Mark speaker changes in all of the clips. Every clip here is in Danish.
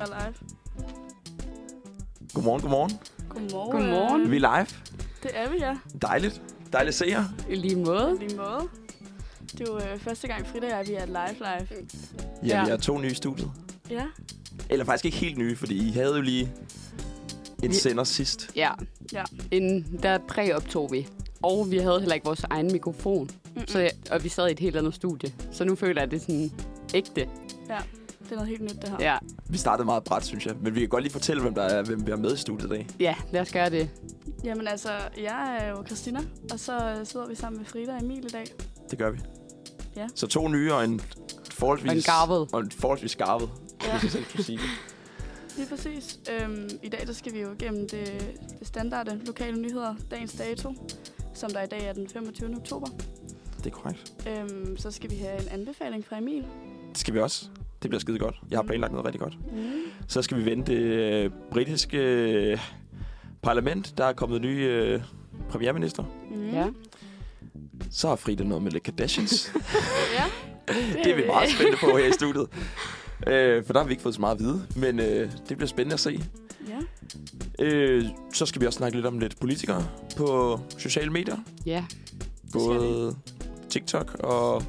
Speaker 1: Og live.
Speaker 2: Godmorgen, godmorgen.
Speaker 1: Godmorgen.
Speaker 3: Godmorgen.
Speaker 2: Vi er live.
Speaker 1: Det er vi, ja.
Speaker 2: Dejligt. Dejligt at se jer.
Speaker 3: I lige måde.
Speaker 1: På lige måde. Det er jo øh, første gang, Frida og jeg, vi er live live.
Speaker 2: Ja,
Speaker 3: Ja.
Speaker 2: vi er to nye i studiet.
Speaker 1: Ja.
Speaker 2: Eller faktisk ikke helt nye, fordi I havde jo lige et
Speaker 3: Vi-
Speaker 2: sender sidst.
Speaker 3: Ja.
Speaker 1: Ja.
Speaker 3: Inden, der præoptog vi. Og vi havde heller ikke vores egen mikrofon.
Speaker 1: Mm-mm.
Speaker 3: Så, jeg- og vi sad i et helt andet studie. Så nu føler jeg, at det er sådan ægte.
Speaker 1: Det er noget helt nyt, det her.
Speaker 3: Ja.
Speaker 2: Vi startede meget bræt, synes jeg. Men vi kan godt lige fortælle, hvem, der er, hvem vi har med i studiet i dag.
Speaker 3: ja, lad os gøre det.
Speaker 1: Jamen altså, jeg er jo Christina, og så øh, sidder vi sammen med Frida og Emil i dag.
Speaker 2: Det gør vi.
Speaker 1: Ja.
Speaker 2: Så to nye og en forholdsvis...
Speaker 3: Og en garvet.
Speaker 2: Og en forholdsvis garvet.
Speaker 1: Ja,
Speaker 2: hvis jeg selv kan sige det.
Speaker 1: lige præcis. Øhm, I dag, der skal vi jo igennem det, det standarde lokale nyheder, dagens dato, som der i dag er den 25. oktober.
Speaker 2: Det er korrekt.
Speaker 1: Øhm, så skal vi have en anbefaling fra Emil.
Speaker 2: Det skal vi også. Det bliver skide godt. Jeg har planlagt noget rigtig godt.
Speaker 1: Mm.
Speaker 2: Så skal vi vende det øh, britiske øh, parlament. Der er kommet nye øh, premierminister.
Speaker 1: Mm.
Speaker 3: Ja.
Speaker 2: Så har Frida noget med The Kardashians.
Speaker 1: ja.
Speaker 2: det er vi meget spændte på her i studiet. Øh, for der har vi ikke fået så meget at vide, men øh, det bliver spændende at se.
Speaker 1: Ja.
Speaker 2: Øh, så skal vi også snakke lidt om lidt politikere på sociale medier.
Speaker 3: Ja.
Speaker 1: skal
Speaker 2: Både TikTok og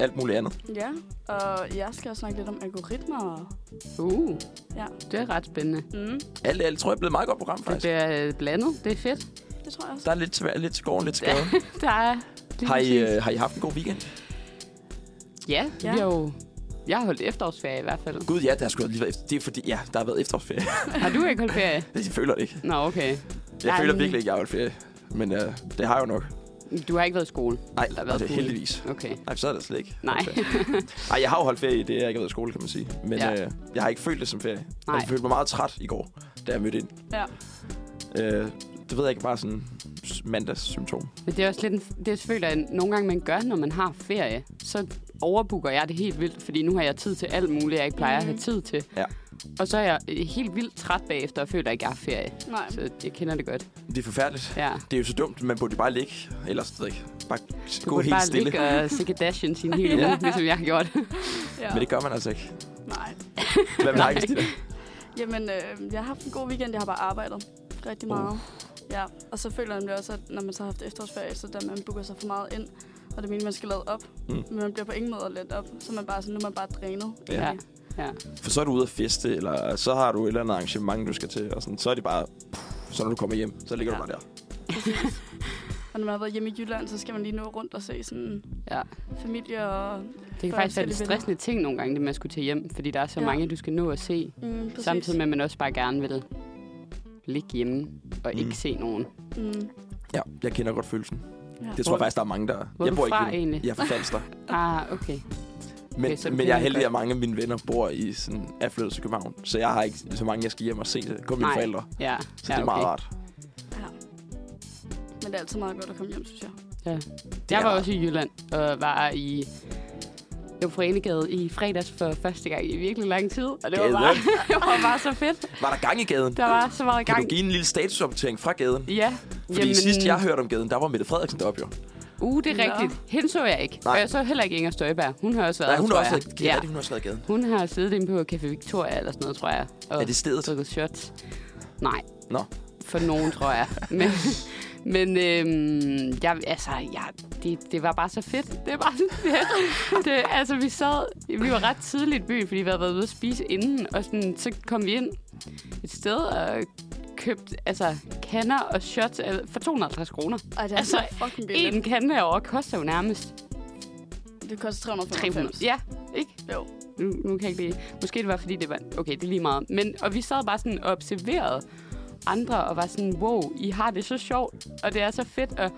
Speaker 2: alt muligt andet.
Speaker 1: Ja, og jeg skal også snakke lidt om algoritmer.
Speaker 3: Uh,
Speaker 1: Ja.
Speaker 3: det er ret spændende.
Speaker 1: Mm,
Speaker 2: Alt i alt tror jeg er blevet et meget godt program,
Speaker 3: Det
Speaker 2: faktisk.
Speaker 3: bliver øh, blandet. Det er fedt.
Speaker 1: det tror jeg også.
Speaker 2: Der er lidt til, hver- lidt til gården, lidt til gaden.
Speaker 3: Der er lige
Speaker 2: har, I,
Speaker 3: præcis-
Speaker 2: øh, har I haft en god weekend?
Speaker 3: Ja,
Speaker 1: Ja.
Speaker 3: vi har jo... Jeg har holdt efterårsferie i hvert fald.
Speaker 2: Gud, ja, der har sgu lige været efter. Det er fordi, ja, der har været efterårsferie.
Speaker 3: Har du ikke holdt ferie?
Speaker 2: jeg føler det ikke.
Speaker 3: Nå, okay.
Speaker 2: Jeg
Speaker 3: Ej.
Speaker 2: føler virkelig ikke, jeg har holdt ferie. Men øh, det har jeg jo nok.
Speaker 3: Du har ikke været i skole?
Speaker 2: Nej,
Speaker 3: Eller
Speaker 2: det er
Speaker 3: på-
Speaker 2: heldigvis.
Speaker 3: Okay.
Speaker 2: Nej, så er det slet ikke.
Speaker 3: Nej.
Speaker 2: Nej, jeg har jo holdt ferie i det, jeg ikke har været i skole, kan man sige. Men
Speaker 3: Ja.
Speaker 2: ja. øh, jeg har ikke følt det som ferie. Nej.
Speaker 3: Nej.
Speaker 2: Jeg følte mig meget træt i går, da jeg mødte ind.
Speaker 1: Ja.
Speaker 2: Øh, det ved jeg ikke, bare sådan s- mandagssymptom.
Speaker 3: Men det er også lidt, en, det føler jeg nogle gange, man gør, når man har ferie. Så overbooker jeg det helt vildt, fordi nu har jeg tid til alt muligt, jeg ikke plejer at have tid til.
Speaker 2: Mm. Ja.
Speaker 3: Og så er jeg øh, helt vildt træt bagefter og føler ikke, jeg har ferie.
Speaker 1: Nej,
Speaker 3: Så jeg kender det godt.
Speaker 2: Det er forfærdeligt.
Speaker 3: Ja.
Speaker 2: Det er jo så dumt, man burde jo bare ligge. Ellers det ikke. Bare
Speaker 3: Du
Speaker 2: gå
Speaker 3: burde
Speaker 2: helt
Speaker 3: bare
Speaker 2: stille.
Speaker 3: ligge og sikke dashen sin hele uge, ligesom jeg har gjort.
Speaker 1: ja.
Speaker 2: Men det gør man altså ikke.
Speaker 1: Nej.
Speaker 2: Hvad med
Speaker 3: Nej.
Speaker 2: dig, Christina?
Speaker 1: Jamen, øh, jeg har haft en god weekend. Jeg har bare arbejdet rigtig
Speaker 2: Uh.
Speaker 1: meget. Ja, og så føler jeg nemlig også, at når man så har haft efterårsferie, så der man booker sig for meget ind, og det mener, man skal lade op.
Speaker 2: Mm.
Speaker 1: Mm. Men man bliver på ingen måde let op, så er man bare sådan, nu er man bare drænet.
Speaker 2: Ja.
Speaker 3: Ja.
Speaker 1: egentlig.
Speaker 3: ja.
Speaker 2: For så er du ude at feste, eller så har du et eller andet arrangement, du skal til. Og sådan. Så er det bare... Puh, så når du kommer hjem, så ligger ja.
Speaker 1: Ja.
Speaker 2: du bare der.
Speaker 1: Og når man har været hjemme i Jylland, så skal man lige nå rundt og se sådan
Speaker 3: ja.
Speaker 1: familie og...
Speaker 3: Det kan
Speaker 1: For
Speaker 3: faktisk
Speaker 1: forskellige
Speaker 3: være lidt stressende ting nogle gange, det med at skulle til hjem, fordi der er så
Speaker 1: Ja.
Speaker 3: ja. mange, du skal nå at se.
Speaker 1: Mm, præcis.
Speaker 3: Samtidig med, at man også bare gerne vil ligge hjemme og
Speaker 2: Mm.
Speaker 3: ikke se nogen.
Speaker 1: Mm,
Speaker 2: Ja, jeg kender godt følelsen.
Speaker 1: ja.
Speaker 2: Det tror
Speaker 3: Hvor-
Speaker 2: jeg faktisk, der er mange, der...
Speaker 3: Hvor er
Speaker 2: jeg
Speaker 3: du
Speaker 2: bor
Speaker 3: fra
Speaker 2: ikke i-
Speaker 3: egentlig?
Speaker 2: Jeg er fra Falster.
Speaker 3: Ah, okay.
Speaker 2: Men,
Speaker 3: Okay, så
Speaker 2: okay,
Speaker 3: du
Speaker 2: men
Speaker 3: kender
Speaker 2: jeg er
Speaker 3: det
Speaker 2: heldig,
Speaker 3: godt.
Speaker 2: at mange af mine venner bor i sådan er flyttet til København. Så jeg har ikke så mange, jeg skal hjem og se det. Kun mine
Speaker 3: Nej.
Speaker 2: forældre.
Speaker 3: Ja,
Speaker 2: Så
Speaker 3: ja,
Speaker 2: det er
Speaker 3: okay.
Speaker 2: meget rart.
Speaker 1: ja. Men det er altid meget godt at komme hjem, synes jeg.
Speaker 3: Ja.
Speaker 2: er
Speaker 3: Jeg var
Speaker 2: rart.
Speaker 3: også i Jylland og var i Jomfruenegade i fredags for første gang i virkelig lang tid. Og det var,
Speaker 2: Gaden.
Speaker 3: bare, det var bare så fedt.
Speaker 2: Var der gang i gaden?
Speaker 3: Der var så meget
Speaker 2: Kan
Speaker 3: gang.
Speaker 2: du give en lille statusopdatering fra gaden?
Speaker 3: Ja.
Speaker 2: Fordi Jamen... sidst jeg hørte om gaden, der var Mette Frederiksen deroppe jo.
Speaker 3: Uh, det er
Speaker 1: Nå.
Speaker 3: rigtigt. Hende så jeg ikke.
Speaker 2: Nej.
Speaker 3: Og jeg så heller ikke Inger Støjberg. Hun har også været
Speaker 2: Nej, hun
Speaker 3: der,
Speaker 2: har
Speaker 3: tror
Speaker 2: også været,
Speaker 3: jeg.
Speaker 2: ja. hun har også været i gaden.
Speaker 3: Hun har siddet inde på Café Victoria eller sådan noget, tror jeg. Og
Speaker 2: Er det stedet?
Speaker 3: drukket shots. Nej,
Speaker 2: Nå,
Speaker 3: for nogen, tror jeg. Men, men øhm, jeg, altså, jeg, det, det var bare så fedt. Det var så fedt. Det, altså, vi sad, vi var ret tidligt i byen, fordi vi havde været ude at spise inden, og sådan, så kom vi ind et sted og købte altså, kander og shots al- for 250 kroner.
Speaker 1: Ej, det er
Speaker 3: Altså,
Speaker 1: altså, fucking billigt.
Speaker 3: En kande herovre koster jo nærmest
Speaker 1: Det koster
Speaker 3: 300.
Speaker 1: 395.
Speaker 3: Ja, ikke?
Speaker 1: Jo.
Speaker 3: nu, nu kan jeg ikke lige... Måske det var, fordi det var... Okay, det er lige meget. Men, og vi sad bare sådan og observerede andre, og var sådan, wow, I har det så sjovt, og det er så fedt. Og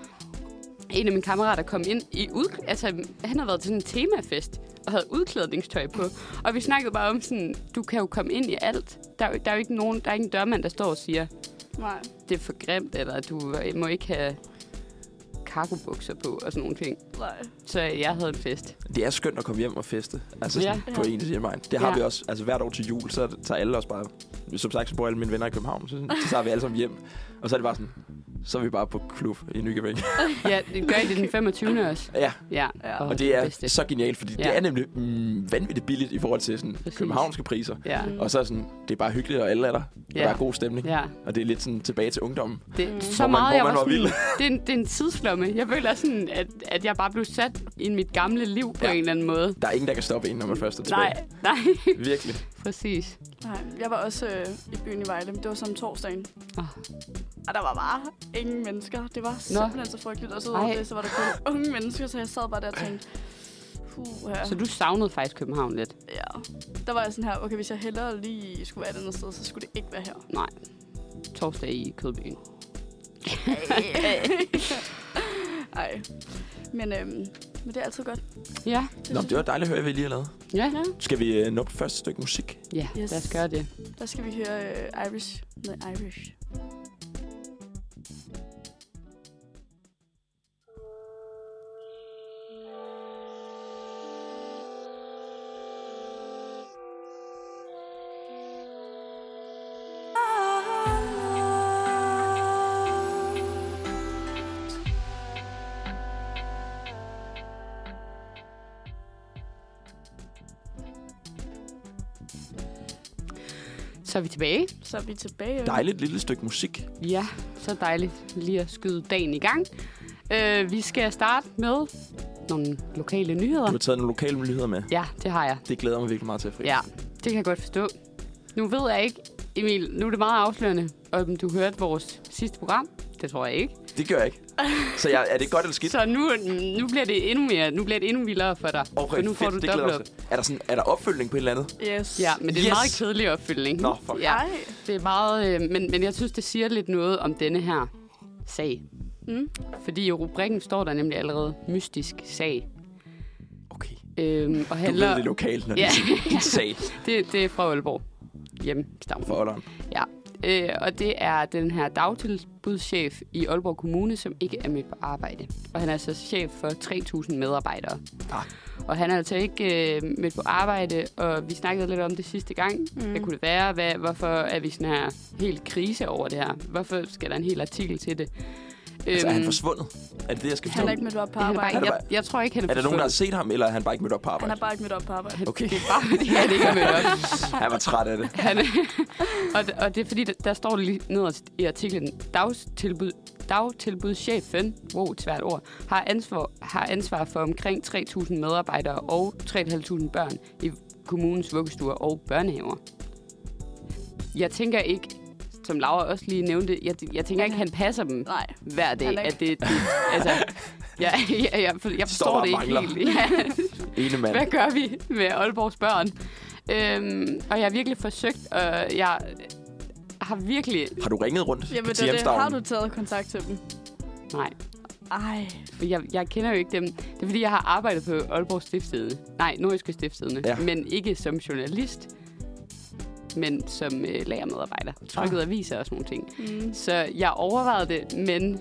Speaker 3: en af mine kammerater kom ind i ud... Altså, han havde været til sådan en temafest, og havde udklædningstøj på. Og vi snakkede bare om sådan, du kan jo komme ind i alt. Der, er jo- der er jo ikke nogen... Der er ikke en dørmand, der står og siger,
Speaker 1: Nej.
Speaker 3: øh, det er for grimt, eller du må ikke have cargobukser på, og sådan nogle ting.
Speaker 1: Nej.
Speaker 3: Så jeg havde en fest.
Speaker 2: Det er skønt at komme hjem og feste. Altså
Speaker 3: Ja.
Speaker 2: sådan, ja. på
Speaker 1: Ja.
Speaker 2: en til hjemmeegn. Det har
Speaker 3: Ja.
Speaker 2: vi også. Altså hvert år til jul, så tager alle os bare... Som sagt, så bor alle mine venner i København. Så, så tager vi alle sammen hjem. Og så er det bare sådan... Så er vi bare på klub i Nykøbing.
Speaker 3: Ja, det gør I det den 25. også?
Speaker 2: ja,
Speaker 3: Ja,
Speaker 1: Ja.
Speaker 2: og det er
Speaker 3: bedste.
Speaker 2: så genialt, fordi ja.
Speaker 3: Ja.
Speaker 2: det er nemlig mm, vanvittigt billigt i forhold til sådan,
Speaker 3: Præcis.
Speaker 2: københavnske priser.
Speaker 3: Ja,
Speaker 1: Mm.
Speaker 2: Og så er sådan, det er bare hyggeligt, og alle er der. Og
Speaker 3: Ja.
Speaker 2: der er god stemning.
Speaker 3: ja.
Speaker 2: Og det er lidt sådan tilbage til ungdommen.
Speaker 3: Det,
Speaker 1: Mm.
Speaker 3: så
Speaker 2: Hvor man-
Speaker 3: meget,
Speaker 2: hvor
Speaker 3: jeg
Speaker 2: man
Speaker 3: var,
Speaker 2: var vild.
Speaker 3: sådan, det, er en, det er en tidslomme. Jeg føler sådan, at, at jeg bare blev sat i mit gamle liv på
Speaker 2: Ja.
Speaker 3: en eller anden måde.
Speaker 2: Der er ingen, der kan stoppe en, når man først er tilbage.
Speaker 3: Nej, nej,
Speaker 2: Virkelig.
Speaker 3: præcis.
Speaker 1: Nej, jeg var også øh, i byen i Vejle, men det var som torsdagen.
Speaker 3: Åh.
Speaker 1: Og der var bare ingen mennesker. Det var simpelthen så frygteligt. Og så,
Speaker 3: Ej.
Speaker 1: det, så var der kun unge mennesker, så jeg sad bare der og tænkte, puh, her.
Speaker 3: Så du savnede faktisk København lidt?
Speaker 1: Ja. Der var jeg sådan her, okay, hvis jeg hellere lige skulle være et andet sted, så skulle det ikke være her.
Speaker 3: Nej. Torsdag i Kødbyen.
Speaker 1: Ej. Men, øhm, men det er altid godt.
Speaker 3: Ja,
Speaker 1: Det
Speaker 2: Nå,
Speaker 1: synes
Speaker 2: det var dejligt at høre, hvad I lige har lavet.
Speaker 3: ja.
Speaker 1: jeg.
Speaker 2: Skal vi øh, nå på første stykke musik?
Speaker 3: Ja, yes.
Speaker 1: Yes.
Speaker 3: lad os gøre det.
Speaker 1: Ja, der skal vi høre øh, Irish med Irish.
Speaker 3: Så er vi tilbage.
Speaker 1: Så er vi tilbage.
Speaker 2: Dejligt lille stykke musik.
Speaker 3: Ja, så dejligt lige at skyde dagen i gang. Øh, vi skal starte med nogle lokale nyheder.
Speaker 2: Du har taget nogle lokale nyheder med.
Speaker 3: Ja, det har jeg.
Speaker 2: Det glæder jeg mig virkelig meget til at fri.
Speaker 3: Ja, det kan jeg godt forstå. Nu ved jeg ikke, Emil, nu er det meget afslørende, om du hørte vores sidste program. Det tror jeg ikke.
Speaker 2: Det gør jeg ikke. Så jeg, er det godt eller skidt?
Speaker 3: Så nu, nu bliver det endnu mere, nu bliver det endnu vildere for dig. for nu får
Speaker 2: fedt,
Speaker 3: du
Speaker 2: det glæder jeg
Speaker 3: dobbelt
Speaker 2: mig
Speaker 3: op.
Speaker 2: til. Er der, sådan, er der opfølgning på et eller andet?
Speaker 1: Yes.
Speaker 3: Ja, men det er yes. en
Speaker 2: Yes.
Speaker 3: meget kedelig opfyldning.
Speaker 2: Nå, fuck.
Speaker 3: Ja,
Speaker 1: Ej.
Speaker 3: det er meget, øh, men, men jeg synes, det siger lidt noget om denne her sag.
Speaker 1: Mm.
Speaker 3: Fordi i rubrikken står der nemlig allerede mystisk sag.
Speaker 2: Okay.
Speaker 3: Øhm, og
Speaker 2: Du
Speaker 3: handler,
Speaker 2: ved det lokalt, når
Speaker 3: Ja.
Speaker 2: ja. det er en sag
Speaker 3: det, det er fra Aalborg. Hjemme, Stavn.
Speaker 2: for ålderen.
Speaker 3: Ja, øh, og det er den her dagtilbudschef i Aalborg Kommune, som ikke er med på arbejde. Og han er altså chef for 3.000 medarbejdere.
Speaker 2: Ah.
Speaker 3: Og han er altså ikke øh, med på arbejde, og vi snakkede lidt om det sidste gang. Mm. Hvad kunne det være? Hvad, hvorfor er vi sådan her helt krise over det her? Hvorfor skal der en hel artikel til det?
Speaker 2: Altså, er han
Speaker 3: Øhm,
Speaker 2: forsvundet? Er det det, jeg skal
Speaker 1: Han
Speaker 2: forstå?
Speaker 1: er ikke mødt op på
Speaker 3: han er bare,
Speaker 1: arbejde.
Speaker 2: Han er
Speaker 3: jeg,
Speaker 2: bare-
Speaker 3: jeg tror ikke, han er
Speaker 2: Er der nogen, der har
Speaker 3: forsvundet.
Speaker 2: set ham, eller er han bare ikke mødt op på
Speaker 1: Han
Speaker 2: arbejde?
Speaker 1: er bare ikke mødt op på arbejde.
Speaker 2: Okay,
Speaker 3: Det er bare fordi, han ikke er mødt op.
Speaker 2: han var træt af det.
Speaker 3: Han, og, det, og det er fordi, der, der står lige nederst i artiklen, dagtilbud, dagtilbudschefen, wow, et svært ord, har ansvar, har ansvar for omkring 3.000 medarbejdere og 3.500 børn i kommunens vuggestuer og børnehaver. Jeg tænker ikke, som Laura også lige nævnte, jeg, jeg tænker ikke, han passer dem
Speaker 1: Nej.
Speaker 3: hver dag.
Speaker 1: Han er
Speaker 3: At det, det, altså, jeg, jeg, jeg, jeg
Speaker 2: bare
Speaker 3: forstår
Speaker 2: og
Speaker 3: det ikke
Speaker 2: mangler.
Speaker 3: helt. Ja,
Speaker 2: Ene mand.
Speaker 3: hvad gør vi med Aalborgs børn? Øhm, og jeg har virkelig forsøgt, og jeg har virkelig...
Speaker 2: Har du ringet rundt
Speaker 1: Jamen,
Speaker 2: på
Speaker 1: det, er det,
Speaker 2: Tiamstavnen?
Speaker 1: har du taget kontakt til dem?
Speaker 3: Nej,
Speaker 1: Ej.
Speaker 3: for jeg, jeg kender jo ikke dem. Det er, fordi jeg har arbejdet på Aalborg Stiftstidende. Nej, Nordjyske Stiftstidende.
Speaker 2: Ja.
Speaker 3: Ja. Men ikke som journalist, men som øh, lagermedarbejder.
Speaker 2: Ah.
Speaker 3: Trykket aviser og sådan nogle ting.
Speaker 1: Mm.
Speaker 3: Så jeg overvejede det, men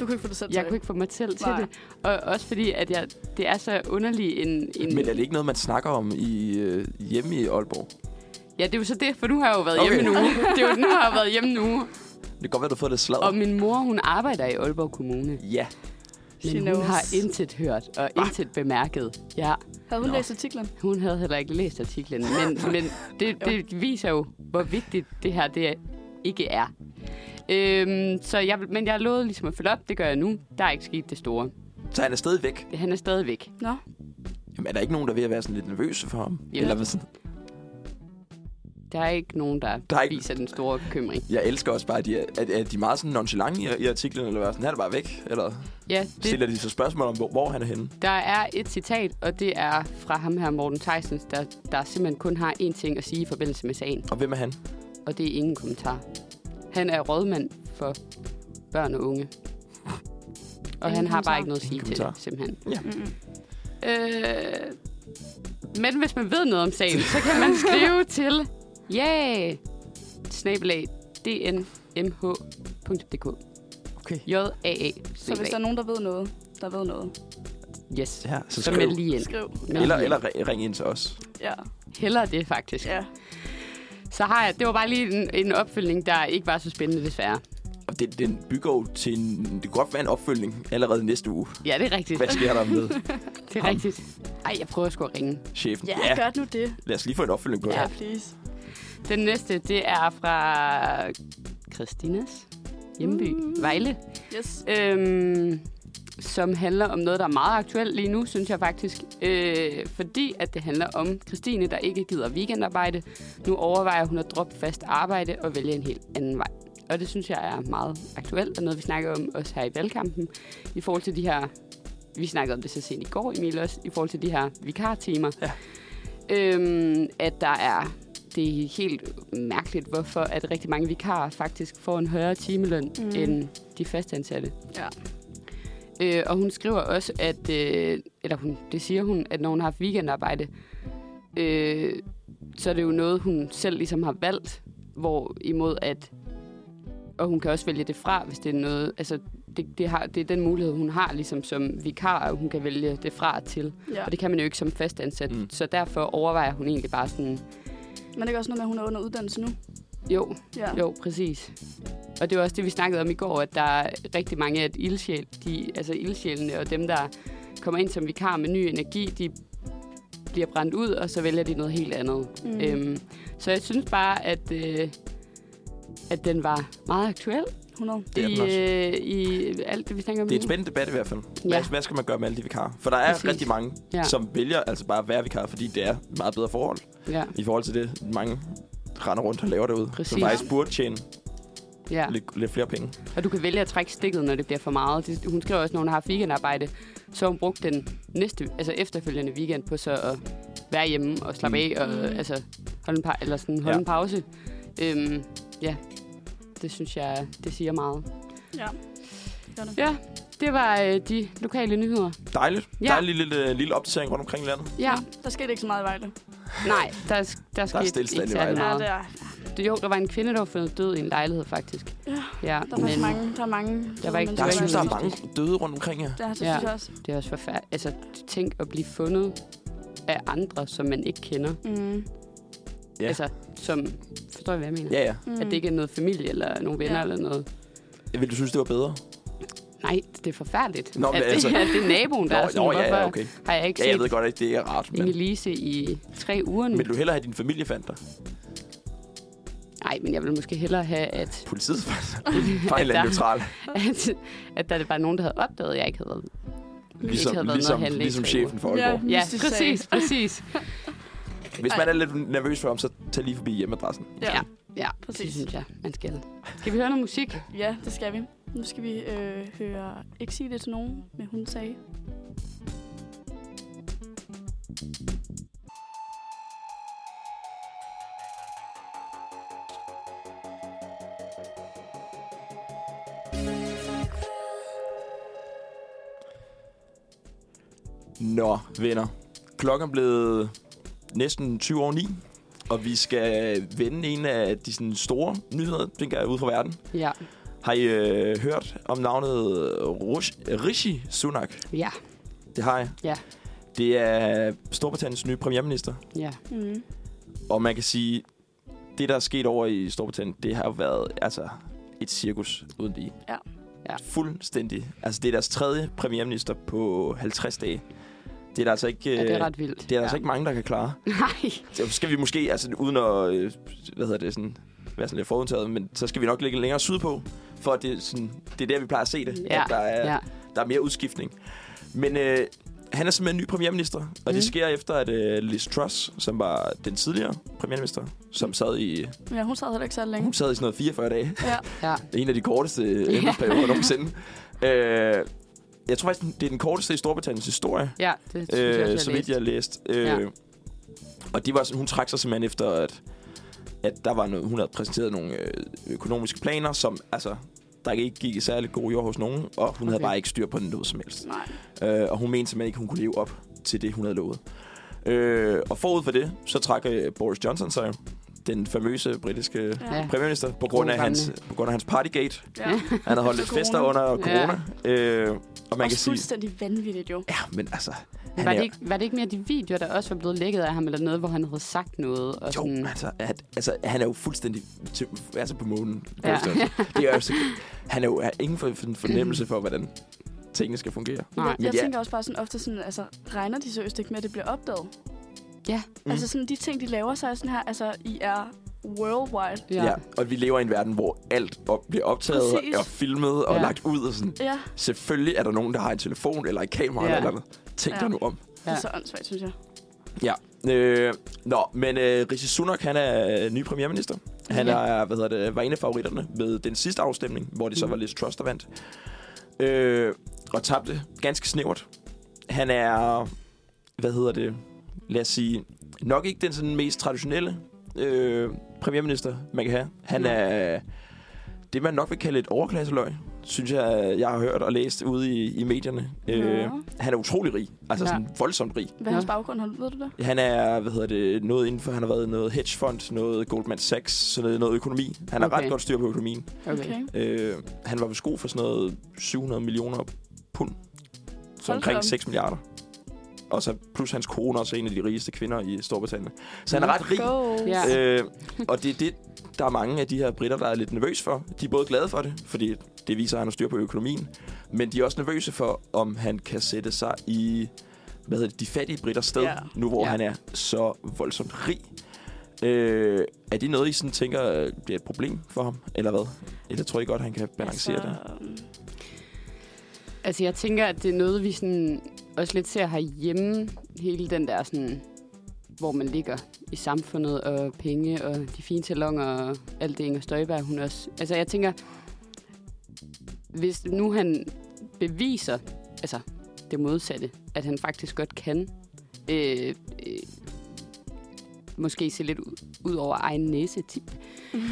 Speaker 1: Du kunne ikke få det selv
Speaker 3: jeg
Speaker 1: til.
Speaker 3: kunne ikke få mig selv til
Speaker 1: Nej.
Speaker 3: det. Og også fordi, at jeg, det er så underlig en... en
Speaker 2: Men er det ikke noget, man snakker om i, øh, hjemme i Aalborg?
Speaker 3: Ja, det er jo så det, for nu har jeg jo været
Speaker 2: Okay.
Speaker 3: okay. hjemme nu. Det er jo, nu har jeg været hjemme nu.
Speaker 2: Det kan godt være, du har fået lidt sladder.
Speaker 3: Og min mor, hun arbejder i Aalborg Kommune,
Speaker 2: Ja.
Speaker 1: She
Speaker 3: men hun
Speaker 1: knows.
Speaker 3: har intet hørt og intet bemærket. Ja,
Speaker 1: Havde hun
Speaker 2: Nå.
Speaker 1: læst artiklen?
Speaker 3: hun havde heller ikke læst artiklen, men, men det, det viser jo, hvor vigtigt det her det ikke er. Øhm, så jeg, vil- men jeg lovede ligesom at følge op, det gør jeg nu. Der er ikke sket det store.
Speaker 2: Så han er stadig væk.
Speaker 3: Han er stadig væk.
Speaker 1: Nå.
Speaker 2: Jamen, er der ikke nogen, der er ved at være sådan lidt nervøse for ham?
Speaker 3: Ja.
Speaker 2: Eller hvad sådan?
Speaker 3: Der er ikke nogen, der,
Speaker 2: Der er ikke-
Speaker 3: viser den store bekymring.
Speaker 2: Jeg elsker også bare, at de er, er, er de meget sådan nonchalante i, i artiklen, eller hvad? Sådan, han er bare væk, eller
Speaker 3: Ja, det,
Speaker 2: stiller de så spørgsmål om, hvor, hvor han er henne?
Speaker 3: Der er et citat, og det er fra ham her, Morten Theisens, der, der simpelthen kun har én ting at sige i forbindelse med sagen,
Speaker 2: Og hvem er han?
Speaker 3: og det er ingen kommentar. Han er rådmand for børn og unge. Og han har bare ikke noget at sige
Speaker 2: Ingen
Speaker 3: til det,
Speaker 2: kommentar.
Speaker 3: simpelthen.
Speaker 2: Ja.
Speaker 3: Øh, men hvis man ved noget om sagen, så kan man skrive til yeah, snabelag dnmh.dk
Speaker 2: Okay.
Speaker 3: j a
Speaker 1: Så hvis der er nogen, der ved noget, der ved noget.
Speaker 3: Yes.
Speaker 2: Ja, så
Speaker 3: Så
Speaker 2: skriv.
Speaker 3: meld lige ind.
Speaker 1: Skriv.
Speaker 3: Meld
Speaker 2: Eller,
Speaker 3: lige
Speaker 2: eller
Speaker 3: ind.
Speaker 2: ri- ring ind til os.
Speaker 1: Ja.
Speaker 3: Hellere det, faktisk.
Speaker 1: ja.
Speaker 3: Så har jeg... Det var bare lige en, en opfølgning, der ikke var så spændende, desværre.
Speaker 2: Og det, den bygger jo til en... Det kunne godt være en opfølgning allerede næste uge.
Speaker 3: Ja, det er rigtigt.
Speaker 2: Hvad sker der med
Speaker 3: Det er rigtigt. Ej, jeg prøver sgu at ringe.
Speaker 2: chefen?
Speaker 1: Ja, gør nu det.
Speaker 2: lad os lige få en opfølgning på
Speaker 1: Ja,
Speaker 2: ja. det.
Speaker 1: please.
Speaker 3: Den næste, det er fra Christinas hjemby,
Speaker 1: Mm.
Speaker 3: Vejle.
Speaker 1: Yes.
Speaker 3: Øhm, som handler om noget, der er meget aktuelt lige nu, synes jeg faktisk. Øh, fordi at det handler om Christine, der ikke gider weekendarbejde. Nu overvejer hun at droppe fast arbejde og vælge en helt anden vej. Og det synes jeg er meget aktuelt, og noget, vi snakker om også her i valgkampen. I forhold til de her... Vi snakkede om det så sent i går, Emil, også. I forhold til de her vikartimer.
Speaker 2: Ja.
Speaker 3: Øhm, at der er... Det er helt mærkeligt, hvorfor at rigtig mange vikarer faktisk får en højere timeløn
Speaker 1: Mm.
Speaker 3: mm. end de fastansatte.
Speaker 1: Ja.
Speaker 3: Øh, og hun skriver også, at, øh, eller hun, det siger hun, at når hun har haft weekendarbejde, øh, så er det jo noget, hun selv ligesom har valgt, hvor imod at, og hun kan også vælge det fra, hvis det er noget, altså det, det, har, det er den mulighed, hun har ligesom som vikar, at hun kan vælge det fra til.
Speaker 1: Ja.
Speaker 3: Og det kan man jo ikke som fastansat,
Speaker 2: Mm.
Speaker 3: mm. så derfor overvejer hun egentlig bare sådan,
Speaker 1: Men det er også noget med, at hun er under uddannelse nu.
Speaker 3: jo,
Speaker 1: Ja.
Speaker 3: jo, præcis. Og det var også det, vi snakkede om i går, at der er rigtig mange af ildsjæl, de, altså ildsjælene og dem, der kommer ind som vikar med ny energi, de bliver brændt ud, og så vælger de noget helt andet.
Speaker 1: Mm.
Speaker 3: Mm. Øhm, så jeg synes bare, at, øh, at den var meget aktuel
Speaker 1: 100.
Speaker 2: Det er den
Speaker 3: i,
Speaker 2: også.
Speaker 3: øh, i alt det, vi snakker om
Speaker 2: Det er
Speaker 3: nu.
Speaker 2: en spændende debat i hvert fald. Hvad,
Speaker 3: Ja.
Speaker 2: ja. hvad skal man gøre med alle de vikarer? For der er
Speaker 3: Præcis.
Speaker 2: Præcis. rigtig mange,
Speaker 3: Ja.
Speaker 2: ja. som vælger altså bare at være vikarer, fordi det er meget bedre forhold
Speaker 3: Ja,
Speaker 2: i forhold til det, mange render rundt og laver derude.
Speaker 3: Præcis.
Speaker 2: Som faktisk burde tjene
Speaker 3: ja.
Speaker 2: lidt, lidt flere penge.
Speaker 3: Og du kan vælge at trække stikket, når det bliver for meget. Det, hun skriver også, når hun har haft weekendarbejde, så har hun brugt den næste, altså efterfølgende weekend på så at være hjemme og slappe af og
Speaker 1: Mm.
Speaker 3: øh, altså, holde, en, pa- eller sådan, holde ja.
Speaker 2: Ja.
Speaker 3: en pause. Øhm, ja, det synes jeg, det siger meget.
Speaker 1: Ja. Gør det.
Speaker 3: Ja, det var øh, de lokale nyheder.
Speaker 2: Dejligt.
Speaker 3: Ja.
Speaker 2: Ja. Dejlig lille, lille opdatering rundt omkring i landet.
Speaker 3: Ja,
Speaker 1: Der skete ikke så meget i Vejle.
Speaker 3: nej, der, er- der skete ikke
Speaker 2: stilstand i
Speaker 3: særlig
Speaker 2: Vejle.
Speaker 1: Ja,
Speaker 3: meget.
Speaker 1: der, er,
Speaker 3: Jo, der var en kvinde, der var fundet død i en lejlighed, faktisk.
Speaker 1: Ja,
Speaker 3: ja
Speaker 1: der er faktisk mange. Der er mange.
Speaker 3: Der var ikke-
Speaker 2: Der,
Speaker 3: var
Speaker 2: jeg synes, der er
Speaker 3: ikke-
Speaker 2: mange døde rundt omkring her.
Speaker 1: Ja, det
Speaker 3: Ja.
Speaker 1: synes jeg også.
Speaker 3: Det er også forfærdeligt. Altså, tænk at blive fundet af andre, som man ikke kender.
Speaker 1: Mm.
Speaker 2: Ja.
Speaker 3: Altså, som... Forstår I, hvad jeg mener?
Speaker 2: Ja, ja.
Speaker 1: Mm.
Speaker 3: At det ikke er noget familie eller nogle venner
Speaker 1: Ja.
Speaker 3: ja. eller noget.
Speaker 2: Vil du synes, det var bedre?
Speaker 3: Nej, det er forfærdeligt.
Speaker 2: Nå,
Speaker 3: at,
Speaker 2: men
Speaker 3: det,
Speaker 2: altså-
Speaker 3: at det er naboen, der er
Speaker 2: Nå,
Speaker 3: sådan,
Speaker 2: nå, ja,
Speaker 3: hvorfor
Speaker 2: ja, okay.
Speaker 3: har jeg ikke
Speaker 2: Ja,
Speaker 3: set
Speaker 2: jeg ved godt, at det ikke er rart, men,
Speaker 3: Inge Lise i tre uger nu?
Speaker 2: men vil du hellere have, at din familie fandt dig?
Speaker 3: Nej, men jeg vil måske hellere have, at,
Speaker 2: Politiet fandt dig? Fejl er
Speaker 3: Der-
Speaker 2: neutral.
Speaker 3: at, at der var nogen, der havde opdaget, at jeg ikke havde
Speaker 2: Ligesom,
Speaker 3: havde været nede
Speaker 2: ligesom,
Speaker 3: at handle i
Speaker 2: ligesom
Speaker 3: tre
Speaker 2: chefen for Aalborg.
Speaker 1: Ja.
Speaker 3: Ja,
Speaker 1: Mystisk sag.
Speaker 3: præcis, præcis.
Speaker 2: Ja. Hvis man er lidt nervøs for ham, så tag lige forbi hjemmeadressen.
Speaker 1: Ja.
Speaker 3: Ja. Ja,
Speaker 1: Præcis.
Speaker 3: præcis. det synes jeg, man skal. Skal vi høre noget musik?
Speaker 1: ja, det skal vi. Nu skal vi øh, høre Ikke sige det til nogen, men hun sagde.
Speaker 2: Nå, venner. Klokken er blevet næsten 20 over 9, og vi skal vende en af de sådan, store nyheder, tænker jeg, ude fra verden.
Speaker 3: Ja.
Speaker 2: Har I øh, hørt om navnet Rush, Rishi Sunak?
Speaker 3: Ja.
Speaker 2: Det har jeg.
Speaker 3: Ja.
Speaker 2: Det er Storbritanniens nye premierminister,
Speaker 3: Ja.
Speaker 1: Mm.
Speaker 2: og man kan sige, det der er sket over i Storbritannien, det har jo været altså, et cirkus uden lige.
Speaker 1: Ja.
Speaker 3: Ja.
Speaker 2: Fuldstændig. Altså, det er deres tredje premierminister på 50 dage. Det er der altså ikke...
Speaker 3: ja, det
Speaker 2: øh,
Speaker 3: er ret vildt.
Speaker 2: Det er der
Speaker 3: ja.
Speaker 2: altså ikke mange, der kan klare.
Speaker 3: Nej.
Speaker 2: Så skal vi måske, altså uden at øh, hvad hedder det, sådan, være sådan lidt forudtaget, men så skal vi nok ligge længere sydpå, for at det, er sådan, det er der, vi plejer at se det,
Speaker 3: Ja,
Speaker 2: at der er,
Speaker 3: ja.
Speaker 2: der er mere udskiftning. Men øh, han er simpelthen ny premierminister, og mm.
Speaker 3: Mm.
Speaker 2: det sker efter, at øh, Liz Truss, som var den tidligere premierminister, som sad i,
Speaker 1: Ja, hun sad heller ikke særlig længe.
Speaker 2: hun sad i sådan noget 44 dage,
Speaker 1: Ja.
Speaker 3: Ja.
Speaker 2: en af de korteste øh, embedsperioder nogensinde. Øh, jeg tror faktisk, det er den korteste i Storbritanniens historie
Speaker 3: ja, det synes jeg
Speaker 2: øh,
Speaker 3: også, jeg
Speaker 2: så
Speaker 3: læste.
Speaker 2: vidt jeg læste. Øh,
Speaker 3: Ja.
Speaker 2: ja. Og det var sådan, hun trak sig simpelthen efter, at, at der var noget, hun havde præsenteret nogle øh, økonomiske planer, som altså, der ikke gik i særlig god jord hos nogen, og hun okay. havde
Speaker 3: Okay.
Speaker 2: bare ikke styr på noget som helst.
Speaker 1: Nej.
Speaker 2: Øh, og hun mente simpelthen ikke, hun kunne leve op til det, hun havde lovet. Øh, og forud for det, så trak øh, Boris Johnson sig jo, den famøse britiske
Speaker 1: Ja.
Speaker 2: premierminister, på grund,
Speaker 3: God
Speaker 2: af hans, på grund af hans partygate.
Speaker 1: ja.
Speaker 2: Han havde holdt
Speaker 1: Efter
Speaker 2: lidt fester
Speaker 1: corona.
Speaker 2: under
Speaker 3: Ja.
Speaker 2: corona. Øh, Og man
Speaker 1: også
Speaker 2: kan sige,
Speaker 1: fuldstændig vanvittigt jo.
Speaker 2: ja, men altså...
Speaker 3: Var
Speaker 2: er-
Speaker 3: det, ikke, var det ikke mere de videoer, der også var blevet lækket af ham, eller noget, hvor han havde sagt noget? Og sådan,
Speaker 2: Jo, altså, at, altså, han er jo fuldstændig til, altså på månen.
Speaker 3: Ja.
Speaker 2: Ja. Det er jo, så- han er jo har ingen for- for- fornemmelse for, hvordan tingene skal fungere.
Speaker 3: Nej.
Speaker 1: Jeg,
Speaker 2: Men
Speaker 1: jeg
Speaker 2: ja.
Speaker 1: tænker også bare sådan ofte sådan, altså, regner de seriøst ikke med, at det bliver opdaget?
Speaker 3: Ja.
Speaker 1: Mm. Altså sådan, de ting, de laver, så er sådan her, altså, I er worldwide.
Speaker 2: Ja. ja. Og vi lever i en verden, hvor alt op, bliver optaget
Speaker 1: Præcis.
Speaker 2: Præcis. og filmet og
Speaker 3: Ja.
Speaker 2: ja. lagt ud. Og sådan.
Speaker 1: Ja,
Speaker 2: Selvfølgelig er der nogen, der har en telefon eller et kamera
Speaker 3: Ja.
Speaker 2: ja. eller noget. Tænk
Speaker 1: Ja.
Speaker 2: ja. dig nu om.
Speaker 1: det er
Speaker 3: Ja.
Speaker 1: så åndssvagt, synes jeg.
Speaker 2: Ja. Øh, nå, men øh, Rishi Sunak, han er øh, ny premierminister. Han
Speaker 3: Ja.
Speaker 2: er, hvad hedder det, var en af favoritterne ved den sidste afstemning, hvor det så
Speaker 3: Mhm.
Speaker 2: var Liz Truss, der vandt. Øh, og tabte ganske snævert. Han er, hvad hedder det, lad os sige, nok ikke den sådan mest traditionelle øh, premierminister, man kan have. Han
Speaker 3: Nej.
Speaker 2: er det, man nok vil kalde et overklasseløg, synes jeg, jeg har hørt og læst ude i, i medierne. Øh,
Speaker 1: Nå.
Speaker 2: han er utrolig rig, altså
Speaker 3: Ja.
Speaker 2: sådan voldsomt rig.
Speaker 1: Hvad er hans
Speaker 3: Nå.
Speaker 1: baggrund, har du, ved du det?
Speaker 2: Han er, hvad hedder det, noget inden for, han har været i noget hedgefond, noget Goldman Sachs, sådan noget, noget økonomi. Han har
Speaker 3: Okay.
Speaker 2: ret godt styr på økonomien.
Speaker 3: Okay.
Speaker 2: Øh, han var ved sko for sådan noget 700 millioner pund, så
Speaker 1: Hold da op.
Speaker 2: omkring 6 milliarder. Og så plus hans kone også er en af de rigeste kvinder i Storbritannien. Så han er ret rig.
Speaker 1: Go. Altså,
Speaker 3: Ja.
Speaker 2: Øh, og det er det, der er mange af de her britter, der er lidt nervøse for. De er både glade for det, fordi det viser, at han har styr på økonomien, men de er også nervøse for, om han kan sætte sig i hvad hedder det, de fattige britter sted,
Speaker 1: Ja.
Speaker 2: ja. nu hvor
Speaker 3: Ja.
Speaker 2: ja. han er så voldsomt rig. Øh, er det noget, I sådan tænker øh, bliver et problem for ham, eller hvad? Eller tror I godt, han kan balancere altså... det?
Speaker 3: Altså, jeg tænker, at det er noget, vi sådan også lidt ser herhjemme. Hele den der sådan, hvor man ligger i samfundet og penge og de fine talonger og alt det, Inger Støjberg, hun også... Altså, jeg tænker, hvis nu han beviser, altså det modsatte, at han faktisk godt kan, øh, øh, måske se lidt ud, ud over egen næse tip,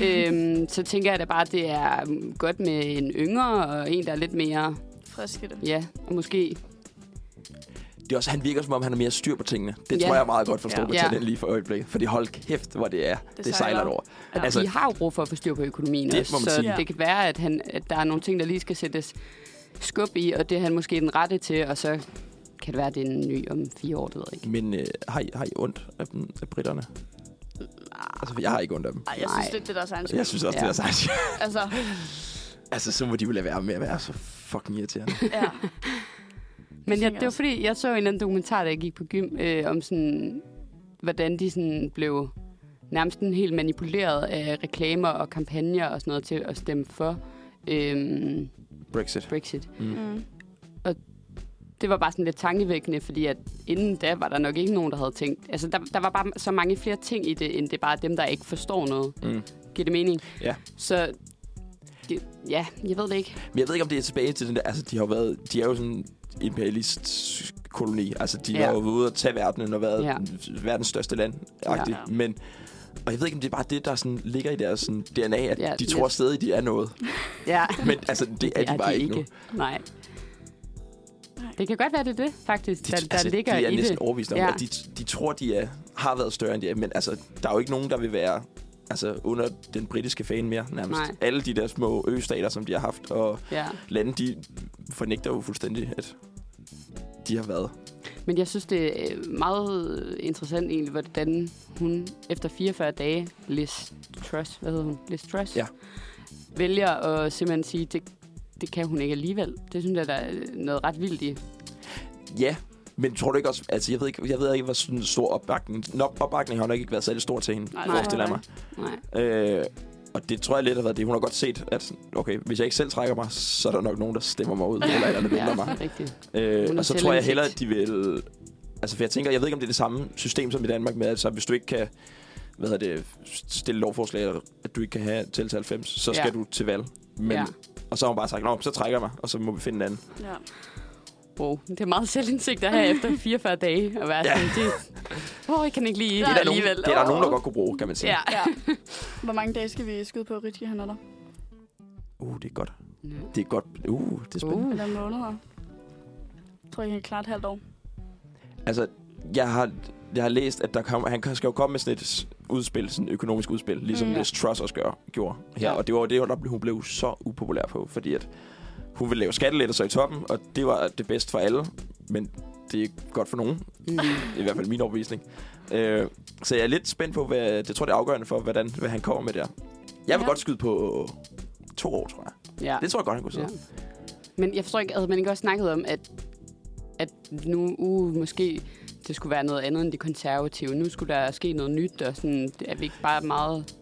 Speaker 3: øhm, så tænker jeg da bare, at det er mm, godt med en yngre og en, der er lidt mere
Speaker 1: Friske det.
Speaker 3: Ja, og måske.
Speaker 2: Det er også, han virker, som om han har mere styr på tingene. Det
Speaker 3: Ja.
Speaker 2: tror jeg er meget godt for
Speaker 1: Ja.
Speaker 2: Storbritannien
Speaker 3: Ja.
Speaker 2: lige for øjeblikket. Fordi hold kæft, hvor det er. Det, det
Speaker 1: sejler.
Speaker 2: sejler over.
Speaker 3: Og altså,
Speaker 2: Altså-
Speaker 3: de har jo brug for at få styr på økonomien
Speaker 2: Det
Speaker 3: også,
Speaker 2: må man
Speaker 3: så
Speaker 2: sige.
Speaker 1: Ja.
Speaker 3: det kan være, at, han, at der er nogle ting, der lige skal sættes skub i, og det er han måske den rette til, og så kan det være, at det er en ny om fire år, det ved jeg ikke.
Speaker 2: Men øh, har, I, har I ondt af, dem, af britterne? Altså, jeg har ikke ondt af dem.
Speaker 1: Ej, jeg synes
Speaker 3: Nej.
Speaker 1: lidt, det er deres egen skyld.
Speaker 2: Jeg synes også,
Speaker 3: Ja.
Speaker 2: ja. det er sejt.
Speaker 1: Altså,
Speaker 2: altså, så må de jo lade være med at være så fucking irriterende.
Speaker 1: ja.
Speaker 3: Men
Speaker 1: tænker
Speaker 3: jeg,
Speaker 1: jeg
Speaker 3: det var
Speaker 1: også.
Speaker 3: fordi, jeg så en eller anden dokumentar, da jeg gik på gym, øh, om sådan, hvordan de sådan blev nærmest sådan helt manipuleret af reklamer og kampagner og sådan noget til at stemme for øh,
Speaker 2: Brexit.
Speaker 3: Brexit.
Speaker 1: Mm.
Speaker 3: det var bare sådan lidt tankevækkende, fordi at inden da var der nok ikke nogen, der havde tænkt. Altså, der, der var bare så mange flere ting i det, end det er bare dem, der ikke forstår noget.
Speaker 2: Mm.
Speaker 3: Giver det mening?
Speaker 2: Ja.
Speaker 3: Så, det, ja, jeg ved det ikke.
Speaker 2: Men jeg ved ikke, om det er tilbage til den der... Altså, de har jo været... De er jo sådan imperialist koloni. Altså, de
Speaker 3: Ja.
Speaker 2: ja. var jo ude og tage verdenen og været
Speaker 3: Ja.
Speaker 2: ja. verdens største land. Ja.
Speaker 1: Ja.
Speaker 2: Men... Og jeg ved ikke, om det er bare det, der sådan ligger i deres sådan, DNA, at
Speaker 3: Ja,
Speaker 2: ja, de
Speaker 3: lidt.
Speaker 2: tror stadig, de er noget.
Speaker 3: Ja.
Speaker 2: Men altså, det er de bare ikke, nu.
Speaker 3: Nej.
Speaker 1: Nej.
Speaker 3: Det kan godt være, det er det, faktisk,
Speaker 2: De,
Speaker 3: der, der altså, ligger
Speaker 2: de er
Speaker 3: i
Speaker 2: næsten
Speaker 3: det.
Speaker 2: overvist om,
Speaker 3: Ja.
Speaker 2: ja. at de, de tror, de er, har været større end de er. Men altså, der er jo ikke nogen, der vil være altså, under den britiske fan mere, nærmest.
Speaker 3: Nej.
Speaker 2: Nej. Alle de der små østater, som de har haft, og
Speaker 3: Ja.
Speaker 2: lande, de fornægter jo fuldstændig, at de har været.
Speaker 3: Men jeg synes, det er øh, meget interessant egentlig, hvordan hun efter 44 dage, Liz Truss, hvad hedder hun? Liz Truss?
Speaker 2: Ja.
Speaker 3: Vælger at simpelthen sige, det, det kan hun ikke alligevel. Det synes jeg, der er noget ret vildt i.
Speaker 2: Ja, men tror du ikke også... Altså, jeg ved ikke, jeg ved ikke hvor sådan stor opbakning... Nok opbakning har nok ikke været særlig stor til hende,
Speaker 1: Nej,
Speaker 2: Nej,
Speaker 1: det
Speaker 2: forestiller jeg
Speaker 1: tror
Speaker 2: mig.
Speaker 1: jeg
Speaker 3: Nej.
Speaker 2: Øh, og det tror jeg lidt har været det. Hun har godt set, at okay, hvis jeg ikke selv trækker mig, så er der nok nogen, der stemmer mig ud, eller eller andet vælter mig.
Speaker 3: rigtigt. Hun
Speaker 2: Øh,
Speaker 3: har
Speaker 2: og så tror jeg hellere, at de vil... Altså, for jeg tænker, jeg ved ikke, om det er det samme system som i Danmark med, at så hvis du ikke kan hvad hedder det, stille lovforslag, eller at du ikke kan have til 90, så
Speaker 3: Ja.
Speaker 2: skal du til valg. Men,
Speaker 3: Ja.
Speaker 2: ja. Og så har hun bare sagt, Nå, så trækker jeg mig, og så må vi finde en anden.
Speaker 1: ja.
Speaker 3: Wow, det er meget selvindsigt at have efter 44 dage at være ja.
Speaker 2: Ja.
Speaker 3: sådan, det, oh, jeg kan ikke lide
Speaker 1: Det
Speaker 2: Det er, der nogen,
Speaker 3: alligevel.
Speaker 2: det er der nogen, der
Speaker 3: Åh.
Speaker 2: godt kunne bruge, kan man sige.
Speaker 3: Ja.
Speaker 1: ja. Hvor mange dage skal vi skyde på, at Ritchie han er der?
Speaker 2: Uh, det er godt. Det er godt. Uh, det er spændende. Uh.
Speaker 3: Uh,
Speaker 1: Eller måneder? Jeg tror, I kan klare et halvt år.
Speaker 2: Altså, jeg har, jeg har læst, at der kom, han skal jo komme med sådan et udspil, sådan et økonomisk udspil, ligesom
Speaker 1: Mm.
Speaker 2: mm. Liz Truss også gør, gjorde her.
Speaker 3: Ja.
Speaker 2: Ja. Og det var jo det, der blev, hun blev så upopulær på, fordi at Hun ville lave skattelettelser i toppen, og det var det bedste for alle. Men det er ikke godt for nogen.
Speaker 3: Mm.
Speaker 2: Det er i hvert fald min overbevisning. Øh, så jeg er lidt spændt på, hvad, det tror jeg, det er afgørende for, hvordan, hvad han kommer med der. Jeg vil
Speaker 3: Ja.
Speaker 2: ja. godt skyde på to år, tror jeg.
Speaker 3: Ja.
Speaker 2: Det tror jeg godt, han kunne sidde.
Speaker 3: Ja. Men jeg forstår ikke, altså man ikke også snakket om, at, at nu uh, måske det skulle være noget andet end det konservative. Nu skulle der ske noget nyt, og sådan, det er vi ikke bare meget...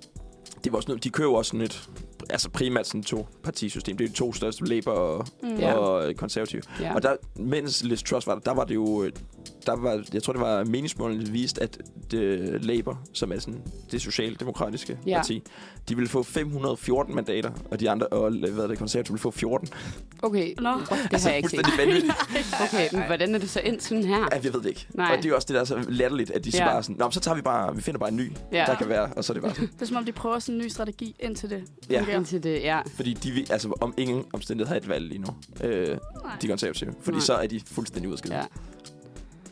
Speaker 2: Det var også noget, de kører jo også sådan et, altså primært sådan to partisystem. Det er de to største, Labour og,
Speaker 1: Mm.
Speaker 3: Ja.
Speaker 2: ja. og konservative.
Speaker 3: Ja.
Speaker 2: Ja. Og der, mens Liz Truss var der, der var det jo... øh, Der var, jeg tror, det var meningsmålene, der viste, at det, Labour, som er sådan det socialdemokratiske
Speaker 3: Ja.
Speaker 2: ja. parti, de ville få 514 mandater, og de andre, og hvad er det, konservative ville få 14. Det
Speaker 3: Okay,
Speaker 1: Nå.
Speaker 3: det har jeg ikke set.
Speaker 2: Altså, fuldstændig vanvittigt.
Speaker 3: Okay, men hvordan er det så endt sådan her?
Speaker 2: Ja, jeg ved det ikke.
Speaker 3: Nej.
Speaker 2: Nej. Og det er jo også det, der er så latterligt, at de ja. så
Speaker 3: Ja.
Speaker 2: bare er sådan, Nå, men så tager vi bare, vi finder bare en ny,
Speaker 3: Ja.
Speaker 2: ja. der kan være, og så er det bare sådan.
Speaker 1: Det er som om, de prøver sådan en ny strategi, indtil det
Speaker 2: Ja.
Speaker 1: fungerer.
Speaker 3: Indtil det, ja.
Speaker 2: Fordi de vil, altså om ingen omstændighed har et valg lige nu, øh,
Speaker 1: Nej.
Speaker 2: de konservative. Fordi
Speaker 3: Nej.
Speaker 2: Nej. så er de fuldstændig udskilt.
Speaker 3: ja.
Speaker 2: Ja.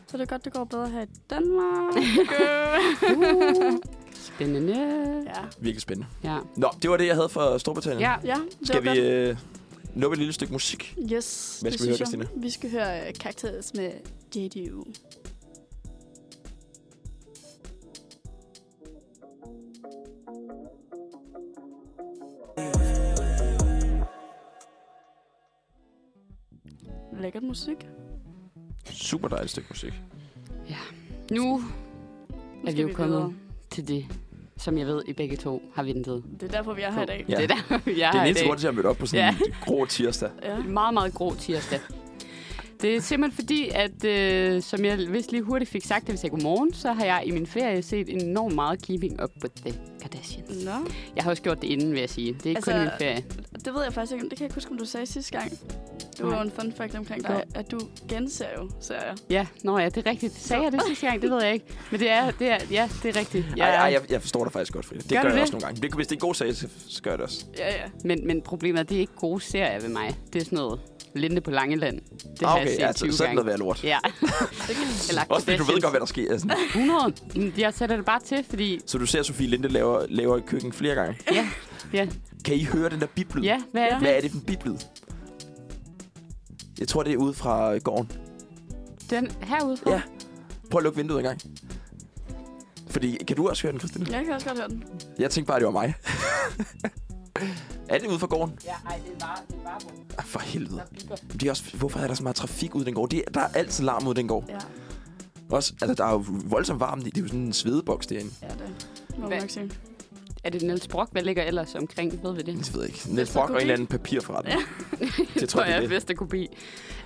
Speaker 1: Så det er godt, det går bedre her i Danmark.
Speaker 3: Uh, spændende.
Speaker 1: ja.
Speaker 2: Virkelig spændende.
Speaker 3: Ja.
Speaker 2: Nå, det var det, jeg havde fra Storbritannien.
Speaker 3: ja.
Speaker 1: ja, det
Speaker 2: Skal
Speaker 1: var
Speaker 2: vi øh, nå et lille stykke musik?
Speaker 1: Godt. Yes.
Speaker 2: Hvad
Speaker 1: det
Speaker 2: skal vi høre,
Speaker 1: synes jeg.
Speaker 2: Christina?
Speaker 1: Vi skal høre øh, Cactus med JDU. Lækkert musik.
Speaker 2: Super dejligt stykke musik.
Speaker 3: Nu
Speaker 1: Nu
Speaker 3: er
Speaker 1: skal
Speaker 3: vi jo
Speaker 1: vi
Speaker 3: kommet
Speaker 1: videre.
Speaker 3: til det, som jeg ved, I begge to har ventet.
Speaker 1: Det er derfor, vi er her i dag.
Speaker 2: Ja.
Speaker 3: Det er der, jeg
Speaker 2: Det er
Speaker 3: har
Speaker 2: den
Speaker 3: i
Speaker 2: eneste
Speaker 3: dag.
Speaker 2: grund til, at jeg mødte op på sådan en grå tirsdag.
Speaker 1: Ja.
Speaker 3: meget, meget grå tirsdag. Det er simpelthen fordi, at øh, som jeg vist lige hurtigt fik sagt, da vi sagde godmorgen, så har jeg i min ferie set enormt meget Keeping Up With The Kardashians.
Speaker 1: Nå,
Speaker 3: Jeg har også gjort det inden, vil jeg sige. Det er ikke Mm. altså,
Speaker 1: Altså,
Speaker 3: kun i min ferie.
Speaker 1: det ved jeg faktisk ikke. Det kan jeg ikke huske, om du sagde sidste gang. Det var
Speaker 3: Nej.
Speaker 1: jo en fun fact omkring dig, at du genser jo serier.
Speaker 3: Ja, nå ja, det er rigtigt. Sagde jeg det sidste gang? Det ved jeg ikke. Men det er, det er ja, det er rigtigt.
Speaker 2: Ja. Ej,
Speaker 3: Jeg,
Speaker 2: ej, jeg, jeg forstår dig faktisk godt, Frida. Det
Speaker 3: Gør
Speaker 2: gør,
Speaker 3: du
Speaker 2: jeg
Speaker 3: det?
Speaker 2: også nogle gange. Det, hvis det er en god sag, så så gør jeg det også.
Speaker 1: Ja, ja.
Speaker 3: men, men problemet er, at det er ikke gode serier ved mig. Det er sådan noget Linde på Langeland. Det har
Speaker 2: Ah,
Speaker 3: jeg set
Speaker 2: altså,
Speaker 3: 20
Speaker 2: så er det
Speaker 3: gange.
Speaker 2: noget værd lort.
Speaker 3: Ja. Eller
Speaker 2: Også fordi du ved godt, hvad der sker. Altså,
Speaker 3: 100. Mm, Jeg sætter det bare til, fordi...
Speaker 2: så du ser Sofie Linde laver, laver i køkken flere gange.
Speaker 3: Ja, ja,
Speaker 2: Kan I høre den der biblyd?
Speaker 3: ja hvad er det?
Speaker 2: Hvad er det for en biblyd? Jeg tror, det er ude fra gården.
Speaker 3: Den herude fra?
Speaker 2: Ja. Prøv at lukke vinduet en gang. Fordi, kan du også høre den, Christina?
Speaker 1: Jeg kan også godt høre den.
Speaker 2: Jeg tænkte bare, det var mig. er det ude fra gården?
Speaker 3: Ja, ej, det var, det var
Speaker 2: Ah, for helvede. Men Det er også, hvorfor er der så meget trafik ud i den gård? Det, er- der er altid larm ud i den gård.
Speaker 1: Ja,
Speaker 2: Også, altså, der er jo voldsomt varmt i. Det er jo sådan en svedeboks derinde.
Speaker 1: ja det må
Speaker 3: Hvad?
Speaker 1: man nok sige.
Speaker 3: Er det Niels Brock? Hvad ligger ellers omkring? Ved vi det?
Speaker 2: Det ved jeg ikke. Niels
Speaker 1: så
Speaker 2: Brock og en
Speaker 1: kopi.
Speaker 2: eller anden papirforretning.
Speaker 3: Det
Speaker 2: tror jeg, det er
Speaker 3: jeg
Speaker 2: det.
Speaker 3: bedst at kunne blive.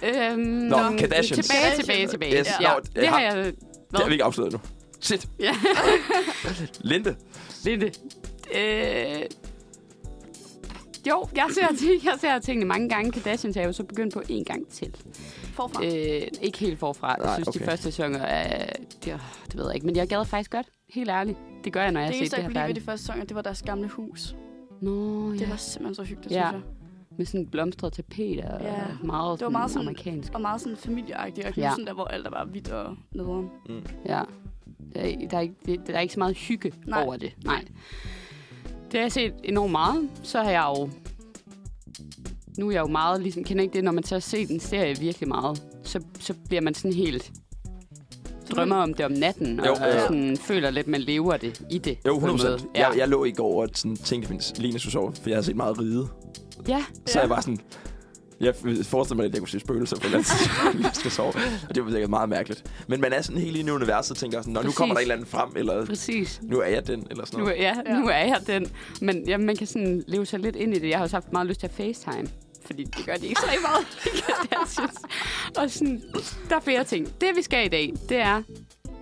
Speaker 3: Øhm,
Speaker 2: Nå, Kardashians.
Speaker 3: Tilbage, tilbage, tilbage.
Speaker 2: Yes,
Speaker 3: ja.
Speaker 2: nå,
Speaker 3: det
Speaker 2: jeg
Speaker 3: har
Speaker 2: har-
Speaker 3: jeg...
Speaker 2: Det har vi ikke afsløret nu. Shit.
Speaker 3: Ja.
Speaker 2: Linde.
Speaker 3: Det er det. Øh, jo, jeg ser, ting, jeg ser tingene mange gange. Kardashians er jeg jo så begyndt på en gang til.
Speaker 1: Forfra.
Speaker 3: Øh, ikke helt forfra. Jeg
Speaker 2: Nej,
Speaker 3: synes, de
Speaker 2: okay.
Speaker 3: første sæsoner er... Det, åh, det ved jeg ikke, men jeg gad faktisk godt. Helt ærligt. Det gør jeg, når jeg
Speaker 1: det
Speaker 3: har set
Speaker 1: eneste,
Speaker 3: det
Speaker 1: jeg kunne
Speaker 3: her
Speaker 1: lide ved
Speaker 3: færdigt.
Speaker 1: de første sæsoner, det var deres gamle hus.
Speaker 3: Nå, ja.
Speaker 1: Det var simpelthen så hyggeligt,
Speaker 3: Ja.
Speaker 1: ja. synes jeg.
Speaker 3: Med sådan blomstret tapet og
Speaker 1: Ja.
Speaker 3: meget,
Speaker 1: Det var meget sådan-
Speaker 3: amerikansk.
Speaker 1: Og meget sådan familieagtigt, og
Speaker 3: Ja.
Speaker 1: husen der, hvor alt er bare hvidt og nederen.
Speaker 2: Mm.
Speaker 3: Ja. Der er, der er, ikke, det- der er ikke så meget hygge Nej.
Speaker 1: Nej.
Speaker 3: over det. Nej. Det har jeg set enormt meget. Så har jeg jo... Nu er jeg jo meget, ligesom, kender ikke det, når man så har set en serie virkelig meget, så, så bliver man sådan helt drømmer om det om natten, og,
Speaker 2: Jo,
Speaker 3: og
Speaker 2: ja.
Speaker 3: sådan, føler lidt, man lever det i det.
Speaker 2: Jo,
Speaker 3: på en
Speaker 2: 100
Speaker 3: måde. Ja.
Speaker 2: jeg, jeg lå i går og sådan, tænkte, at Line skulle sove, for jeg har set meget ride.
Speaker 3: ja.
Speaker 2: Så
Speaker 1: Ja.
Speaker 2: jeg var sådan... Jeg forestiller mig lidt, at jeg kunne se spøgelser på landet, jeg skal sove. Og det var sikkert meget mærkeligt. Men man er sådan helt inde i universet og tænker sådan, "Nå, nu
Speaker 3: Præcis.
Speaker 2: kommer der et eller andet frem, eller
Speaker 3: præcis.
Speaker 2: nu er jeg den, eller sådan
Speaker 3: Nu,
Speaker 2: noget.
Speaker 3: er- ja, ja, nu er jeg den. Men ja, man kan sådan leve sig lidt ind i det. Jeg har også haft meget lyst til at facetime. Fordi det gør de ikke så meget. i Kardashians. og sådan, der er flere ting. Det vi skal i dag, det er,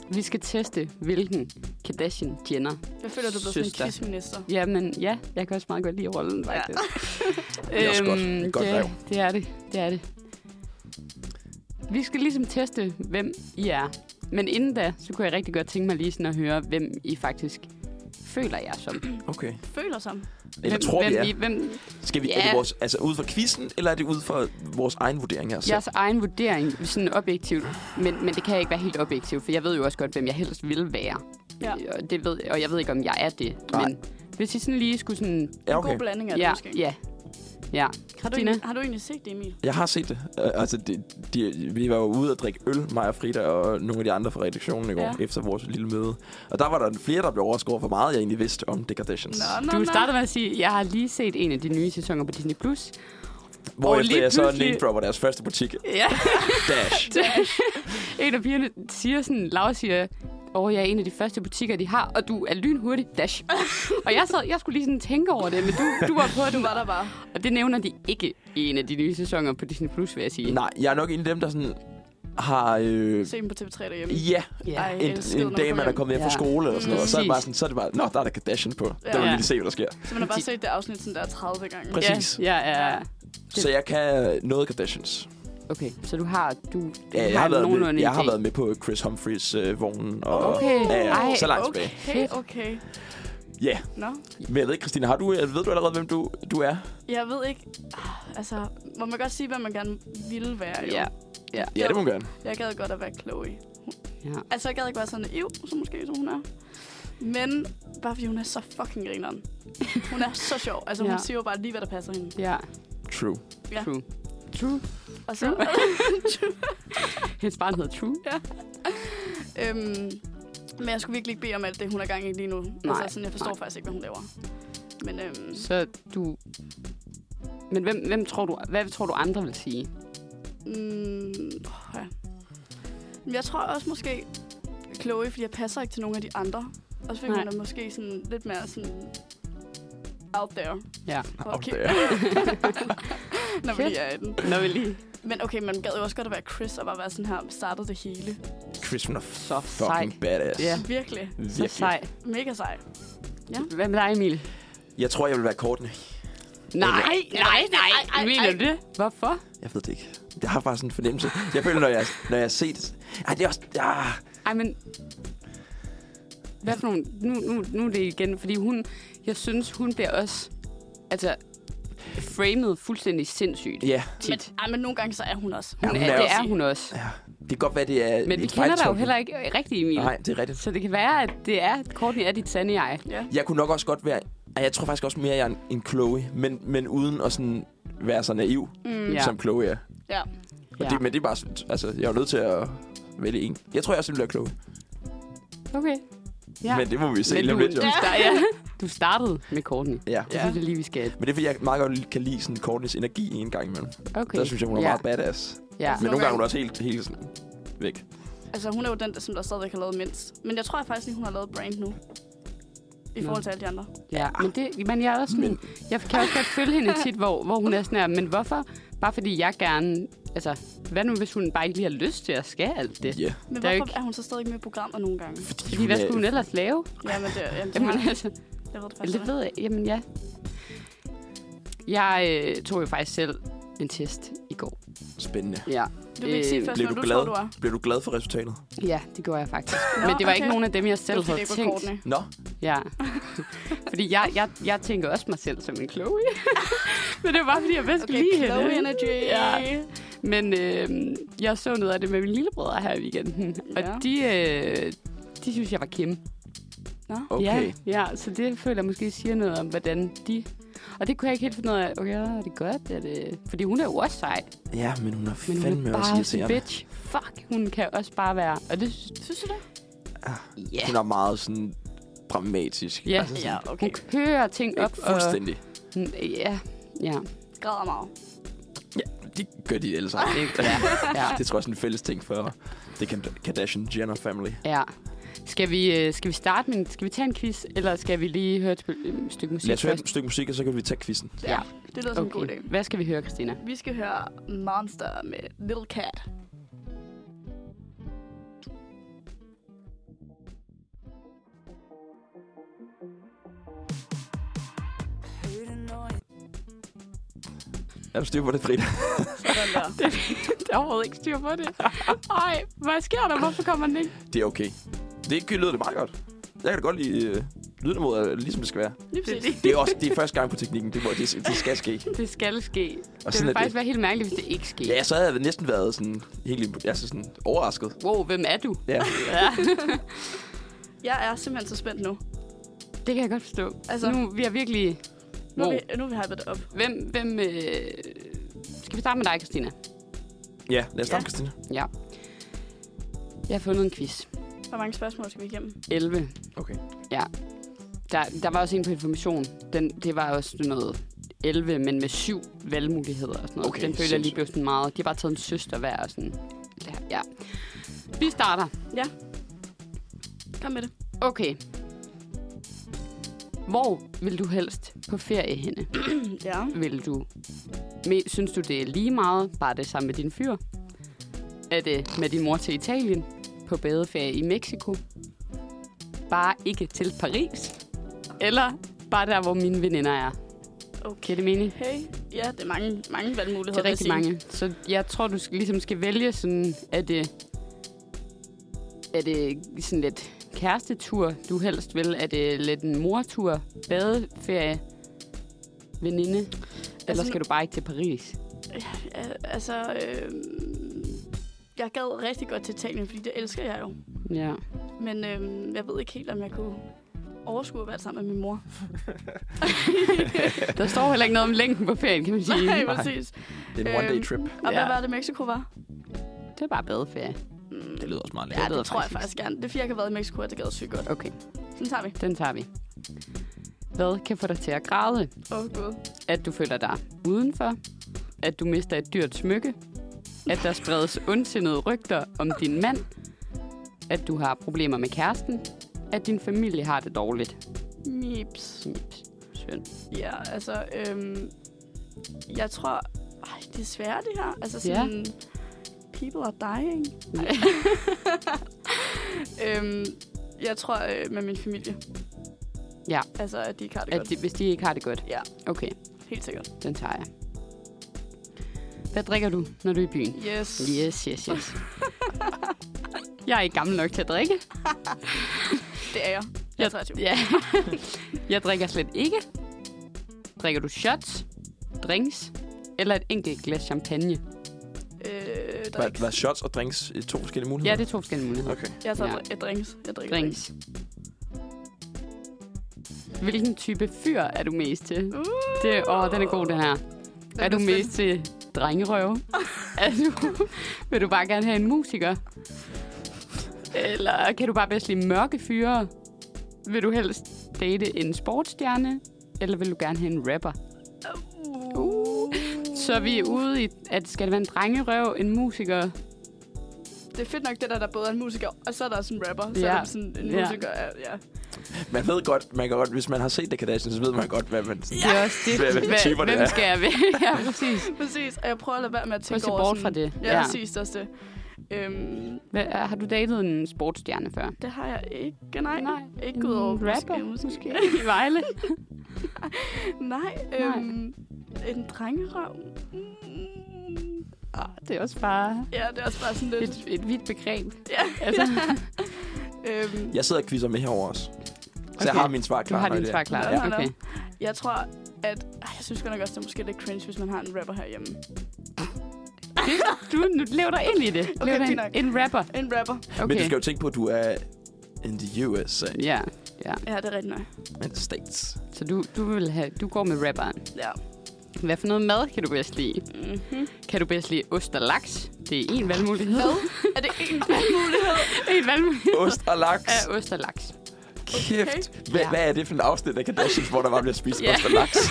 Speaker 3: vi skal teste, hvilken Kardashian Jenner.
Speaker 1: Jeg føler, du er blevet sådan
Speaker 3: Søster.
Speaker 1: en kissminister.
Speaker 3: Jamen ja, jeg kan også meget godt lide rollen, faktisk. Øhm,
Speaker 2: Det er også godt. Det er godt
Speaker 3: det,
Speaker 2: rev.
Speaker 3: det er det, det er det. Vi skal ligesom teste, hvem I er. Men inden da, så kunne jeg rigtig godt tænke mig lige sådan at høre, hvem I faktisk føler jer som.
Speaker 2: Okay.
Speaker 1: Føler som.
Speaker 2: Eller
Speaker 3: hvem,
Speaker 2: tror
Speaker 3: hvem
Speaker 2: vi er.
Speaker 3: I, hvem,
Speaker 2: Skal vi,
Speaker 3: Ja.
Speaker 2: er det vores, altså ud fra quizzen, eller er det ud fra vores egen vurdering her? selv?
Speaker 3: jeres egen vurdering, sådan objektivt, men, men det kan ikke være helt objektivt, for jeg ved jo også godt, hvem jeg helst vil være.
Speaker 1: Ja.
Speaker 3: Og, det ved, og jeg ved ikke, om jeg er det.
Speaker 2: Nej.
Speaker 3: Men hvis I sådan lige skulle sådan...
Speaker 2: Ja,
Speaker 1: En god
Speaker 2: okay.
Speaker 1: blanding af det,
Speaker 3: Ja,
Speaker 1: måske.
Speaker 3: ja. Ja.
Speaker 1: Har du,
Speaker 3: Dina?
Speaker 1: egentlig, har du egentlig set det, Emil?
Speaker 2: Jeg har set det. Øh, Altså, det, de, vi var jo ude at drikke øl, mig og Frida og nogle af de andre fra redaktionen i går,
Speaker 1: Ja.
Speaker 2: ja. efter vores lille møde. Og der var der flere, der blev overskåret for meget, jeg egentlig vidste om The Kardashians.
Speaker 1: Nå, nå,
Speaker 3: Du
Speaker 1: nå.
Speaker 3: startede med at sige, jeg har lige set en af de nye sæsoner på Disney+. Plus.
Speaker 2: Hvor
Speaker 3: og lige
Speaker 2: efter jeg så
Speaker 3: pludselig-
Speaker 2: name dropper deres første butik,
Speaker 1: Ja.
Speaker 2: Dash.
Speaker 3: en af pigerne siger sådan, Laura siger, åh, jeg er en af de første butikker, de har, og du er lynhurtig, dash. og jeg, sad, jeg skulle lige sådan tænke over det, men du, du var på den.
Speaker 1: Du var der bare.
Speaker 3: Og det nævner de ikke i en af de nye sæsoner på Disney+, Plus, vil jeg sige.
Speaker 2: Nej, jeg er nok en af dem, der sådan har... Øh,
Speaker 1: Se dem på TV3 derhjemme.
Speaker 2: ja,
Speaker 1: Ej,
Speaker 2: en,
Speaker 1: en skid, når
Speaker 2: en
Speaker 1: man kommer
Speaker 2: dag, man er
Speaker 1: hjem.
Speaker 2: kommet hjem fra
Speaker 3: Ja.
Speaker 2: skole eller sådan noget. Og så er, det
Speaker 3: Præcis.
Speaker 2: bare sådan, så er det bare, nå, der er der Kardashian på. Der
Speaker 1: Ja.
Speaker 2: vil
Speaker 3: Ja.
Speaker 2: jeg lige se, hvad der sker.
Speaker 1: Så man har bare
Speaker 3: De-
Speaker 1: set det afsnit sådan der 30 gange.
Speaker 2: Præcis.
Speaker 3: Ja, ja, ja.
Speaker 2: Så jeg kan øh, noget Kardashians.
Speaker 3: Okay, så du har, du, du
Speaker 2: Ja, jeg, har været med, jeg har været med på Chris Humphreys øh, vognen. Og,
Speaker 3: Okay.
Speaker 2: Ja, ja,
Speaker 3: Ej,
Speaker 2: så langt
Speaker 1: okay,
Speaker 2: tilbage.
Speaker 1: okay, okay.
Speaker 2: Ja,
Speaker 1: Nå.
Speaker 2: men jeg ved ikke, Christina, har du, øh, ved du allerede, hvem du, du er?
Speaker 1: Jeg ved ikke, ah, altså, må man godt sige, hvad man gerne ville være, jo?
Speaker 3: Ja.
Speaker 2: Ja, det må man gerne.
Speaker 1: Jeg gad godt at være Chloe.
Speaker 3: Ja.
Speaker 1: Altså, jeg gad ikke være så naiv, som måske som hun er. Men bare fordi hun er så fucking grineren. Hun er så sjov. Altså, hun
Speaker 3: Ja.
Speaker 1: siger jo bare lige, hvad der passer hende.
Speaker 3: Ja,
Speaker 2: True.
Speaker 1: Ja.
Speaker 3: true. True.
Speaker 1: Og så,
Speaker 3: Hendes barn hedder True.
Speaker 1: øhm, men jeg skulle virkelig ikke bede om alt det, hun er gang i lige nu.
Speaker 3: Nej.
Speaker 1: Altså, sådan, jeg forstår
Speaker 3: Nej.
Speaker 1: faktisk ikke, hvad hun laver. Men øhm,
Speaker 3: Så du... Men hvem, hvem tror du, hvad tror du andre vil sige?
Speaker 1: Mm, åh, ja. Men Jeg tror også måske Chloe, fordi jeg passer ikke til nogen af de andre. Også fordi
Speaker 3: Nej.
Speaker 1: hun er måske sådan lidt mere sådan out there.
Speaker 3: Ja.
Speaker 1: Og
Speaker 2: Okay.
Speaker 1: kig- Når vi
Speaker 3: Fedt.
Speaker 1: lige er i den.
Speaker 3: Når vi lige...
Speaker 1: Men okay, man gad jo også godt at være Chris og bare være sådan her, startede det hele.
Speaker 2: Chris, hun er
Speaker 3: Så sej.
Speaker 2: fucking badass.
Speaker 3: Ja.
Speaker 1: Virkelig.
Speaker 3: Så
Speaker 2: Virkelig.
Speaker 3: sej.
Speaker 1: Mega sej.
Speaker 3: Hvad med dig, Emil?
Speaker 2: Jeg tror, jeg vil være Courtney.
Speaker 3: Nej, nej, nej.
Speaker 1: Ej, ej,
Speaker 3: Mener
Speaker 1: ej.
Speaker 3: du det? Hvorfor?
Speaker 2: Jeg ved det ikke. Jeg har bare sådan en fornemmelse. Jeg føler, når jeg, når jeg har set... Ej, det er også... Ah,
Speaker 3: Ej, men... Hvad for nogle... Nu, nu, nu er det igen, fordi hun... Jeg synes, hun bliver også... Altså, framet fuldstændig sindssygt.
Speaker 2: ja.
Speaker 1: Men,
Speaker 3: Tit.
Speaker 1: ej, men nogle gange så er hun også.
Speaker 3: Hun
Speaker 2: hun
Speaker 3: er,
Speaker 2: er
Speaker 3: det
Speaker 2: også-
Speaker 3: er hun også.
Speaker 2: ja. Det kan godt være, det er...
Speaker 3: Men vi kender dig jo heller ikke rigtig, Emil.
Speaker 2: Nej, det er rigtigt.
Speaker 3: Så det kan være, at det er, Courtney er dit sande jeg.
Speaker 1: Ja.
Speaker 2: Jeg kunne nok også godt være... Ej, Jeg tror faktisk også mere, jeg er en, en Chloe. Men, men uden at sådan være så naiv,
Speaker 1: Mm,
Speaker 3: Ja.
Speaker 2: ja. som Chloe er.
Speaker 1: ja.
Speaker 2: Og
Speaker 3: Ja.
Speaker 2: det, men det er bare... Altså, jeg er jo nødt til at vælge en. Jeg tror, jeg også vil være Chloe.
Speaker 3: Okay.
Speaker 2: Ja. Men det må vi se
Speaker 3: Men
Speaker 2: lige
Speaker 3: du,
Speaker 2: om lidt, jo.
Speaker 3: du, star- ja. du startede med Courtney.
Speaker 2: Ja.
Speaker 3: Det
Speaker 1: Ja.
Speaker 3: synes jeg lige, vi skal.
Speaker 2: Men det er, fordi jeg meget godt kan lide sådan Courtneys energi en gang imellem.
Speaker 3: Okay.
Speaker 2: Der synes jeg, hun er
Speaker 3: ja.
Speaker 2: meget badass.
Speaker 3: Ja.
Speaker 2: Men
Speaker 1: Nogle
Speaker 2: nogle gange er hun
Speaker 1: gange-
Speaker 2: også helt, helt sådan væk.
Speaker 1: Altså, hun er jo den, der, som der stadigvæk har lavet mindst. Men jeg tror faktisk ikke, hun har lavet brand nu. I
Speaker 3: Nå.
Speaker 1: forhold til alle de andre.
Speaker 3: Ja, men, det, men jeg, er også sådan,
Speaker 2: Men-
Speaker 3: jeg kan også godt følge hende tit, hvor, hvor hun er sådan her, men hvorfor? Bare fordi jeg gerne... Altså, hvad nu, hvis hun bare ikke lige har lyst til at skal alt det?
Speaker 2: Ja. Yeah.
Speaker 1: Men
Speaker 3: Der er jo
Speaker 1: hvorfor
Speaker 3: ikke-
Speaker 1: er hun så stadig ikke med i programmer nogle gange?
Speaker 3: Fordi hvad skulle hun ellers lave?
Speaker 1: Jamen, det, jamen, det,
Speaker 3: Jamen,
Speaker 1: har-
Speaker 3: altså,
Speaker 1: jeg ved det faktisk
Speaker 3: det ved jeg. Jamen, ja. Jeg øh, tog jo faktisk selv en test i går.
Speaker 2: Spændende.
Speaker 3: Ja.
Speaker 1: Du vil ikke sige
Speaker 3: Øh,
Speaker 1: først,
Speaker 2: Blev
Speaker 1: hvem
Speaker 2: du
Speaker 1: du
Speaker 2: glad?
Speaker 1: tror, du er.
Speaker 2: Bliver du glad for resultatet?
Speaker 3: Ja, det gjorde jeg faktisk.
Speaker 1: Nå,
Speaker 3: Men det var ikke
Speaker 1: okay.
Speaker 3: nogen af dem, jeg selv
Speaker 1: Det var,
Speaker 3: havde
Speaker 1: fordi det er på
Speaker 3: tænkt.
Speaker 1: kortene.
Speaker 2: Nå,
Speaker 3: Ja. Fordi jeg, jeg, jeg tænker også mig selv som en Chloe. Men det var bare, fordi jeg bedst okay,
Speaker 1: Okay,
Speaker 3: lige
Speaker 1: Chloe
Speaker 3: hende.
Speaker 1: Energy.
Speaker 3: Ja. Men øh, jeg så noget af det med mine lillebrødre her i weekenden.
Speaker 1: Ja.
Speaker 3: Og de, øh, de synes, jeg var Kim.
Speaker 2: okay.
Speaker 3: Ja, ja, så det føler jeg måske siger noget om, hvordan de... Og det kunne jeg ikke helt finde ud af. Okay, er det godt? Er det... Fordi hun er jo også sej.
Speaker 2: Ja, men hun er
Speaker 3: Men hun
Speaker 2: fandme
Speaker 3: er
Speaker 2: også
Speaker 3: bare sådan en
Speaker 2: irriterende.
Speaker 3: bitch. Fuck, hun kan også bare være... Og det synes
Speaker 1: Synes du det?
Speaker 3: Ja.
Speaker 2: Hun er meget sådan dramatisk.
Speaker 3: Ja.
Speaker 2: Altså sådan,
Speaker 1: okay.
Speaker 3: Hun kører ting op.
Speaker 2: Fuldstændig.
Speaker 3: Og, ja, ja.
Speaker 1: Græder meget.
Speaker 2: Ja, det gør de alle sammen.
Speaker 3: Ah.
Speaker 2: Ah,
Speaker 3: Ja, ja.
Speaker 2: det tror jeg er sådan en fælles ting for The Kand- Kardashian-Jenner family.
Speaker 3: ja. Skal vi, øh, skal vi starte med en, skal vi tage en quiz, eller skal vi lige høre et spil- øh, stykke musik
Speaker 2: Lad os høre
Speaker 3: først?
Speaker 2: et stykke musik, og så kan vi tage quizzen.
Speaker 3: Ja,
Speaker 1: Det lyder som en god idé.
Speaker 3: okay. Hvad skal vi høre, Christina?
Speaker 1: Vi skal høre Monster med Little Cat.
Speaker 2: Er du styr på det, Frida?
Speaker 1: Sådan der.
Speaker 3: Der er overhovedet ikke styr på det. Nej, hvad sker der? Hvorfor kommer den ikke?
Speaker 2: Det er okay. Det lyder det meget godt. Jeg kan da godt lide øh, lydniveauet, er ligesom det skal være.
Speaker 1: Lige præcis.
Speaker 2: Det er også det er første gang på teknikken. Det, må, det, det skal ske.
Speaker 3: Det skal ske. det
Speaker 2: sådan
Speaker 3: ville
Speaker 2: er
Speaker 3: faktisk
Speaker 2: det.
Speaker 3: være helt mærkeligt, hvis det ikke skete.
Speaker 2: Ja, så havde jeg næsten været sådan helt impo- altså sådan overrasket.
Speaker 3: Wow, hvem er du?
Speaker 2: Ja.
Speaker 3: Ja.
Speaker 1: Jeg er simpelthen så spændt nu.
Speaker 3: Det kan jeg godt forstå.
Speaker 1: Altså-
Speaker 3: Altså, nu, vi er virkelig...
Speaker 1: Nu, er
Speaker 3: Wow.
Speaker 1: vi, nu er vi hypet det op.
Speaker 3: Hvem, hvem øh... Skal vi starte med dig, Christina?
Speaker 2: Ja, lad os starte,
Speaker 1: Ja.
Speaker 2: Christina.
Speaker 3: Ja. Jeg har fundet en quiz.
Speaker 1: Hvor mange spørgsmål skal vi igennem?
Speaker 3: 11.
Speaker 2: Okay.
Speaker 3: Der, der var også en på information. Den, det var også sådan noget 11, men med syv valgmuligheder og sådan noget.
Speaker 2: Okay,
Speaker 3: Den føler jeg lige blev sådan meget... De har bare taget en søster hver og sådan... Ja. Vi starter.
Speaker 1: Kom med det.
Speaker 3: Okay. Hvor vil du helst på ferie henne?
Speaker 1: ja.
Speaker 3: Vil du... Me, synes du, det er lige meget, bare det sammen med din fyr? Er det med din mor til Italien? På badeferie i Mexico? Bare ikke til Paris? Eller bare der, hvor mine veninder er? Giver
Speaker 1: Okay.
Speaker 3: det mening?
Speaker 1: Hey. Ja, det er mange, mange valgmuligheder.
Speaker 3: Det er
Speaker 1: vil jeg
Speaker 3: rigtig
Speaker 1: sige.
Speaker 3: mange. Så jeg tror, du skal, ligesom skal vælge sådan, er det, er det sådan lidt kærestetur, du helst vil? Er det lidt en mortur, badeferie, veninde? Altså, eller
Speaker 1: Altså,
Speaker 3: skal du bare ikke til Paris?
Speaker 1: Ja, altså, øh, jeg gad rigtig godt til Italien, fordi det elsker jeg jo.
Speaker 3: Ja.
Speaker 1: Men øh, jeg ved ikke helt, om jeg kunne overskue at være sammen med min mor.
Speaker 3: Der står heller ikke noget om længden på ferien, kan man sige.
Speaker 1: Nej, præcis.
Speaker 2: Det er en one-day
Speaker 1: Øhm,
Speaker 2: trip.
Speaker 1: Og hvad
Speaker 3: Ja.
Speaker 1: var det, Mexico var?
Speaker 3: Det er bare badeferie.
Speaker 1: Mm,
Speaker 2: Det lyder også meget
Speaker 1: ja,
Speaker 2: lækkert.
Speaker 1: det,
Speaker 3: lyder
Speaker 1: tror jeg
Speaker 3: faktisk-
Speaker 1: faktisk gerne. Det er fordi, jeg ikke har været i Mexico, og det gad sygt godt.
Speaker 3: Okay,
Speaker 1: Sådan tager vi.
Speaker 3: den tager vi. Hvad kan få dig til at græde?
Speaker 1: Åh, oh, gud.
Speaker 3: At du føler dig udenfor? At du mister et dyrt smykke? At der spredes ondsindede rygter om din mand? At du har problemer med kæresten? At din familie har det dårligt?
Speaker 1: Mips.
Speaker 3: Snips. Søn.
Speaker 1: Ja, altså, øhm, jeg tror... Ej, det er svært, det her. Altså sådan... People are dying. Nej. øhm, jeg tror øh, med min familie.
Speaker 3: Ja.
Speaker 1: Altså, at de ikke har det
Speaker 3: At
Speaker 1: godt.
Speaker 3: de, hvis de ikke har det godt?
Speaker 1: Ja.
Speaker 3: Okay,
Speaker 1: Helt sikkert.
Speaker 3: den tager jeg. Hvad drikker du, når du er i byen?
Speaker 1: Yes.
Speaker 3: Yes, yes, yes. jeg er ikke gammel nok til at drikke.
Speaker 1: Det er jeg. Jeg er 23.
Speaker 3: Ja. jeg drikker slet ikke. Drikker du shots, drinks eller et enkelt glas champagne?
Speaker 1: Øh, der er
Speaker 2: Var,
Speaker 1: ikke...
Speaker 2: var shots og drinks øh, to forskellige
Speaker 3: Ja,
Speaker 2: muligheder?
Speaker 3: det er to forskellige muligheder.
Speaker 2: Okay.
Speaker 1: Jeg tager
Speaker 3: Ja.
Speaker 1: ja. drinks. Jeg drikker drinks.
Speaker 3: Drinks. Hvilken type fyr er du mest til?
Speaker 1: Uh,
Speaker 3: Det, åh, den er god, den her. Er du
Speaker 1: spændende.
Speaker 3: mest til drengerøve? er du, vil du bare gerne have en musiker? Eller kan du bare bedst lide mørke fyre? Vil du helst date en sportsstjerne? Eller vil du gerne have en rapper?
Speaker 1: Uh.
Speaker 3: Så vi er ude i, at skal det være en drengerøv, en musiker?
Speaker 1: Det er fedt nok, det der, der både er en musiker, og så er der også en rapper. Så
Speaker 3: Ja.
Speaker 1: er der sådan en
Speaker 3: Ja.
Speaker 1: musiker. Ja. ja.
Speaker 2: Man ved godt, man kan godt, hvis man har set The Kardashians, så ved man godt, hvad man...
Speaker 3: Det er også det.
Speaker 2: Hvad- hvilke
Speaker 3: Hva-
Speaker 2: typer det
Speaker 3: Hvem
Speaker 2: er.
Speaker 3: skal jeg vælge? ja, præcis.
Speaker 1: Præcis, og jeg prøver at lade være med at
Speaker 3: Prøv at
Speaker 1: tænke
Speaker 3: se
Speaker 1: over
Speaker 3: bort fra
Speaker 1: sådan...
Speaker 3: det.
Speaker 1: Ja, ja. præcis, det er også det. Øhm,
Speaker 3: Hvad, er- har du datet en sportsstjerne før?
Speaker 1: det har jeg ikke, nej.
Speaker 3: Nej.
Speaker 1: Ikke ud over
Speaker 3: en rapper,
Speaker 1: Måske, måske.
Speaker 3: I Vejle?
Speaker 1: nej,
Speaker 3: Nej.
Speaker 1: øhm, en drengerøv. Mm.
Speaker 3: Ah, det er også bare
Speaker 1: Ja, det er også bare sådan lidt...
Speaker 3: et, et vidt begreb.
Speaker 1: Ja,
Speaker 3: Altså,
Speaker 1: øhm,
Speaker 2: Jeg sidder og quizzer med herover også. Så okay. jeg
Speaker 3: Okay.
Speaker 2: har min svar
Speaker 3: du
Speaker 2: klar.
Speaker 3: har
Speaker 2: når
Speaker 3: din
Speaker 2: det er.
Speaker 3: svar klar.
Speaker 1: Nå, nå, nå.
Speaker 3: Okay.
Speaker 1: Jeg tror, at... Ej, jeg synes godt nok også, det er måske lidt cringe, hvis man har en rapper herhjemme.
Speaker 3: Du, nu lever dig ind i det. Lev
Speaker 1: Okay,
Speaker 3: dig
Speaker 1: fint
Speaker 3: ind.
Speaker 1: nok.
Speaker 3: En rapper.
Speaker 1: En rapper.
Speaker 3: Okay.
Speaker 2: Men du skal jo tænke på, at du er in the USA,
Speaker 3: Ja,
Speaker 1: Ja, det er rigtigt nok.
Speaker 2: in the States.
Speaker 3: så du, du, vil have, du går med rapperen.
Speaker 1: Ja.
Speaker 3: Hvad for noget mad kan du bedst lide?
Speaker 1: Mm-hmm.
Speaker 3: Kan du bedst lide ost og laks? Det er en valgmulighed.
Speaker 1: Hvad? Er det en valgmulighed?
Speaker 3: en valgmulighed
Speaker 2: Ost og laks.
Speaker 3: er ost og laks.
Speaker 2: Kæft. Hvad,
Speaker 3: Ja.
Speaker 2: hvad er det for en afsnit af Kardashians, hvor der bare bliver spist
Speaker 3: Ja.
Speaker 2: ost og laks?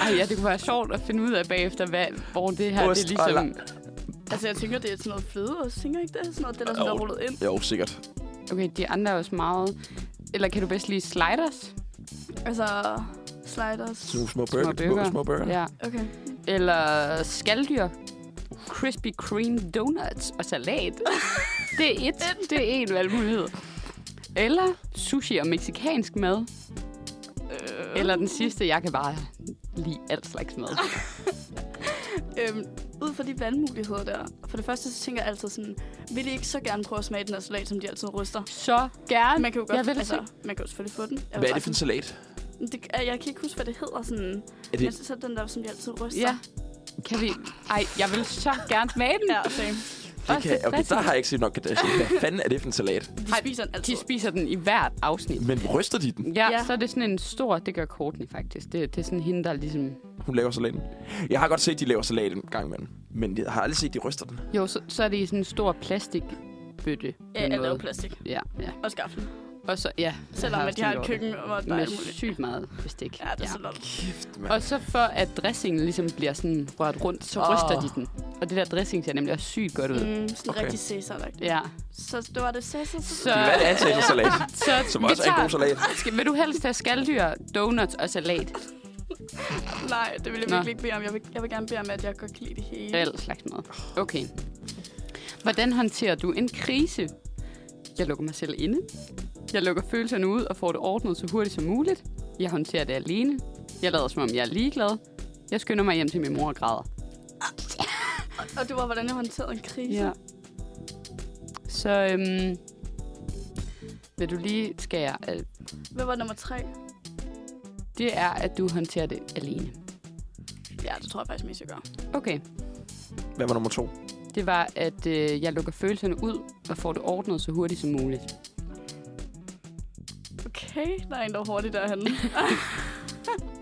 Speaker 3: Ej, ja, det kunne være sjovt at finde ud af bagefter, hvad, hvor det her
Speaker 2: Ost
Speaker 3: det er ligesom...
Speaker 2: og
Speaker 1: Altså, jeg tænker, det er sådan noget fløde, og tænker ikke det? Sådan noget, det der sådan, der
Speaker 2: Jo.
Speaker 1: er rullet ind.
Speaker 2: Jo, sikkert.
Speaker 3: Okay, de andre er også meget... Eller kan du bedst lide sliders?
Speaker 1: Altså, sliders.
Speaker 2: Sådan nogle små burger. Små burger. Små burger. Ja.
Speaker 3: Ja.
Speaker 1: Okay.
Speaker 3: Eller skaldyr? Krispy Kreme donuts og salat. Det er et. Det er en valgmulighed. Eller sushi og meksikansk mad.
Speaker 1: Øh, Ah.
Speaker 3: Eller den sidste, jeg kan bare lide alt slags mad.
Speaker 1: Øhm, ud fra de valgmuligheder der. For det første, så tænker jeg altid sådan, vil I ikke så gerne prøve at smage den her salat, som de altid ryster?
Speaker 3: Så gerne.
Speaker 1: Man kan jo godt,
Speaker 3: Jeg vil
Speaker 1: altså, man kan jo selvfølgelig få den. Jeg
Speaker 2: Hvad
Speaker 1: vil
Speaker 2: er det for en
Speaker 1: bare
Speaker 2: salat?
Speaker 1: sådan- det, jeg kan ikke huske, hvad det hedder sådan.
Speaker 2: Er
Speaker 1: Men
Speaker 2: det,
Speaker 1: så er den der, som de altid ryster. Altså,
Speaker 3: Ja. Kan vi... Ej, jeg vil så gerne smage den.
Speaker 1: Ja, same.
Speaker 2: Det kan,
Speaker 3: det
Speaker 2: okay, der har jeg ikke set nok Kardashian. Hvad fanden er det for en salat?
Speaker 1: De
Speaker 3: Ej,
Speaker 1: spiser den altid.
Speaker 3: De spiser den i hvert afsnit.
Speaker 2: Men ryster de den?
Speaker 1: Ja.
Speaker 3: Ja, ja, så er det sådan en stor... Det gør Courtney faktisk. Det, det er sådan hende, der ligesom...
Speaker 2: Hun laver salaten. Jeg har godt set, de laver salat en gang imellem. Men jeg har aldrig set, de ryster den.
Speaker 3: Jo, så, så er det i sådan en stor plastikbøtte.
Speaker 1: ja,
Speaker 3: med
Speaker 1: alt er
Speaker 3: noget.
Speaker 1: jo plastik.
Speaker 3: Ja, ja.
Speaker 1: Og skaffel.
Speaker 3: Og så, ja.
Speaker 1: Selvom
Speaker 3: jeg
Speaker 1: at de har
Speaker 3: også
Speaker 1: et
Speaker 3: tænkt over
Speaker 1: køkken, hvor
Speaker 3: det.
Speaker 1: der er
Speaker 3: Med
Speaker 1: alt muligt.
Speaker 3: sygt meget bestik.
Speaker 1: Ja, det er så lort.
Speaker 2: Kæft, mand.
Speaker 3: Og så for at dressingen ligesom bliver sådan rørt rundt, så
Speaker 2: Åh.
Speaker 3: oh. ryster de den. Og det der dressing ser nemlig også sygt godt ud. Mm.
Speaker 1: Mm, sådan
Speaker 2: Okay.
Speaker 1: okay. rigtig cæsar -agtigt.
Speaker 3: Ja.
Speaker 1: Så det var det cæsar.
Speaker 3: Så-
Speaker 2: Hvad er det antaget for salat?
Speaker 3: Så
Speaker 2: Som
Speaker 3: vi
Speaker 2: også er en god salat.
Speaker 3: Skal, vil du helst have skaldyr, donuts og salat?
Speaker 1: Nej, det vil jeg
Speaker 3: Nå.
Speaker 1: virkelig ikke bede om. Jeg vil, jeg vil gerne bede om, at jeg godt kan lide det hele.
Speaker 3: Alt slags mad. Okay. Hvordan håndterer du en krise? Jeg lukker mig selv inde. Jeg lukker følelserne ud og får det ordnet så hurtigt som muligt. Jeg håndterer det alene. Jeg lader som om, jeg er ligeglad. Jeg skynder mig hjem til min mor og græder.
Speaker 1: Og det var, hvordan jeg håndterede en krise.
Speaker 3: Ja. Så øhm, vil du lige skære? øh,
Speaker 1: Hvad var nummer tre?
Speaker 3: Det er, at du håndterer det alene.
Speaker 1: Ja, det tror jeg faktisk mest, jeg gør.
Speaker 3: Okay.
Speaker 2: Hvad var nummer to?
Speaker 3: Det var, at øh, jeg lukker følelserne ud og får det ordnet så hurtigt som muligt.
Speaker 1: Okay, der er en, der er hurtigt derhenne.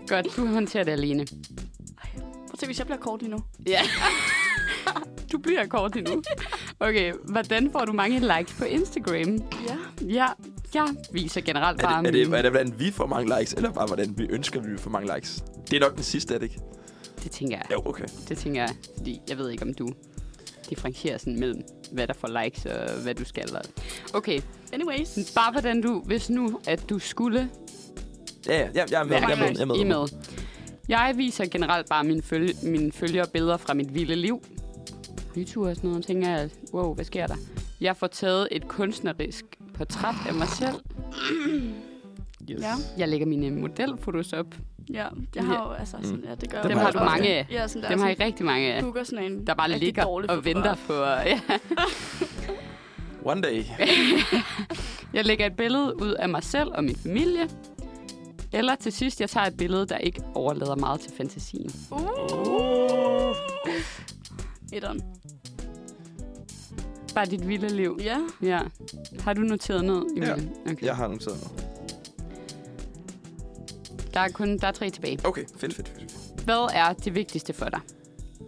Speaker 3: Godt, du håndterer det alene.
Speaker 1: Prøv at se, hvis jeg bliver kort lige nu.
Speaker 3: Ja. du bliver kort endnu. Okay, hvordan får du mange likes på Instagram?
Speaker 1: Ja.
Speaker 3: Ja, jeg viser generelt
Speaker 2: Er
Speaker 3: bare
Speaker 2: det, er, det,
Speaker 3: mine.
Speaker 2: er det, hvordan vi får mange likes, eller bare hvordan vi ønsker, at vi får mange likes? Det er nok den sidste, er det ikke?
Speaker 3: det tænker jeg.
Speaker 2: Jo, okay.
Speaker 3: Det tænker jeg, fordi jeg ved ikke, om du differentierer sådan mellem, hvad der får likes og hvad du skal. og- Okay,
Speaker 1: Anyways.
Speaker 3: bare hvordan du, hvis nu, at du skulle
Speaker 2: Ja, ja, ja jeg er med. Jeg er med. Jeg er med.
Speaker 3: I er med. Jeg viser generelt bare mine, følge, mine følgere billeder fra mit vilde liv. Byture og sådan noget, og tænker jeg, wow, hvad sker der? Jeg får taget et kunstnerisk portræt af mig selv.
Speaker 2: Yes.
Speaker 1: Ja.
Speaker 3: Jeg lægger mine modelfotos op.
Speaker 1: Ja, jeg har jo, altså, sådan, ja, det gør jeg
Speaker 3: Mm. Dem
Speaker 1: jo
Speaker 3: har
Speaker 1: også
Speaker 3: du
Speaker 1: ofte.
Speaker 3: mange af.
Speaker 1: Ja, sådan der.
Speaker 3: Dem har I
Speaker 1: sådan,
Speaker 3: rigtig mange af,
Speaker 1: booker sådan en
Speaker 3: der bare
Speaker 1: rigtig
Speaker 3: ligger
Speaker 1: dårlig
Speaker 3: og
Speaker 1: fotograf.
Speaker 3: venter på... øh, Ja.
Speaker 2: One day.
Speaker 3: Jeg lægger et billede ud af mig selv og min familie. Eller til sidst, jeg tager et billede, der ikke overlader meget til fantasien.
Speaker 1: Uh. Etteren.
Speaker 3: Bare dit vilde liv.
Speaker 1: Ja.
Speaker 3: Ja. Har du noteret noget, Emil? Okay.
Speaker 2: Jeg har noteret noget.
Speaker 3: Der er kun der er tre tilbage.
Speaker 2: Okay, fedt, fedt, fedt.
Speaker 3: Hvad er det vigtigste for dig?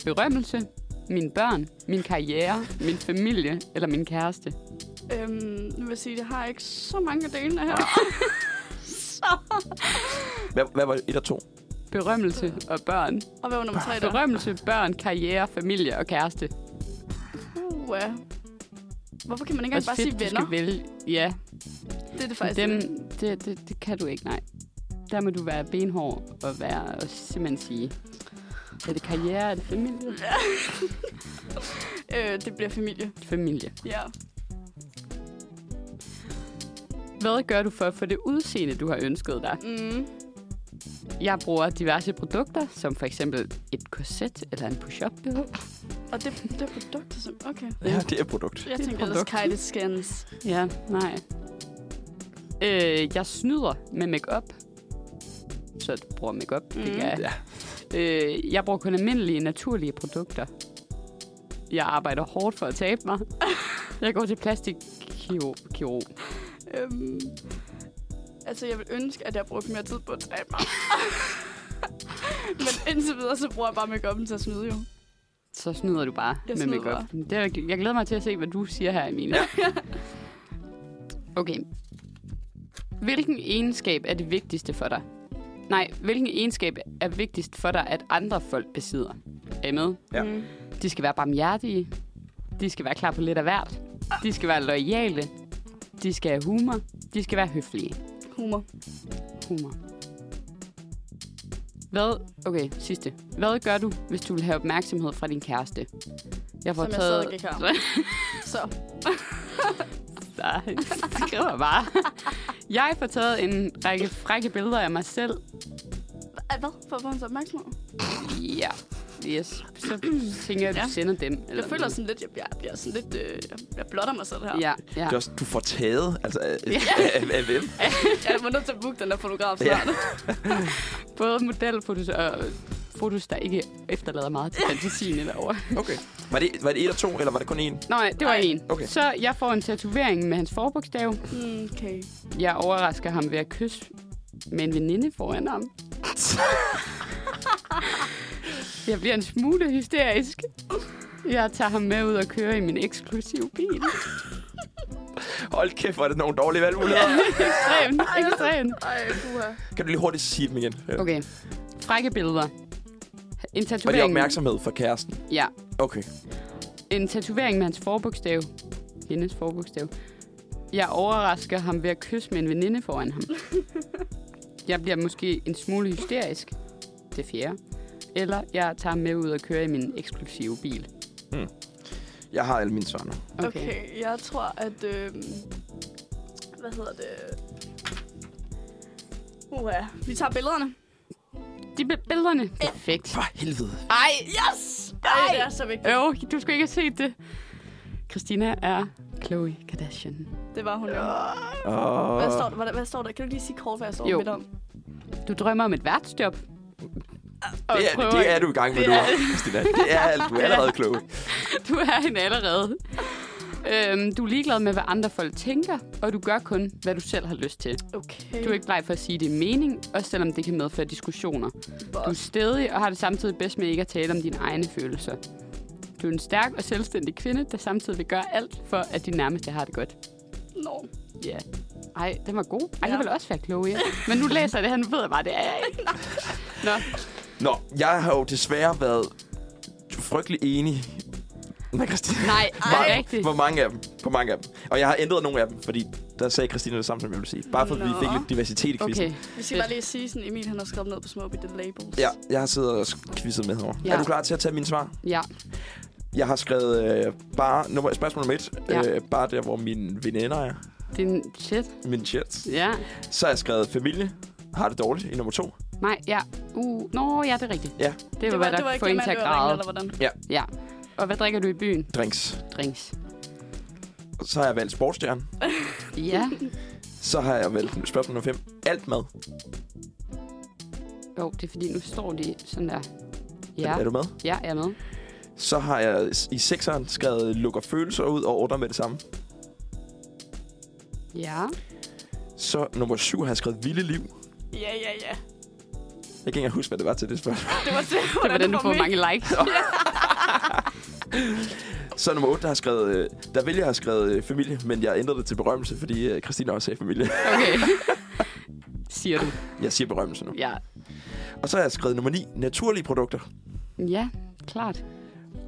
Speaker 3: Berømmelse, mine børn, min karriere, min familie eller min kæreste?
Speaker 1: Øhm, nu vil jeg sige, at jeg har ikke så mange af delene her. så.
Speaker 2: Hvad, hvad var et og to?
Speaker 3: Berømmelse og børn.
Speaker 1: Og hvad var nummer tre der?
Speaker 3: Berømmelse, børn, karriere, familie og kæreste. Ikke
Speaker 1: Uh, ja. Hvorfor kan man ikke engang bare sige venner?
Speaker 3: Skal vælge. Ja,
Speaker 1: Det er det faktisk.
Speaker 3: dem, det, det, det, kan du ikke, nej. Der må du være benhård og, være, og simpelthen sige, er det karriere, er det familie?
Speaker 1: Øh, det bliver familie.
Speaker 3: Familie.
Speaker 1: Ja.
Speaker 3: Hvad gør du for at få det udseende, du har ønsket dig?
Speaker 1: Mm.
Speaker 3: Jeg bruger diverse produkter, som for eksempel et korset eller en push-up BH.
Speaker 1: Og det, det er produkter, som... Okay.
Speaker 2: Ja, det er et produkt.
Speaker 1: Jeg
Speaker 3: Det er
Speaker 1: tænker ellers
Speaker 3: produkt.
Speaker 1: kajte skins.
Speaker 3: Ja, nej. Øh, jeg snyder med makeup. Så du bruger makeup, mm. det
Speaker 1: Mm.
Speaker 3: gør jeg.
Speaker 2: Ja.
Speaker 3: Øh, jeg bruger kun almindelige, naturlige produkter. Jeg arbejder hårdt for at tabe mig. jeg går til plastikkirurg. kirurg.
Speaker 1: Øhm, altså, jeg vil ønske, at jeg brugte mere tid på at træne mig. Men indtil videre, så bruger jeg bare make til at snyde jo.
Speaker 3: Så snyder du bare
Speaker 1: Jeg
Speaker 3: med
Speaker 1: snyder
Speaker 3: makeup. Det er, jeg glæder mig til at se, hvad du siger her, Emilie. okay. Hvilken egenskab er det vigtigste for dig? Nej, hvilken egenskab er vigtigst for dig, at andre folk besidder? Er I med?
Speaker 2: Ja.
Speaker 1: Mm.
Speaker 3: De skal være barmhjertige. De skal være klar på lidt af hvert. De skal være lojale. De skal have humor. De skal være høflige.
Speaker 1: Humor.
Speaker 3: Humor. Hvad, okay, sidste. Hvad gør du, hvis du vil have opmærksomhed fra din kæreste? Jeg får
Speaker 1: Som jeg
Speaker 3: taget...
Speaker 1: stadig ikke har. Så,
Speaker 3: Nej, det skriver bare. Jeg får taget en række frække billeder af mig selv.
Speaker 1: Ej, hvad? For at få hans opmærksomhed?
Speaker 3: Ja, yes. Så tænker jeg, at du
Speaker 1: Ja.
Speaker 3: sender dem. Eller
Speaker 1: Jeg føler
Speaker 3: noget.
Speaker 1: sådan lidt, jeg, jeg bliver sådan lidt... Øh, jeg, jeg blotter mig selv her.
Speaker 3: Ja, ja.
Speaker 2: Det er også, du får taget, altså af,
Speaker 3: Ja.
Speaker 2: af, af, af hvem?
Speaker 1: Jeg var nødt til at booke den der fotograf
Speaker 2: Ja.
Speaker 1: snart. Ja.
Speaker 3: Både modelfotos og fotos, der ikke efterlader meget til fantasien eller over.
Speaker 2: Okay. Var det, var det et og to, eller var det kun en?
Speaker 3: Nej, det var
Speaker 1: Ej,
Speaker 3: en.
Speaker 2: okay.
Speaker 3: Så jeg får en tatovering med hans forbogstav.
Speaker 1: Mm, Okay.
Speaker 3: Jeg overrasker ham ved at kysse med en veninde foran ham. Jeg bliver en smule hysterisk. Jeg tager ham med ud og kører i min eksklusive bil.
Speaker 2: Hold kæft, var det nogle dårlige valgmuligheder.
Speaker 3: Ekstremt, ekstremt.
Speaker 1: Ej, puha.
Speaker 2: Kan du lige hurtigt sige dem igen? Okay.
Speaker 3: Okay. Frække billeder. En
Speaker 2: Var det
Speaker 3: tatovering.
Speaker 2: opmærksomhed fra kæresten?
Speaker 3: Ja.
Speaker 2: Okay.
Speaker 3: En tatovering med hans forbogstav. Hendes forbogstav. Jeg overrasker ham ved at kysse med en veninde foran ham. Jeg bliver måske en smule hysterisk. Det fjerde. Eller jeg tager ham med ud og kører i min eksklusive bil.
Speaker 2: Jeg har alle mine svar nu.
Speaker 1: Okay. okay, jeg tror, at... Øh, hvad hedder det? Uha. Vi tager billederne.
Speaker 3: De be- billederne. Perfekt.
Speaker 2: For helvede.
Speaker 3: Ej,
Speaker 1: Yes! Ej, det er så vigtigt.
Speaker 3: øv, du skulle ikke have set det. Christina er Chloe Kardashian.
Speaker 1: Det var hun jo.
Speaker 2: Og...
Speaker 1: Hvad står, der? Hvad, hvad står der? Kan du lige sige kort, hvad jeg står
Speaker 3: Øh. Jo.
Speaker 1: midt om?
Speaker 3: Du drømmer om et værtsjob. Og
Speaker 2: Det er,
Speaker 3: prøver-
Speaker 2: det er du i gang med
Speaker 1: Det
Speaker 2: nu,
Speaker 1: er-
Speaker 2: Christina. Det er alt. Du er allerede klog.
Speaker 3: Du er hende allerede. Øhm, du er ligeglad med, hvad andre folk tænker, og du gør kun, hvad du selv har lyst til.
Speaker 1: Okay.
Speaker 3: Du er ikke bleg for at sige din mening, også selvom det kan medføre diskussioner. Du er stedig og har det samtidig bedst med ikke at tale om dine egne følelser. Du er en stærk og selvstændig kvinde, der samtidig vil gøre alt for, at din nærmeste har det godt.
Speaker 1: Nå.
Speaker 3: Ja. Yeah. Ej, den var god. Ej, ja.
Speaker 1: Ja.
Speaker 3: jeg vil også være klog, ja. Men nu læser jeg det her, nu ved jeg bare, det er jeg ikke. Nå,
Speaker 2: Nå, jeg har jo desværre været frygtelig enig med Christina.
Speaker 3: nej, det er
Speaker 2: Mange-
Speaker 3: rigtigt.
Speaker 2: På mange af dem. På mange af dem. Og jeg har ændret nogle af dem, fordi der sagde Christina det samme, som jeg ville sige. Bare for, at vi
Speaker 1: Nå.
Speaker 2: fik lidt diversitet i quizzen.
Speaker 3: Okay,
Speaker 2: Okay.
Speaker 1: Vi skal bare lige sige, sådan, Emil han har skrevet ned på små bitte labels.
Speaker 2: Ja, jeg har siddet og quizet med herovre.
Speaker 3: Ja.
Speaker 2: Ja. Er du klar til at tage mine svar?
Speaker 3: ja.
Speaker 2: Jeg har skrevet øh, bare nummer, spørgsmål nummer et.
Speaker 3: Ja.
Speaker 2: Ja. Øh, bare der, hvor mine veninder er.
Speaker 3: Det er en shit.
Speaker 2: Min chats.
Speaker 3: Ja.
Speaker 2: Så har jeg skrevet familie. Har det dårligt i nummer to.
Speaker 3: Nej, ja. Uh, nå, ja, det er rigtigt.
Speaker 2: Ja.
Speaker 3: Det var, hvad
Speaker 1: det var
Speaker 3: der
Speaker 1: ikke
Speaker 3: får en
Speaker 1: det,
Speaker 3: til at
Speaker 1: man var ringen,
Speaker 3: græde.
Speaker 1: eller hvordan?
Speaker 3: Ja. Og hvad drikker du i byen?
Speaker 2: Drinks.
Speaker 3: Drinks.
Speaker 2: Så har jeg valgt sportsstjerne.
Speaker 3: Ja.
Speaker 2: Så har jeg valgt spørgsmål nummer 5. Alt mad.
Speaker 3: Jo, det er fordi, nu står de sådan der.
Speaker 2: Ja.
Speaker 3: Ja,
Speaker 2: Er, er du med?
Speaker 3: ja jeg er med.
Speaker 2: Så har jeg i sekseren skrevet lukker følelser ud og ordner med det samme.
Speaker 3: Ja.
Speaker 2: Så nummer 7 har jeg skrevet vilde liv.
Speaker 1: Ja, ja, ja.
Speaker 2: Jeg kan ikke engang huske, hvad det var til det spørgsmål.
Speaker 1: Det var det,
Speaker 3: Det var den, du
Speaker 1: får
Speaker 3: får
Speaker 1: med.
Speaker 3: mange likes.
Speaker 2: Så nummer 8, der har skrevet, øh, der ville jeg have skrevet øh, familie, men jeg ændrede det til berømmelse, fordi øh, Christina også sagde familie.
Speaker 3: Okay. Siger du.
Speaker 2: Jeg siger berømmelse nu.
Speaker 3: Ja.
Speaker 2: Og så har jeg skrevet nummer 9, naturlige produkter.
Speaker 3: Ja, klart.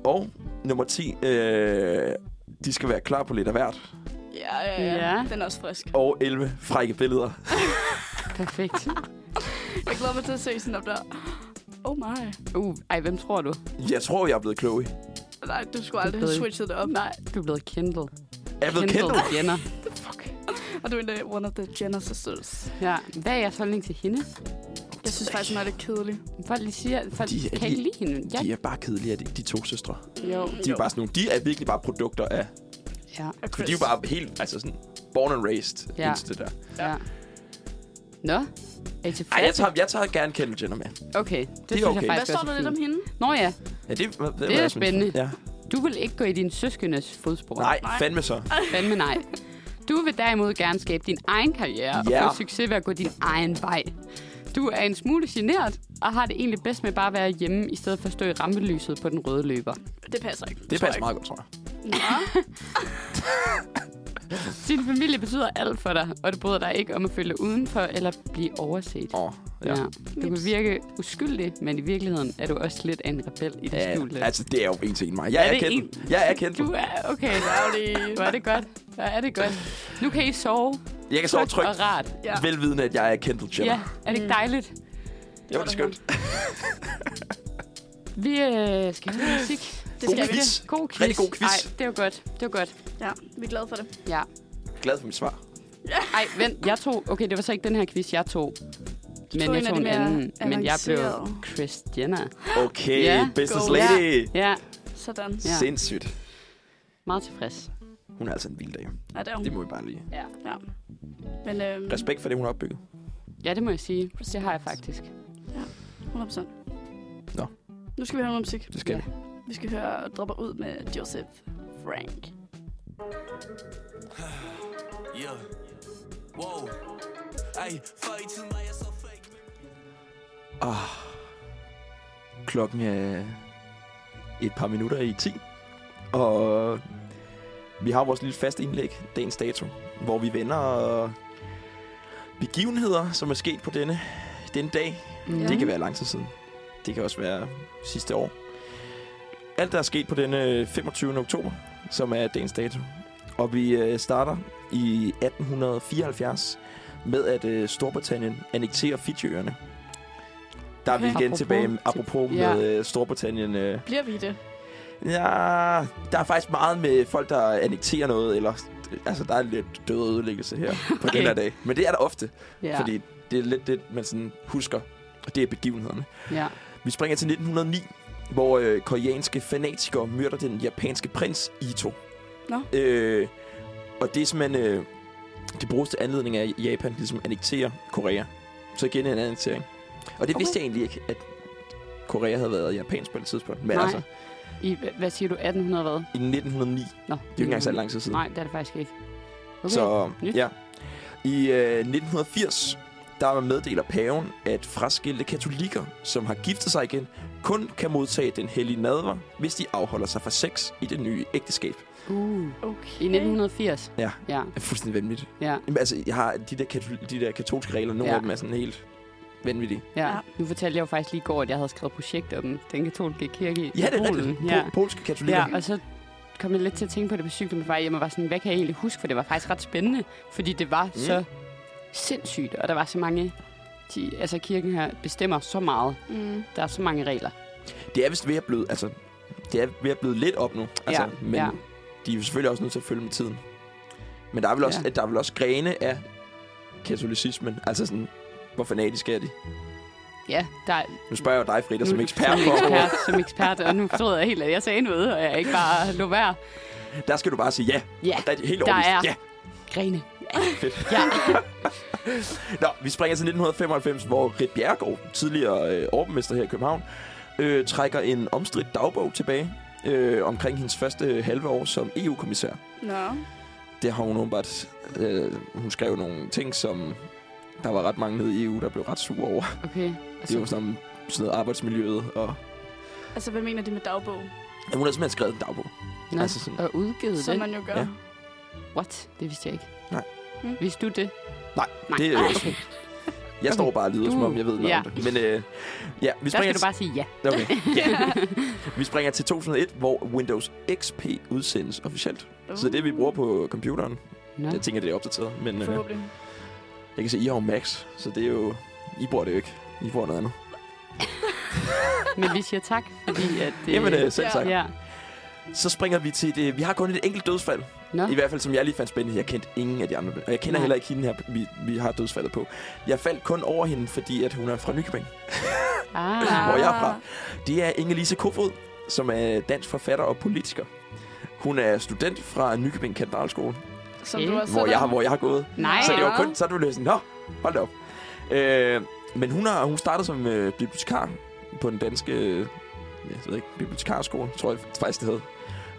Speaker 2: Og nummer 10, øh, de skal være klar på lidt af hvert.
Speaker 1: Ja, ja, ja,
Speaker 3: Ja.
Speaker 1: Den er også frisk.
Speaker 2: Og 11, frække billeder.
Speaker 3: Perfekt.
Speaker 1: Jeg glæder mig til at se sådan op der. Oh my.
Speaker 3: Uh, ej, hvem tror du?
Speaker 2: Jeg tror, jeg er blevet klog.
Speaker 1: Nej, du skulle aldrig have
Speaker 3: ved-
Speaker 1: switchet det op.
Speaker 3: Nej, du er blevet Kindle.
Speaker 2: Jeg er blevet kendt.
Speaker 3: Jenner.
Speaker 1: Og du er en af- one of the Jenner sisters.
Speaker 3: Ja. Hvad er jeres holdning til hende?
Speaker 1: Jeg synes faktisk, hun er lidt kedelig.
Speaker 3: Folk lige siger, folk
Speaker 2: De er
Speaker 3: kan ikke
Speaker 2: lige-
Speaker 3: lide hende. Ja.
Speaker 2: De er bare kedelige, de, de to søstre.
Speaker 3: Jo.
Speaker 2: De er, bare sådan nogle, de er virkelig bare produkter af...
Speaker 3: Ja.
Speaker 1: Og
Speaker 2: For
Speaker 1: Chris.
Speaker 2: de er jo bare helt, altså sådan, born and raised.
Speaker 3: Ja.
Speaker 2: Ja. Det der.
Speaker 3: ja. Nå. Er I
Speaker 2: Ej, jeg
Speaker 3: tilfredse?
Speaker 2: tager, jeg tager gerne Kendall Jenner med.
Speaker 3: Okay, det, det synes
Speaker 2: okay.
Speaker 3: jeg faktisk
Speaker 1: Hvad står
Speaker 3: også
Speaker 1: der
Speaker 3: er
Speaker 1: lidt om
Speaker 3: fint.
Speaker 1: hende?
Speaker 3: Nå ja,
Speaker 2: Ja, det, det, det,
Speaker 3: er spændende.
Speaker 2: Ja.
Speaker 3: du vil ikke gå i din søskendes fodspor.
Speaker 2: Nej,
Speaker 1: Nej.
Speaker 2: fandme så.
Speaker 3: Fandme nej. Du vil derimod gerne skabe din egen karriere
Speaker 2: Ja.
Speaker 3: og få succes ved at gå din egen vej. Du er en smule generet og har det egentlig bedst med bare at være hjemme, i stedet for at stå i rampelyset på den røde løber.
Speaker 1: Det passer ikke.
Speaker 2: Det
Speaker 1: tror
Speaker 2: passer
Speaker 1: jeg
Speaker 2: meget godt, tror jeg.
Speaker 1: ikke. Nå.
Speaker 3: Din familie betyder alt for dig, og du bryder dig ikke om at føle dig udenfor eller blive overset.
Speaker 2: Åh, ja.
Speaker 3: Du kan virke uskyldig, men i virkeligheden er du også lidt af en rebel i det
Speaker 2: ja.
Speaker 3: skjulte.
Speaker 2: altså, det er jo en til en mig. Jeg er,
Speaker 3: det
Speaker 2: kendt. Jeg er kendt.
Speaker 3: Du er okay. Hvor er det godt. Hvor er det godt. Nu kan I sove
Speaker 2: Jeg kan sove
Speaker 3: trygt
Speaker 2: trygt,
Speaker 3: og rart.
Speaker 1: Ja.
Speaker 2: velvidende, at jeg er Kendall Jenner.
Speaker 3: Ja, er det
Speaker 1: Mm.
Speaker 3: ikke dejligt?
Speaker 2: det var det skønt.
Speaker 3: Vi øh, skal høre musik.
Speaker 1: Det
Speaker 2: God
Speaker 1: skal vi.
Speaker 2: quiz.
Speaker 3: God quiz.
Speaker 2: Rigtig god quiz.
Speaker 3: Ej, det var godt. Det var godt.
Speaker 1: Ja, vi er glade for det.
Speaker 3: Ja.
Speaker 2: Glad for mit svar.
Speaker 3: Ej, vent. Jeg tog... Okay, det var så ikke den her quiz, jeg tog. Men
Speaker 1: tog en
Speaker 3: jeg
Speaker 1: af
Speaker 3: tog
Speaker 1: de
Speaker 3: en
Speaker 1: mere
Speaker 3: anden. Men jeg blev
Speaker 1: avancerede.
Speaker 3: Christiana.
Speaker 2: Okay,
Speaker 3: Ja.
Speaker 2: business
Speaker 1: Go.
Speaker 2: lady.
Speaker 3: Ja,
Speaker 1: Sådan.
Speaker 3: Ja.
Speaker 2: Sindssygt.
Speaker 3: meget tilfreds.
Speaker 2: Hun er altså en vild dag.
Speaker 1: Ja, det er hun.
Speaker 2: Det må vi bare lige.
Speaker 3: Ja.
Speaker 1: Ja. Men øhm,
Speaker 2: Respekt for det, hun har opbygget.
Speaker 3: ja, det må jeg sige. Det har jeg faktisk.
Speaker 1: 100%.
Speaker 2: Nå,
Speaker 1: Nu skal vi høre noget musik.
Speaker 2: Det skal
Speaker 3: Ja.
Speaker 2: ja.
Speaker 1: Vi skal høre Dropper ud med Joseph Frank.
Speaker 4: Yeah. Wow. Ej, før i tiden var jeg så fake.
Speaker 2: Ah. Klokken er et par minutter i 10, og vi har vores lille faste indlæg, dagens dato, hvor vi vender begivenheder, som er sket på denne, denne dag.
Speaker 3: Mm.
Speaker 2: Det kan være lang tid siden. Det kan også være sidste år. Alt, der er sket på denne 25. oktober, som er dagens dato. Og vi øh, starter i 1874 med, at øh, Storbritannien annekterer Fidjeøerne. Der er vi
Speaker 1: Okay.
Speaker 2: igen
Speaker 3: Apropos
Speaker 2: tilbage
Speaker 3: til-
Speaker 2: apropos
Speaker 3: ja.
Speaker 2: med øh, Storbritannien. Øh.
Speaker 1: Bliver vi i det?
Speaker 2: Ja, der er faktisk meget med folk, der annekterer noget, eller altså, der er lidt død og ødelæggelse her på
Speaker 3: Okay.
Speaker 2: den her dag. Men det er der ofte,
Speaker 3: Ja.
Speaker 2: ja. fordi det er lidt det, man sådan husker, og det er begivenhederne.
Speaker 3: ja.
Speaker 2: Vi springer til 1909, hvor øh, koreanske fanatikere myrder den japanske prins Ito.
Speaker 1: Nå.
Speaker 2: Øh, og det er simpelthen... Øh, det bruges til anledning af, at Japan ligesom annekterer Korea. Så igen en annektering. Og det okay.
Speaker 3: Okay.
Speaker 2: vidste jeg egentlig ikke, at Korea havde været japansk på det tidspunkt. Men
Speaker 3: Nej.
Speaker 2: altså,
Speaker 3: I, hvad siger du, 1800 hvad?
Speaker 2: i 1909. Det
Speaker 3: Nå,
Speaker 2: er jo ikke engang så lang tid siden.
Speaker 3: Nej, det er det faktisk ikke. Okay.
Speaker 2: Så
Speaker 3: nyt.
Speaker 2: ja. I øh, 1980, der meddeler paven, at fraskilte katolikker, som har giftet sig igen, kun kan modtage den hellige nadver, hvis de afholder sig fra sex i det nye ægteskab.
Speaker 3: Uh,
Speaker 1: Okay.
Speaker 3: I 1980?
Speaker 2: Ja.
Speaker 3: Ja,
Speaker 2: Det er fuldstændig vanvittigt.
Speaker 3: ja,
Speaker 2: Jamen, altså, jeg har de der, katol- de der katolske regler, nogle
Speaker 3: Ja.
Speaker 2: ja. af dem er sådan helt vanvittige.
Speaker 3: ja.
Speaker 1: Ja.
Speaker 3: Nu fortalte jeg jo faktisk lige i går, at jeg havde skrevet projekt om den katolske kirke i
Speaker 2: Ja, det er
Speaker 3: Polen.
Speaker 2: rigtigt.
Speaker 3: Ja.
Speaker 2: Po- polske katolikker.
Speaker 3: ja, og så kom jeg lidt til at tænke på det på cyklen på vej hjem, og var sådan, hvad kan jeg egentlig huske? For det var faktisk ret spændende, fordi det var mm. så sindssygt, og der var så mange... De, altså, kirken her bestemmer så meget.
Speaker 1: Mm.
Speaker 3: Der er så mange regler.
Speaker 2: Det er vist ved at blive, altså, det er ved at blive lidt op nu. Altså,
Speaker 3: ja,
Speaker 2: men
Speaker 3: ja.
Speaker 2: de er jo selvfølgelig også nødt til at følge med tiden. Men der er vel også,
Speaker 3: Ja.
Speaker 2: ja. der er vel også grene af katolicismen. Altså sådan, hvor fanatiske er de?
Speaker 3: Ja, der er,
Speaker 2: Nu spørger jeg jo dig, Frida, som
Speaker 3: nu-
Speaker 2: ekspert
Speaker 3: Mm. som
Speaker 2: på
Speaker 3: ekspert,
Speaker 2: området.
Speaker 3: som ekspert, og nu forstod jeg helt, at jeg sagde noget, og jeg ikke bare lå være.
Speaker 2: Der skal du bare sige ja.
Speaker 3: Ja,
Speaker 2: Og der er de helt
Speaker 3: Der
Speaker 2: overbevist.
Speaker 3: er-
Speaker 2: Ja.
Speaker 3: grene.
Speaker 2: Fedt.
Speaker 3: Ja,
Speaker 2: Nå, vi springer til 1995, hvor Rit Bjerregaard, tidligere øh, overborgmester her i København, øh, trækker en omstridt dagbog tilbage øh, omkring hendes første øh, halve år som EU-kommissær.
Speaker 1: Nå.
Speaker 2: Det har hun åbenbart... Øh, hun skrev nogle ting, som der var ret mange nede i EU, der blev ret sure over.
Speaker 3: okay. Og
Speaker 2: Det var
Speaker 3: så,
Speaker 2: sådan, om- sådan noget arbejdsmiljøet, og
Speaker 1: Altså, hvad mener de med dagbog?
Speaker 2: ja, hun har simpelthen skrevet en dagbog.
Speaker 3: nå,
Speaker 2: altså sådan-
Speaker 3: og udgivet
Speaker 1: Som
Speaker 3: den.
Speaker 1: man jo gør.
Speaker 2: Ja.
Speaker 3: What? Det vidste jeg ikke.
Speaker 2: Nej.
Speaker 1: Hmm.
Speaker 3: Vidste du det?
Speaker 2: Nej,
Speaker 3: Nej.
Speaker 2: det er
Speaker 3: Ej,
Speaker 2: jo
Speaker 3: okay.
Speaker 2: Jeg står
Speaker 3: Okay.
Speaker 2: bare og lyder, som
Speaker 3: Du-
Speaker 2: om jeg ved noget
Speaker 3: ja.
Speaker 2: om det. Men øh, ja, vi
Speaker 3: Der
Speaker 2: springer,
Speaker 3: skal du bare sige ja.
Speaker 2: til- okay. ja. vi springer til 2001, hvor Windows XP udsendes officielt.
Speaker 1: Uh.
Speaker 2: Så det er det, vi bruger på computeren.
Speaker 3: Nå.
Speaker 2: Jeg tænker, det er opdateret. Men øh,
Speaker 1: Forhåbentlig.
Speaker 2: jeg kan se, I har jo Max, så det er jo... I bruger det jo ikke. I bruger noget andet.
Speaker 3: Men vi siger tak, fordi at...
Speaker 2: Det... Jamen, øh, selv
Speaker 1: Ja.
Speaker 2: tak.
Speaker 3: Ja.
Speaker 2: Så springer vi til det. Vi har kun et enkelt dødsfald.
Speaker 3: Nå.
Speaker 2: I hvert fald, som jeg lige fandt spændende. Jeg kendte ingen af de andre. Og jeg kender
Speaker 3: Nej.
Speaker 2: Nej. heller ikke hende her, vi, vi har dødsfaldet på. Jeg faldt kun over hende, fordi at hun er fra Nykøbing.
Speaker 3: Ah.
Speaker 2: hvor jeg er fra. Det er Inge-Lise Kofod, som er dansk forfatter og politiker. Hun er student fra Nykøbing Katedralskole,
Speaker 1: Som
Speaker 3: Okay.
Speaker 1: du også
Speaker 2: hvor
Speaker 1: selv
Speaker 2: jeg, har,
Speaker 1: er.
Speaker 2: hvor jeg har gået.
Speaker 3: Nej.
Speaker 2: Så det var kun, så er du løsning. Nå, hold da op. Øh, men hun, har, hun startede som øh, bibliotekar på den danske øh, ja, jeg ved ikke, bibliotekarskole, tror jeg faktisk det hed.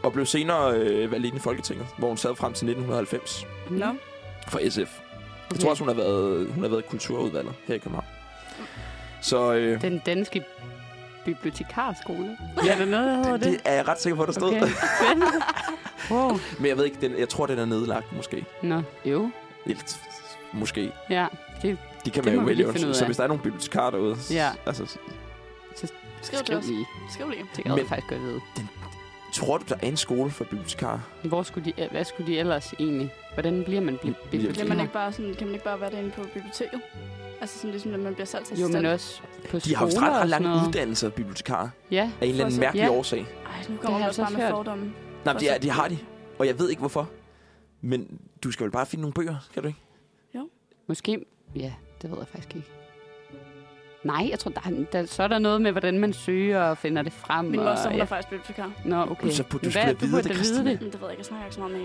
Speaker 2: Og blev senere øh, valgt ind i Folketinget, hvor hun sad frem til 1990
Speaker 1: Nå.
Speaker 2: for SF. Jeg tror også, hun har været, hun har været kulturudvalget her i København. Så øh,
Speaker 3: Den danske bibliotekarskole.
Speaker 2: Ja,
Speaker 3: er der noget, der hedder
Speaker 2: det,
Speaker 3: det?
Speaker 2: det er jeg ret sikker på, der stod.
Speaker 3: Okay. spændende. wow.
Speaker 2: Men jeg ved ikke, den, jeg tror, den er nedlagt, måske.
Speaker 3: Nå, jo.
Speaker 2: Helt, måske.
Speaker 3: Ja,
Speaker 2: Det kan
Speaker 3: Det
Speaker 2: man jo
Speaker 3: må vi
Speaker 2: vælge.
Speaker 3: lige finde ud
Speaker 2: Så, så
Speaker 3: af.
Speaker 2: hvis der er nogle bibliotekarer derude, s-
Speaker 3: Ja.
Speaker 2: altså,
Speaker 1: Skriv det
Speaker 3: skriv
Speaker 1: også.
Speaker 3: lige.
Speaker 1: Skriv lige.
Speaker 3: Det kan jeg
Speaker 2: Men-
Speaker 3: faktisk godt vide.
Speaker 2: tror du, der er en skole for bibliotekarer?
Speaker 3: Hvor skulle de, øh, hvad skulle de ellers egentlig? Hvordan bliver man bi-
Speaker 1: Bliver man
Speaker 3: bibliotekar?
Speaker 1: ikke bare sådan, kan man ikke bare være derinde på biblioteket? Altså sådan ligesom, når man bliver salgsassistent.
Speaker 3: Jo, men også på
Speaker 2: De har jo
Speaker 3: skoler
Speaker 2: ret
Speaker 3: og
Speaker 2: lange
Speaker 3: sådan noget.
Speaker 2: uddannelser, bibliotekarer,
Speaker 3: Ja,
Speaker 2: af en eller anden
Speaker 1: Fortsat,
Speaker 2: mærkelig
Speaker 3: ja.
Speaker 2: årsag.
Speaker 1: Ej, nu
Speaker 3: har
Speaker 1: kommer man
Speaker 3: jeg
Speaker 1: også
Speaker 3: så
Speaker 1: bare med
Speaker 3: hørt.
Speaker 1: fordomme.
Speaker 2: Nej, men det, er,
Speaker 1: Fortsat.
Speaker 2: det har de, og jeg ved ikke, hvorfor. Men du skal vel bare finde nogle bøger, kan du ikke?
Speaker 3: måske. Ja, det ved jeg faktisk ikke. Nej, jeg tror, der, er- der, så er der noget med, hvordan man søger og finder det frem.
Speaker 1: Min
Speaker 3: og,
Speaker 1: moster, hun
Speaker 3: ja.
Speaker 1: er faktisk bibliotekar.
Speaker 3: Nå, okay.
Speaker 2: Så burde du
Speaker 3: Men
Speaker 2: skulle da
Speaker 3: du
Speaker 2: vide
Speaker 3: burde
Speaker 2: det,
Speaker 3: da
Speaker 2: Christina.
Speaker 1: Men det ved jeg ikke, jeg snakker ikke så meget med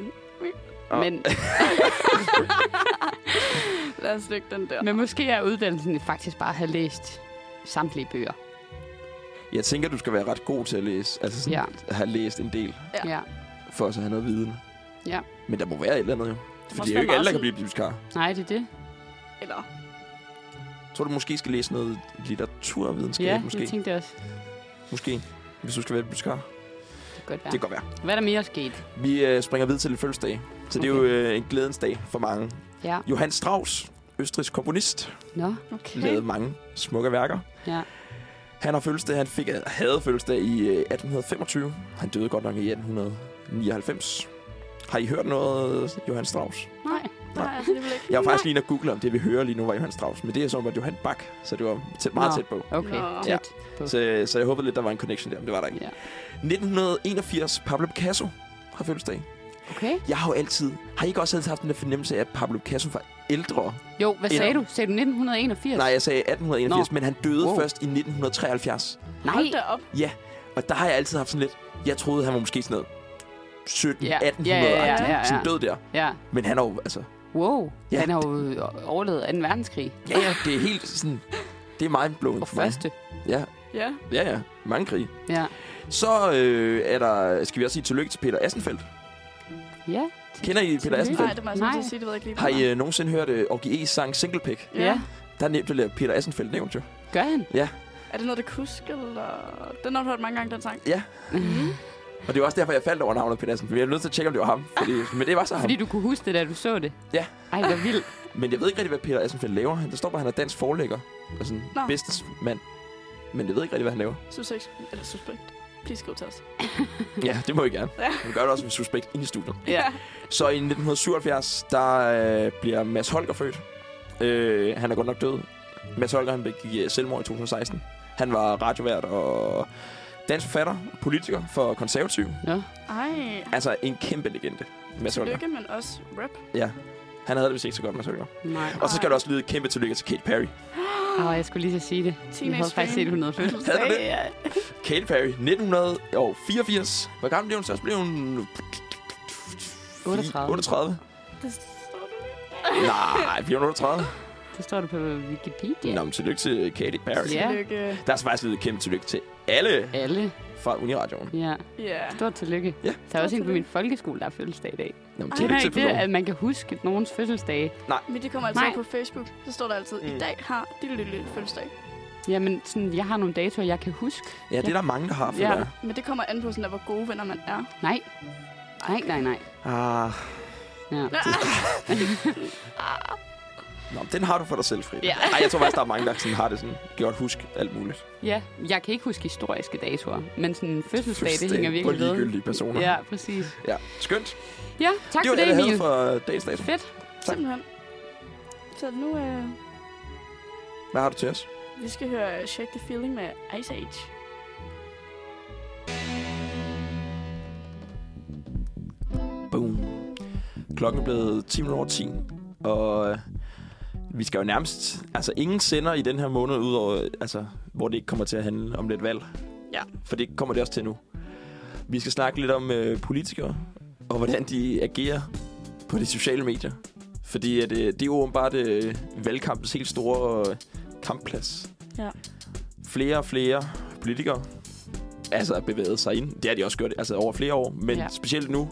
Speaker 1: hende.
Speaker 3: Men,
Speaker 1: Lad os lykke den der.
Speaker 3: men måske er uddannelsen faktisk bare at have læst samtlige bøger.
Speaker 2: Jeg tænker, du skal være ret god til at læse. Altså sådan,
Speaker 3: Ja.
Speaker 2: ja. have læst en del,
Speaker 1: Ja.
Speaker 3: ja.
Speaker 2: for at så have noget viden.
Speaker 3: Ja.
Speaker 2: Men der må være et eller andet, jo. For
Speaker 1: også
Speaker 2: det er jo
Speaker 1: være
Speaker 2: ikke alle,
Speaker 1: meget
Speaker 2: der kan blive bibliotekar.
Speaker 3: Nej, det er det.
Speaker 1: Eller
Speaker 2: Jeg tror, du måske skal læse noget litteraturvidenskab,
Speaker 3: ja,
Speaker 2: måske.
Speaker 3: jeg tænkte det også.
Speaker 2: Måske. Hvis du skal være bibliotekar.
Speaker 3: Det kan godt være.
Speaker 2: Det kan godt være.
Speaker 3: Hvad er der mere sket?
Speaker 2: Vi øh, springer videre til lidt fødselsdag. Så det er jo øh, en glædens dag for mange.
Speaker 3: Ja.
Speaker 2: Johann Strauss, østrigsk komponist,
Speaker 3: Nå.
Speaker 1: okay.
Speaker 2: lavede mange smukke værker.
Speaker 3: Ja.
Speaker 2: Han har fødselsdag, han fik, havde fødselsdag i øh, 1825. Han døde godt nok i 1899. Har I hørt noget, Johann Strauss?
Speaker 3: Nej.
Speaker 1: Nej, altså, det vil ikke.
Speaker 2: Jeg var faktisk lige inde og google om det, vi hører lige nu, var Johann Strauss. Men det er som at Johann Bach, så det var tæt, meget
Speaker 3: Nå.
Speaker 2: tæt på.
Speaker 3: Okay.
Speaker 1: Nå.
Speaker 3: Ja. på.
Speaker 2: Så, så jeg håbede lidt, der var en connection der, men det var der ikke.
Speaker 3: ja.
Speaker 2: 1981, Pablo Picasso har fødselsdag.
Speaker 3: Okay.
Speaker 2: Jeg har jo altid... Har I ikke også altid haft den der fornemmelse af, at Pablo Picasso var ældre?
Speaker 3: Jo, hvad
Speaker 2: Eller-
Speaker 3: sagde du? Sagde du 1981?
Speaker 2: Nej, jeg sagde 1881,
Speaker 3: Nå.
Speaker 2: men han døde
Speaker 3: Wow.
Speaker 2: wow. først i 1973.
Speaker 3: Nej.
Speaker 1: Hold da op.
Speaker 2: Ja, og der har jeg altid haft sådan lidt... Jeg troede, han var måske sådan noget 17
Speaker 3: Ja.
Speaker 2: 1800
Speaker 3: Ja, ja, ja, ja, ja.
Speaker 2: Sådan død der.
Speaker 3: Ja.
Speaker 2: Men han er jo... Altså,
Speaker 3: Wow.
Speaker 2: Ja.
Speaker 3: Han har jo overlevet 2. verdenskrig.
Speaker 2: ja, ja, det er helt sådan... Det er mindblowing
Speaker 3: Og
Speaker 2: for mig.
Speaker 3: første.
Speaker 2: Ja,
Speaker 1: Ja.
Speaker 2: ja, ja. Mange krige.
Speaker 3: Ja.
Speaker 2: Så øh, er der... Skal vi også sige tillykke til Peter Assenfeldt?
Speaker 3: Ja.
Speaker 2: Kender I Peter
Speaker 1: Nej,
Speaker 2: Assenfeldt?
Speaker 1: det må jeg sådan
Speaker 3: Nej.
Speaker 1: set sige, det ved jeg ikke lige.
Speaker 2: Har I øh, nogensinde hørt øh, Orgie E's sang Single Pick?
Speaker 1: Ja.
Speaker 3: Ja.
Speaker 2: Der nævnte Peter Assenfeldt nævnt jo.
Speaker 3: Gør han?
Speaker 1: Er det noget, du kan huske, eller... Den har du hørt mange gange, den sang.
Speaker 2: Mm. Og det var også derfor, jeg faldt over navnet Peter Assenfeldt. Jeg er nødt til at tjekke, om det var
Speaker 1: Ah,
Speaker 2: ham. Fordi, men det var så ham.
Speaker 3: Fordi du kunne huske det, da du så det?
Speaker 2: Ja.
Speaker 3: Ej, hvor vildt.
Speaker 2: Men jeg ved ikke rigtig, hvad Peter Assenfeldt laver. Der står bare, at han er dansk forlægger. Og sådan
Speaker 1: Nå.
Speaker 2: businessmand. Men jeg ved ikke rigtig, hvad han laver.
Speaker 1: Suspekt. Eller suspekt. Please skriv til os.
Speaker 2: Ja, det må jeg gerne.
Speaker 1: Ja.
Speaker 2: Han gør det også med suspekt ind i studiet.
Speaker 3: Ja.
Speaker 2: Så i 1977, der øh, bliver Mads Holger født. Øh, han er godt nok død. Mads Holger, han begik øh, selvmord i 2016. Han var radiovært og dansk forfatter, politiker for konservativ.
Speaker 3: Nå.
Speaker 1: Ej.
Speaker 2: Altså en kæmpe legende, Mads Holger.
Speaker 1: Lykke, men også rap.
Speaker 2: Ja. Han havde det vist ikke så godt, Mads Holger.
Speaker 3: Nej.
Speaker 2: Og så skal der også lyde et kæmpe tillykke til Katy Perry. Ah.
Speaker 3: Åh, jeg skulle lige så sige det. Jeg
Speaker 1: Teenage
Speaker 3: havde faktisk set,
Speaker 1: Fame.
Speaker 3: hun havde født.
Speaker 2: Havde du det?
Speaker 1: Ja.
Speaker 2: Katy Perry, 1984. Hvor gammel blev hun så? Så blev hun...
Speaker 3: 38.
Speaker 2: 38.
Speaker 1: Det står du ikke.
Speaker 2: Nej, bliver hun 38?
Speaker 3: Det står der på Wikipedia.
Speaker 2: Yeah. Nå, men tillykke til Katy Perry.
Speaker 3: Ja.
Speaker 1: Lykke.
Speaker 2: Der er så faktisk lyde et kæmpe tillykke til alle
Speaker 3: Alle.
Speaker 2: fra Uniradioen.
Speaker 3: Ja.
Speaker 1: Ja.
Speaker 3: Stort tillykke.
Speaker 2: Ja.
Speaker 3: Der er også en på
Speaker 1: tillykke.
Speaker 3: min folkeskole, der er fødselsdag i dag.
Speaker 2: Nå, men
Speaker 1: Ej,
Speaker 3: Kender
Speaker 2: tillykke
Speaker 3: I
Speaker 2: til
Speaker 3: ikke det,
Speaker 2: personen.
Speaker 3: at man kan huske nogens fødselsdage?
Speaker 1: Men de kommer altid
Speaker 3: Nej.
Speaker 1: op på Facebook. Så står der altid, i
Speaker 2: Mm.
Speaker 1: dag har de lille fødselsdag.
Speaker 3: Jamen, sådan, jeg har nogle datoer, jeg kan huske.
Speaker 2: Ja, det er der mange, der har,
Speaker 3: Ja.
Speaker 2: føler jeg.
Speaker 1: Men det kommer an på, sådan, der, hvor gode venner man er.
Speaker 3: Nej. Nej, nej, nej.
Speaker 2: Ah,
Speaker 3: Ja.
Speaker 2: nå, men den har du for dig selv, Frida.
Speaker 3: Ja.
Speaker 2: Ej, jeg tror faktisk, der er mange, der sådan, har det sådan. Gjort husk alt muligt.
Speaker 3: ja. Jeg kan ikke huske historiske datoer, men sådan fødselsdag, det
Speaker 2: Fødselsdag
Speaker 3: hænger
Speaker 2: på
Speaker 3: virkelig ved.
Speaker 2: ligegyldige personer.
Speaker 3: Ja, præcis.
Speaker 2: Ja, skønt.
Speaker 3: Ja, tak
Speaker 2: det var
Speaker 3: for det,
Speaker 2: det, jeg
Speaker 3: Emil.
Speaker 2: havde for dagens dato.
Speaker 3: Fedt.
Speaker 1: Simpelthen. Så nu, øh,
Speaker 2: Hvad har du til os?
Speaker 1: vi skal høre Shake the Feeling med Ice Age.
Speaker 2: Boom. Klokken er blevet 10 minutter over 10, og øh, vi skal jo nærmest... Altså, ingen sender i den her måned, udover, øh, altså, hvor det ikke kommer til at handle om lidt valg.
Speaker 1: Ja.
Speaker 2: For det kommer det også til nu. Vi skal snakke lidt om øh, politikere, og hvordan de agerer på de sociale medier. Fordi at, øh, det er jo åbenbart øh, valgkampens helt store øh, kampplads.
Speaker 1: Ja.
Speaker 2: Flere og flere politikere altså, bevæget sig ind. Det har de også gjort altså, over flere år, men
Speaker 3: Ja.
Speaker 2: ja. specielt nu.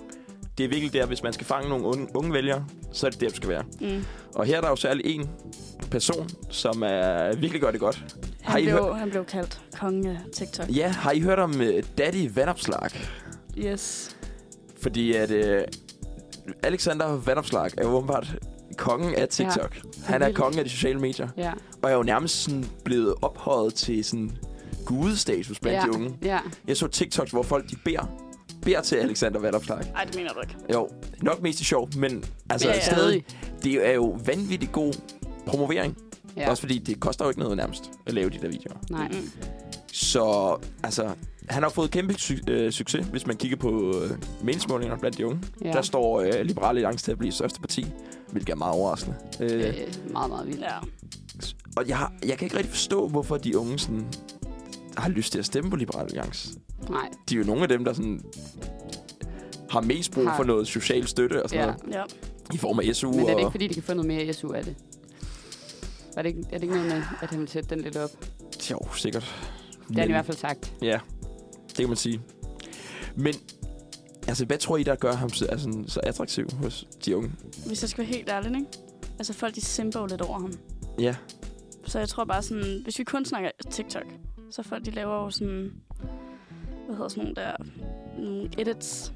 Speaker 2: Det er virkelig der, hvis man skal fange nogle unge, unge vælgere, så er det der, du skal være.
Speaker 1: Mm.
Speaker 2: Og her er der jo særlig en person, som er, virkelig gør det godt. Har
Speaker 1: Han,
Speaker 2: I
Speaker 1: blev, han blev kaldt konge af TikTok.
Speaker 2: Ja, har I hørt om uh, Daddy Vandopslag?
Speaker 1: Yes.
Speaker 2: Fordi at uh, Alexander Vandopslag er jo åbenbart kongen af TikTok. Ja, han er
Speaker 3: vildt.
Speaker 2: kongen af de sociale medier.
Speaker 3: Ja.
Speaker 2: Og er jo nærmest sådan blevet ophøjet til sådan gudestatus blandt
Speaker 3: ja.
Speaker 2: de unge.
Speaker 3: Ja.
Speaker 2: Jeg så TikToks, hvor folk de beder, beder til Alexander Vandopslag.
Speaker 1: Ej, det mener du ikke.
Speaker 2: Jo, nok mest i sjov, men altså
Speaker 1: Men
Speaker 2: men
Speaker 1: ja.
Speaker 2: stadig, det er jo vanvittig god promovering.
Speaker 3: ja.
Speaker 2: Ja. Også fordi det koster jo ikke noget nærmest at lave de der videoer.
Speaker 3: Nej.
Speaker 1: Mm.
Speaker 2: Så altså, han har fået kæmpe su- øh, succes, hvis man kigger på øh, meningsmålingerne blandt de unge.
Speaker 3: Ja.
Speaker 2: Ja. Der står øh, Liberale Alliance til at blive største parti, hvilket er meget overraskende. Øh,
Speaker 3: øh, meget, meget vildt.
Speaker 1: Ja.
Speaker 2: og jeg, har, jeg kan ikke rigtig forstå, hvorfor de unge sådan, har lyst til at stemme på Liberale Alliance.
Speaker 3: Nej.
Speaker 2: De er jo nogle af dem, der sådan, har mest brug
Speaker 3: Har-
Speaker 2: for noget social støtte og sådan
Speaker 3: Ja.
Speaker 2: ja. noget,
Speaker 1: Ja.
Speaker 2: i form af SU.
Speaker 3: Men er det
Speaker 2: og...
Speaker 3: ikke, fordi de kan få noget mere SU af det? Var det ikke, er det ikke noget med, at han vil sætte den lidt op?
Speaker 2: Jo, sikkert.
Speaker 3: Det har han i hvert fald sagt.
Speaker 2: Ja, det kan man sige. Men, altså, hvad tror I, der gør ham så, altså, så attraktiv hos de unge?
Speaker 1: Hvis jeg skal være helt ærlig, ikke? Altså, folk de simper jo lidt over ham.
Speaker 2: Ja,
Speaker 1: Så jeg tror bare sådan, hvis vi kun snakker TikTok, så folk de laver jo sådan, hvad hedder sådan nogle der, nogle edits.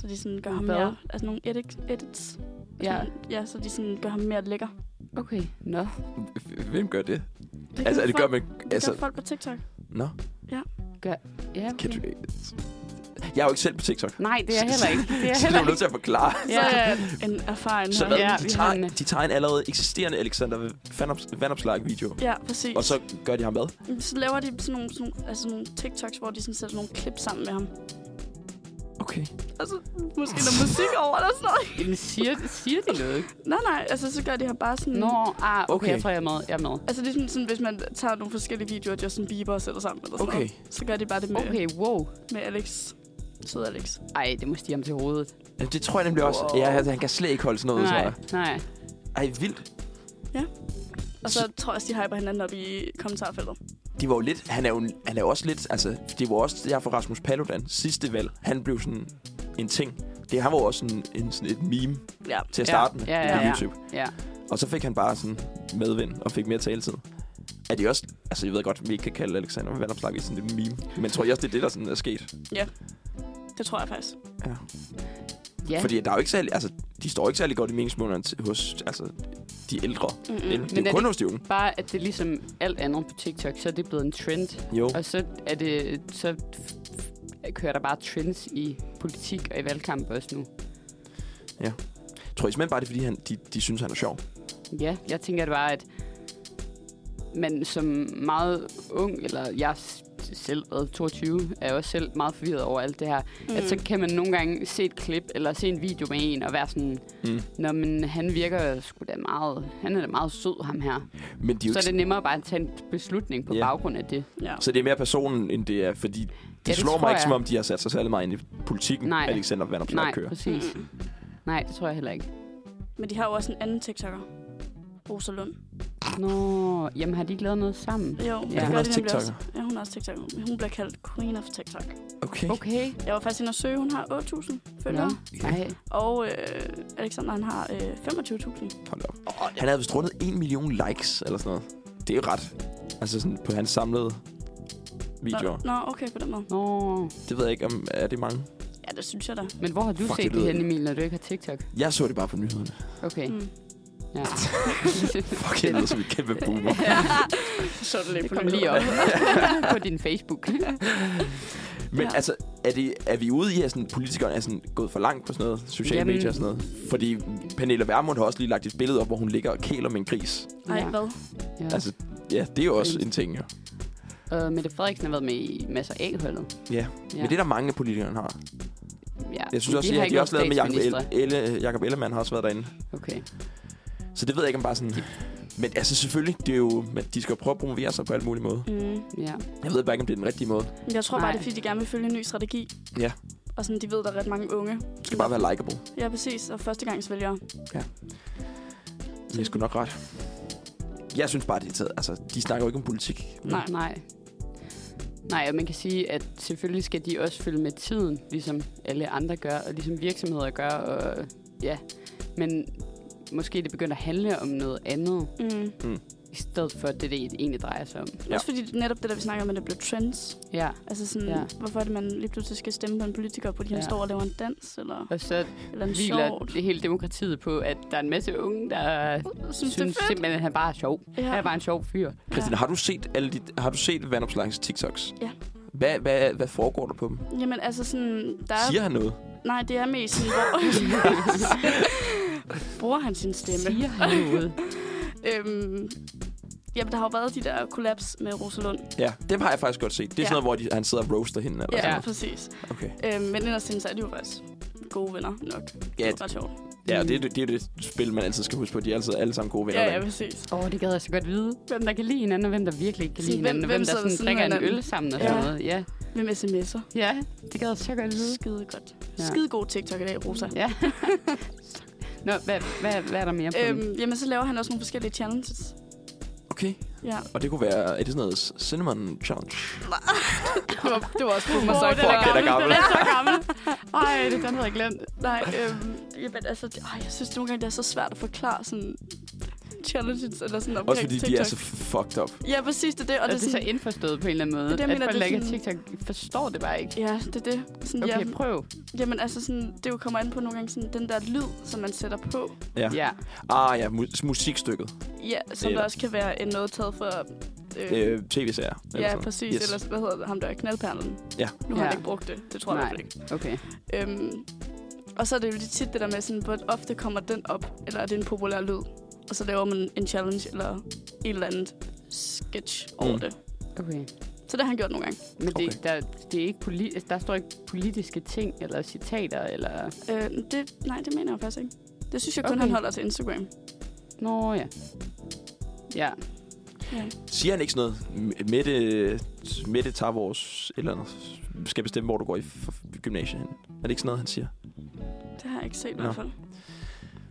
Speaker 1: Så de sådan gør ham
Speaker 3: Hvad?
Speaker 1: mere, altså nogle edit, edits.
Speaker 3: Ja,
Speaker 1: Sådan, ja, så de sådan gør ham mere lækker.
Speaker 3: okay. Nå.
Speaker 2: hvem gør det?
Speaker 1: Det
Speaker 2: Altså, er det gør
Speaker 1: folk,
Speaker 2: man...
Speaker 1: det altså... gør
Speaker 2: Altså,
Speaker 1: folk på TikTok.
Speaker 2: nå,
Speaker 3: Ja, okay.
Speaker 2: kan du... Jeg er jo ikke selv på TikTok,
Speaker 3: Nej, det er jeg heller ikke. Det er jeg
Speaker 2: så det er
Speaker 3: heller
Speaker 2: jo nødt
Speaker 3: ikke.
Speaker 2: til at forklare.
Speaker 1: Så
Speaker 3: Ja.
Speaker 1: er det en erfaring.
Speaker 2: Så
Speaker 1: her.
Speaker 2: hvad,
Speaker 3: Ja,
Speaker 2: ja, de,
Speaker 3: vi
Speaker 2: tager,
Speaker 3: har en-
Speaker 2: de tager en allerede eksisterende Alexander Vanops- Vanopslag-video,
Speaker 1: Ja, præcis.
Speaker 2: og så gør de ham hvad?
Speaker 1: så laver de sådan nogle, sådan nogle, altså nogle TikToks, hvor de sådan sætter nogle klip sammen med ham.
Speaker 2: Okay.
Speaker 1: Altså, måske noget musik over eller sådan noget.
Speaker 3: Jamen, siger, siger de noget?
Speaker 1: Nej, nej, altså så gør de her bare sådan...
Speaker 3: Nå, ah, okay,
Speaker 2: Okay.
Speaker 3: okay. jeg tror, jeg er med. Jeg er med.
Speaker 1: Altså det er sådan, sådan, hvis man tager nogle forskellige videoer af Justin Bieber og sætter sammen eller sådan
Speaker 2: Okay.
Speaker 1: noget, så gør de bare det med, okay.
Speaker 3: Okay, wow.
Speaker 1: med Alex. Sød Alex.
Speaker 3: Ej, det må stige ham til hovedet.
Speaker 2: Jamen, det tror jeg nemlig også. Ja, altså, han kan slet ikke holde sådan noget, tror
Speaker 3: Nej,
Speaker 2: jeg.
Speaker 3: nej.
Speaker 2: Ej, vildt.
Speaker 1: Og så tror jeg også, de hyper hinanden op i kommentarfeltet.
Speaker 2: De var jo lidt, han er jo, han er jo også lidt, altså, det var også derfor Rasmus Paludan sidste valg, han blev sådan en ting. Det han var jo også en, en, sådan et meme
Speaker 1: Ja.
Speaker 2: til at
Speaker 3: Ja,
Speaker 2: starte med
Speaker 3: ja, ja,
Speaker 2: på
Speaker 3: ja.
Speaker 2: YouTube.
Speaker 3: Ja.
Speaker 2: Og så fik han bare sådan medvind og fik mere taletid. Er det også, altså jeg ved godt, vi ikke kan kalde Alexander Vandopslag sådan et meme, men tror jeg også, det er det, der sådan er sket?
Speaker 1: Det tror jeg faktisk.
Speaker 2: Ja.
Speaker 3: ja.
Speaker 2: Fordi der er jo ikke særlig, altså, de står ikke særlig godt i meningsmålerne til, hos altså, de ældre.
Speaker 1: Mm-mm.
Speaker 2: Det, det
Speaker 3: Mm, Men
Speaker 2: er
Speaker 3: er
Speaker 2: jo kun
Speaker 3: det-
Speaker 2: hos de unge.
Speaker 3: Bare at det er ligesom alt andet på TikTok, så er det blevet en trend.
Speaker 2: Jo.
Speaker 3: Og så er det, så f- f- kører der bare trends i politik og i valgkamp også nu.
Speaker 2: Tror I simpelthen bare, det er, fordi han, de, de synes, han er sjov?
Speaker 3: Ja, jeg tænker det bare, at man som meget ung, eller jeg har s- selv været 22, er også selv meget forvirret over alt det her. Mm.
Speaker 1: Altså,
Speaker 3: At så kan man nogle gange se et klip, eller se en video med en, og være sådan,
Speaker 2: Mm.
Speaker 3: Nå, men han virker sgu da meget, han er da meget sød, ham her.
Speaker 2: Men de er jo
Speaker 3: Så er
Speaker 2: ikke
Speaker 3: det nemmere bare at tage en beslutning på
Speaker 2: Ja.
Speaker 3: yeah. baggrund af det.
Speaker 1: Ja.
Speaker 2: Så det er mere personen, end det er, fordi det,
Speaker 3: det
Speaker 2: slår
Speaker 3: tror
Speaker 2: mig ikke, som
Speaker 3: jeg.
Speaker 2: om de har sat sig særlig meget ind i politikken, Nej.
Speaker 3: Nej.
Speaker 2: Alexander Vandopslag
Speaker 3: Nej,
Speaker 2: kører.
Speaker 3: præcis.
Speaker 1: Mm.
Speaker 3: Nej, det tror jeg heller ikke.
Speaker 1: Men de har jo også en anden TikToker. Rosa Lund.
Speaker 3: Nå, jamen har de ikke lavet noget sammen?
Speaker 1: Jo,
Speaker 3: Er hun
Speaker 1: gør
Speaker 2: også
Speaker 1: de nemlig
Speaker 2: TikToker?
Speaker 1: Også. Ja, hun er også TikToker. Hun bliver kaldt Queen of TikTok.
Speaker 2: Okay. okay.
Speaker 3: Okay.
Speaker 1: Jeg var faktisk inde og søge. Hun har 8.000
Speaker 3: Nå,
Speaker 1: følgere.
Speaker 3: nej.
Speaker 1: Og øh, Alexander, han har øh, 25.000.
Speaker 2: Hold op. Han havde vist rundet 1 million likes, eller sådan noget. Det er jo ret. Altså sådan på hans samlede videoer.
Speaker 1: Nå, nå, okay, på den måde.
Speaker 3: Nå.
Speaker 2: Det ved jeg ikke, om er det mange.
Speaker 1: Ja, det synes jeg da.
Speaker 3: Men hvor har du
Speaker 2: Fuck,
Speaker 3: Fuck set
Speaker 2: det
Speaker 3: det,
Speaker 2: lyder-
Speaker 3: det henne, Emil, når du ikke har TikTok?
Speaker 2: Jeg så det bare på nyhederne.
Speaker 3: Okay,
Speaker 1: Mm.
Speaker 3: ja.
Speaker 2: Fuck, jeg lyder som et kæmpe boomer.
Speaker 1: Så det
Speaker 3: Det
Speaker 1: lidt på
Speaker 3: kom lige op på din Facebook.
Speaker 2: Men
Speaker 1: Ja.
Speaker 2: altså, er, det, er vi ude i, at sådan, politikerne er sådan, gået for langt på sådan noget? Sociale
Speaker 3: Jamen.
Speaker 2: medier og sådan noget? Fordi Pernille Vermund har også lige lagt et billede op, hvor hun ligger og kæler med en gris.
Speaker 1: Ej,
Speaker 3: Ja.
Speaker 1: hvad?
Speaker 3: Ja.
Speaker 2: Ja. Altså, ja, det er jo også en ting, jo.
Speaker 3: Og Mette Frederiksen har været med i masser af A-holdet.
Speaker 2: Ja,
Speaker 3: Ja.
Speaker 2: men det er der mange af politikerne har.
Speaker 3: ja.
Speaker 2: Jeg synes
Speaker 3: Men
Speaker 2: også,
Speaker 3: de
Speaker 2: lige, at
Speaker 3: har
Speaker 2: de
Speaker 3: ikke
Speaker 2: har også lavet
Speaker 3: nogen
Speaker 2: med Jacob,
Speaker 3: statsminister.
Speaker 2: Elle, Elle, Jacob Ellemann har også været derinde.
Speaker 3: Okay.
Speaker 2: Så det ved jeg ikke, om bare sådan... Men altså selvfølgelig, det er jo, men de skal jo prøve at promovere sig på alle mulige måder.
Speaker 1: Mm.
Speaker 3: Ja.
Speaker 2: Jeg ved bare ikke, om det er den rigtige måde.
Speaker 1: Men Jeg tror bare,
Speaker 3: Nej.
Speaker 1: det er, fordi de gerne vil følge en ny strategi.
Speaker 2: Ja.
Speaker 1: Og sådan, de ved, der er ret mange unge.
Speaker 2: Det skal bare være likable.
Speaker 1: Ja, præcis. Og førstegangsvælgere.
Speaker 2: Det er sgu nok ret. Jeg synes bare, det er taget. Altså, de snakker jo ikke om politik.
Speaker 1: Nej.
Speaker 3: Nej. Nej, og man kan sige, at selvfølgelig skal de også følge med tiden, ligesom alle andre gør, og ligesom virksomheder gør, og ja. Men måske det begynder at handle om noget andet,
Speaker 1: Mm.
Speaker 3: i stedet for det, det egentlig drejer sig om.
Speaker 1: Ja. Også fordi det- netop det, der vi snakker om, at det blev trends.
Speaker 3: Ja,
Speaker 1: Altså sådan, ja.
Speaker 3: Ja.
Speaker 1: hvorfor er det, man lige pludselig skal stemme på en politiker, fordi han
Speaker 3: Ja.
Speaker 1: står og laver en dans, eller,
Speaker 3: og så
Speaker 1: eller en
Speaker 3: hviler
Speaker 1: sjovt.
Speaker 3: det hele demokratiet på, at der er en masse unge, der
Speaker 1: Synes,
Speaker 3: synes,
Speaker 1: det er
Speaker 3: synes
Speaker 1: fedt.
Speaker 3: simpelthen, at han bare er sjov.
Speaker 1: Ja.
Speaker 3: Ja. Han er bare en sjov fyr.
Speaker 2: Christina, har du set, alle de, har du set Vandopslags TikToks?
Speaker 1: Ja.
Speaker 2: Hvad, hvad, hvad foregår der på dem?
Speaker 1: Jamen altså sådan, der er...
Speaker 2: Siger han noget?
Speaker 1: Nej, det er mest sådan, hvor... Bruger han sin stemme?
Speaker 3: Siger han noget?
Speaker 1: Øhm, jamen, der har jo været de der kollaps med Rosalund.
Speaker 2: Ja, dem har jeg faktisk godt set. Det er
Speaker 1: Ja.
Speaker 2: sådan noget, hvor de, han sidder og roaster hende. Eller
Speaker 1: Ja,
Speaker 2: sådan
Speaker 1: ja.
Speaker 3: Ja.
Speaker 1: præcis.
Speaker 2: noget. Okay.
Speaker 1: Øhm, men ellers sådan, så er de jo faktisk gode venner nok.
Speaker 2: Ja,
Speaker 1: Det er ret sjovt.
Speaker 2: ja og det, er det, det er jo det spil, man altid skal huske på. De er altid alle sammen gode venner.
Speaker 1: Mm. Ja, ja,
Speaker 2: derinde.
Speaker 1: præcis.
Speaker 3: Åh, oh, det gad jeg så godt vide. Hvem der kan lide hinanden, og hvem der virkelig ikke kan lide
Speaker 1: Sådan, hvem-
Speaker 3: hinanden. og
Speaker 1: hvem
Speaker 3: Hvem, der
Speaker 1: sidder ved
Speaker 3: sådan
Speaker 1: siden af
Speaker 3: drikker en
Speaker 1: hinanden?
Speaker 3: øl sammen og sådan
Speaker 1: Ja.
Speaker 3: noget. Ja.
Speaker 1: Hvem sms'er?
Speaker 3: ja, det gad jeg så godt vide.
Speaker 1: Skide godt.
Speaker 3: Ja.
Speaker 1: Skide god TikTok i dag, Rosa.
Speaker 3: Ja. Nå, hvad, hvad, hvad er der mere på øhm,
Speaker 1: Øhm, jamen, så laver han også nogle forskellige challenges.
Speaker 2: Okay.
Speaker 1: Ja.
Speaker 2: Og det kunne være, er det sådan noget cinnamon challenge?
Speaker 3: Det var, det var også Boomer
Speaker 1: Åh,
Speaker 3: Sock.
Speaker 1: den er
Speaker 2: Fuck, den er
Speaker 1: gammel. Den
Speaker 2: gammel.
Speaker 1: er så gammel. Ej, det er den, havde jeg glemt. Nej, øhm, jamen, altså, det, ej, jeg synes nogle gange, det er så svært at forklare sådan challenges eller sådan omkring
Speaker 2: Også fordi
Speaker 1: TikTok.
Speaker 2: de er så fucked up.
Speaker 1: Ja, præcis, det er det. Og
Speaker 3: Og
Speaker 1: det er
Speaker 3: så
Speaker 1: sådan,
Speaker 3: indforstået på en eller anden måde.
Speaker 1: Det er det, jeg
Speaker 3: at
Speaker 1: mener,
Speaker 3: folk, der
Speaker 1: det er
Speaker 3: ikke er TikTok, forstår det bare ikke.
Speaker 1: ja, det er det. Sådan,
Speaker 3: Okay,
Speaker 1: ja,
Speaker 3: prøv.
Speaker 1: jamen, altså, sådan, det jo kommer an på nogle gange sådan, den der lyd, som man sætter på.
Speaker 2: Ja.
Speaker 3: Ja.
Speaker 2: Ah ja, mu- musikstykket.
Speaker 1: Ja, som
Speaker 2: Eller-
Speaker 1: der også kan være en noget taget fra... Øh,
Speaker 2: Øh, tv-serier. eller
Speaker 1: ja,
Speaker 2: sådan.
Speaker 1: præcis. Yes. Ellers, hvad hedder det? Ham, der er knaldperlen.
Speaker 2: Ja.
Speaker 1: Nu har
Speaker 3: Ja.
Speaker 1: han ikke brugt det. Det tror jeg i
Speaker 3: Nej.
Speaker 1: hvert fald ikke.
Speaker 3: Okay.
Speaker 1: Øhm, og så er det jo lidt tit det der med, sådan, hvor ofte kommer den op, eller er det en populær lyd? Og så laver man en challenge eller et eller andet sketch over
Speaker 2: Mm.
Speaker 1: mm. det.
Speaker 3: okay.
Speaker 1: Så det har han gjort nogle gange.
Speaker 3: Men det,
Speaker 2: Okay.
Speaker 3: okay. Der, det er ikke poli- altså, der står ikke politiske ting eller citater eller...
Speaker 1: Øh, det, nej, det mener jeg faktisk ikke. Det synes jeg kun,
Speaker 3: Okay.
Speaker 1: okay. han holder til Instagram.
Speaker 3: Nå ja. Ja.
Speaker 1: Ja.
Speaker 2: Siger han ikke sådan noget? M- Mette, Mette tager vores et eller andet. Skal bestemme, hvor du går i f- f- gymnasiet hen. Er det ikke sådan noget, han siger?
Speaker 1: Det har jeg ikke set i
Speaker 2: Nå.
Speaker 1: hvert fald.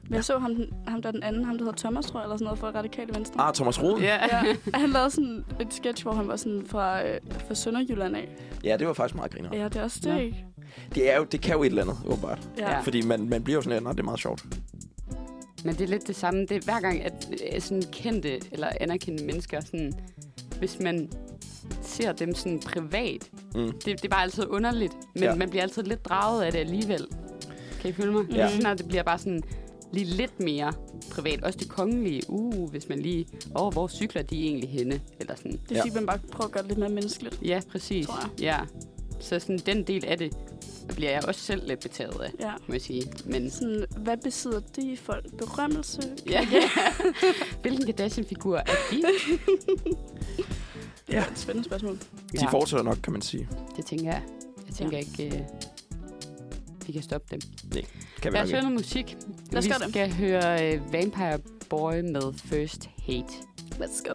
Speaker 1: Men jeg så ham, den- ham der er den anden, ham der hedder Thomas, tror jeg, eller sådan noget, fra Radikale Venstre.
Speaker 2: Ah, Thomas Roden?
Speaker 3: Ja.
Speaker 1: Ja, og han lavede sådan et sketch, hvor han var sådan fra, øh, fra Sønderjylland af.
Speaker 2: Ja, det var faktisk meget griner.
Speaker 1: Ja, det er også det,
Speaker 3: Nå.
Speaker 1: ikke?
Speaker 2: Det, er jo, det kan jo et eller andet, åbenbart.
Speaker 1: Ja.
Speaker 3: Ja.
Speaker 1: ja.
Speaker 2: Fordi man, man bliver jo sådan lidt, "Nå, det er meget sjovt.
Speaker 3: Men det er lidt det samme. Det er hver gang, at øh, sådan kendte eller anerkendte mennesker, sådan, hvis man ser dem sådan privat,
Speaker 2: Mm.
Speaker 3: det, det er bare altid underligt. Men
Speaker 2: Ja.
Speaker 3: ja. man bliver altid lidt draget af det alligevel. Kan I følge mig?
Speaker 2: Ja.
Speaker 3: Ja. Lige snart det bliver bare sådan lige lidt mere privat. Også det kongelige. Uh, hvis man lige... Åh, oh, hvor cykler de egentlig henne? Eller sådan.
Speaker 1: Det er
Speaker 2: Ja.
Speaker 1: fordi, man bare prøver at gøre det lidt mere menneskeligt.
Speaker 3: Ja, præcis.
Speaker 1: Tror jeg.
Speaker 3: Ja. Så sådan den del af det bliver jeg også selv lidt betaget af,
Speaker 1: Ja.
Speaker 3: må jeg sige. Men
Speaker 1: Sådan, hvad besidder de folk? Berømmelse?
Speaker 3: ja. Hvilken Kardashian-figur er de?
Speaker 1: Det er et spændende spørgsmål.
Speaker 2: Ja. De fortsætter nok, kan man sige.
Speaker 3: Det tænker jeg. Jeg tænker ja. ikke, øh, vi kan stoppe dem.
Speaker 2: Kan vi
Speaker 3: Lad
Speaker 2: nok
Speaker 3: os høre
Speaker 2: ikke.
Speaker 3: noget musik.
Speaker 1: Lad os
Speaker 3: vi
Speaker 1: gøre det.
Speaker 3: skal høre øh, Vampire Boy med First Hate.
Speaker 1: Let's go.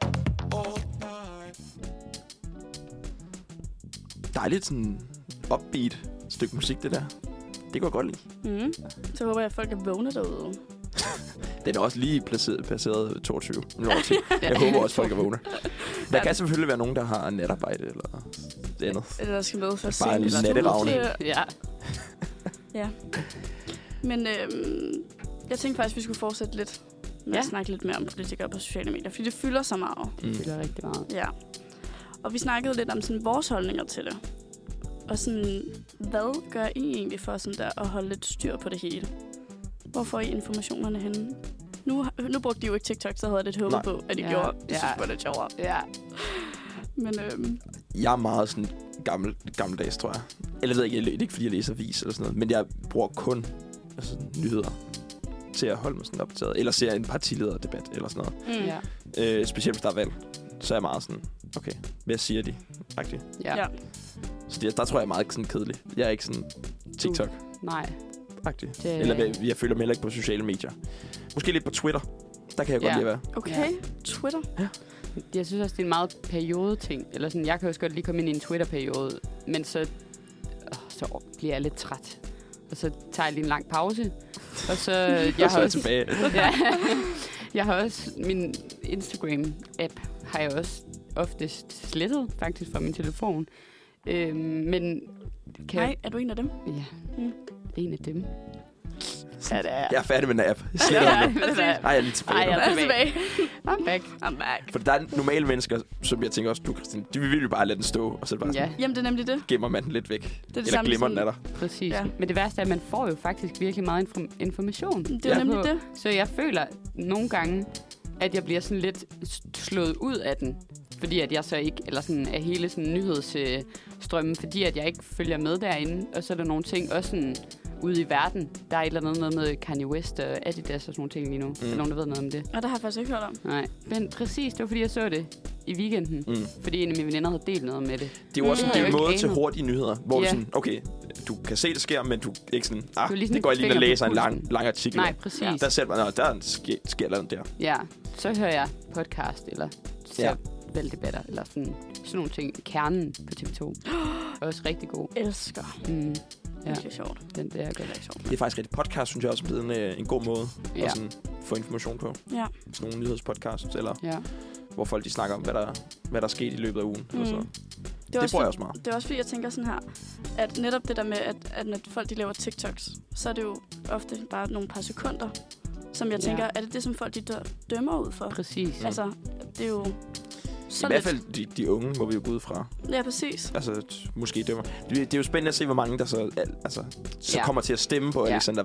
Speaker 2: Dejligt sådan upbeat stykke musik, det der. Det kunne jeg godt lide.
Speaker 1: Mm. Så håber jeg, at folk er vågne derude.
Speaker 2: Den er også lige placeret, placeret 22. Nu over 10. Jeg håber også, folk er vågne. Der kan selvfølgelig være nogen, der har natarbejde eller det andet.
Speaker 1: Eller der skal med for
Speaker 2: Bare en
Speaker 1: sent i studie.
Speaker 2: natteravne.
Speaker 3: Ja.
Speaker 1: Men øhm, jeg tænkte faktisk, at vi skulle fortsætte lidt med ja. at
Speaker 3: Ja.
Speaker 1: snakke lidt mere om politikere på sociale medier, fordi det fylder så meget.
Speaker 3: Det
Speaker 2: Mm.
Speaker 3: fylder rigtig meget.
Speaker 1: Ja. Og vi snakkede lidt om sådan, vores holdninger til det. Og sådan, hvad gør I egentlig for sådan der, at holde lidt styr på det hele? Hvor får I informationerne henne? Nu, nu brugte de jo ikke TikTok, så havde jeg lidt håbet
Speaker 2: Nej.
Speaker 1: på, at I
Speaker 3: Ja,
Speaker 1: ja, gjorde. Det
Speaker 3: ja.
Speaker 1: ja. synes jeg var lidt sjovere.
Speaker 3: Ja.
Speaker 1: Men øhm,
Speaker 2: Jeg er meget sådan gammel, gammeldags, tror jeg. Eller jeg ved ikke, jeg, læ- det er ikke fordi, jeg læser avis eller sådan noget, men jeg bruger kun altså, nyheder til at holde mig sådan opdateret. Eller ser en partilederdebat eller sådan noget.
Speaker 1: mm,
Speaker 3: Ja.
Speaker 1: ja.
Speaker 2: Øh, specielt hvis der er valg, så er jeg meget sådan, okay, hvad siger de? Agtigt.
Speaker 3: ja. ja.
Speaker 1: Ja.
Speaker 2: Så det, der tror jeg er meget sådan kedelig. Jeg er ikke sådan TikTok-agtig.
Speaker 3: Nej. Det,
Speaker 2: Eller hvad- jeg føler mig heller ikke på sociale medier. Måske lidt på Twitter. Der kan jeg godt
Speaker 3: Ja.
Speaker 2: lide at være.
Speaker 1: Okay, Twitter.
Speaker 3: Jeg synes også, det er en meget periodeting. Eller sådan, jeg kan også godt lige komme ind i en Twitter-periode, men så, åh, så bliver jeg lidt træt. Og så tager jeg lige en lang pause. Og så, jeg
Speaker 2: Og så
Speaker 3: har
Speaker 2: er jeg
Speaker 3: også,
Speaker 2: tilbage.
Speaker 3: ja, jeg har også min Instagram-app, har jeg også oftest slettet faktisk fra min telefon. Øhm, men kan
Speaker 1: Nej, er du en af dem?
Speaker 3: Ja,
Speaker 1: Mm.
Speaker 3: en af dem. Ja, det er
Speaker 2: Jeg er færdig med den app. Slet
Speaker 3: Ja,
Speaker 2: ikke.
Speaker 3: det er-
Speaker 2: Ej, jeg er lige tilbage.
Speaker 3: Ej,
Speaker 2: nu.
Speaker 3: jeg er tilbage.
Speaker 1: tilbage.
Speaker 3: I'm back.
Speaker 1: I'm back.
Speaker 2: For der er normale mennesker, som jeg tænker også, du Christine, de vil jo bare lade den stå, og så er det bare
Speaker 3: Ja.
Speaker 2: sådan,
Speaker 1: Jamen, det er nemlig det.
Speaker 2: gemmer man den lidt væk.
Speaker 1: Det er det
Speaker 2: Eller
Speaker 1: samme
Speaker 2: glemmer
Speaker 1: som-
Speaker 2: den af dig.
Speaker 3: Præcis.
Speaker 1: Ja.
Speaker 3: Ja. Men det værste er, at man får jo faktisk virkelig meget inform- information.
Speaker 1: Det er
Speaker 2: Ja.
Speaker 1: ja. nemlig det.
Speaker 3: Så jeg føler nogle gange, at jeg bliver sådan lidt s- slået ud af den. Fordi at jeg så ikke, eller sådan af hele sådan nyhedsstrømmen, fordi at jeg ikke følger med derinde. Og så er der nogle ting også sådan ude i verden. Der er et eller andet noget med Kanye West og Adidas og sådan nogle ting lige nu. Mm. Er der nogen, der ved noget om det?
Speaker 1: Og det har jeg faktisk ikke hørt om.
Speaker 3: Nej. Men præcis, det var fordi, jeg så det i weekenden.
Speaker 2: Mm.
Speaker 3: Fordi en af mine veninder havde delt noget med det.
Speaker 2: Det er jo også
Speaker 3: Mm.
Speaker 2: det er
Speaker 3: Jeg
Speaker 2: en
Speaker 3: er jo
Speaker 2: måde
Speaker 3: ikke
Speaker 2: til
Speaker 3: anet.
Speaker 2: hurtige nyheder, hvor
Speaker 3: Ja.
Speaker 2: yeah. sådan, okay, du kan se, det sker, men du er ikke sådan, ah,
Speaker 3: Du er lige sådan
Speaker 2: det går jeg lige ind og
Speaker 3: finger på
Speaker 2: læser en lang,
Speaker 3: pulsen."
Speaker 2: lang artikel.
Speaker 3: Nej,
Speaker 2: om."
Speaker 3: præcis.
Speaker 2: Der ser man, "Nå, der sker, sker noget der.
Speaker 3: Ja, så hører jeg podcast, eller ser
Speaker 2: Ja.
Speaker 3: ja. valgdebatter, eller sådan, sådan nogle ting. Kernen på TV2 er også rigtig god.
Speaker 1: Elsker.
Speaker 3: Mm,
Speaker 1: Ja.
Speaker 3: Ja.
Speaker 1: Det er sjovt.
Speaker 3: den der er godt. Mm.
Speaker 1: Det er sjovt.
Speaker 2: Det er faktisk rigtig podcast, synes jeg også er blevet en, øh, en god måde at
Speaker 3: Ja.
Speaker 2: sådan, få information på.
Speaker 1: Ja.
Speaker 2: Sådan nogle nyhedspodcasts, eller
Speaker 3: Ja.
Speaker 2: hvor folk de snakker om, hvad der, hvad der er sket i løbet af ugen. Mm.
Speaker 1: Mm.
Speaker 2: Og så.
Speaker 1: Det, er
Speaker 2: Det bruger jeg
Speaker 1: for-
Speaker 2: også meget.
Speaker 1: Det er også fordi, jeg tænker sådan her, at netop det der med, at, at når folk de laver TikToks, så er det jo ofte bare nogle par sekunder, som jeg
Speaker 3: Ja.
Speaker 1: tænker, er det det, som folk de dø- dømmer ud for?
Speaker 3: Præcis.
Speaker 1: Mm. Altså, det er jo
Speaker 2: I
Speaker 1: så
Speaker 2: hvert
Speaker 1: lidt.
Speaker 2: fald de, de unge, må vi jo gå ud fra.
Speaker 1: Ja, præcis.
Speaker 2: Altså, t- måske dømmer. Det, det er jo spændende at se, hvor mange, der så, al- altså, så
Speaker 3: Ja.
Speaker 2: ja. kommer til at stemme på
Speaker 3: Ja.
Speaker 2: Alexander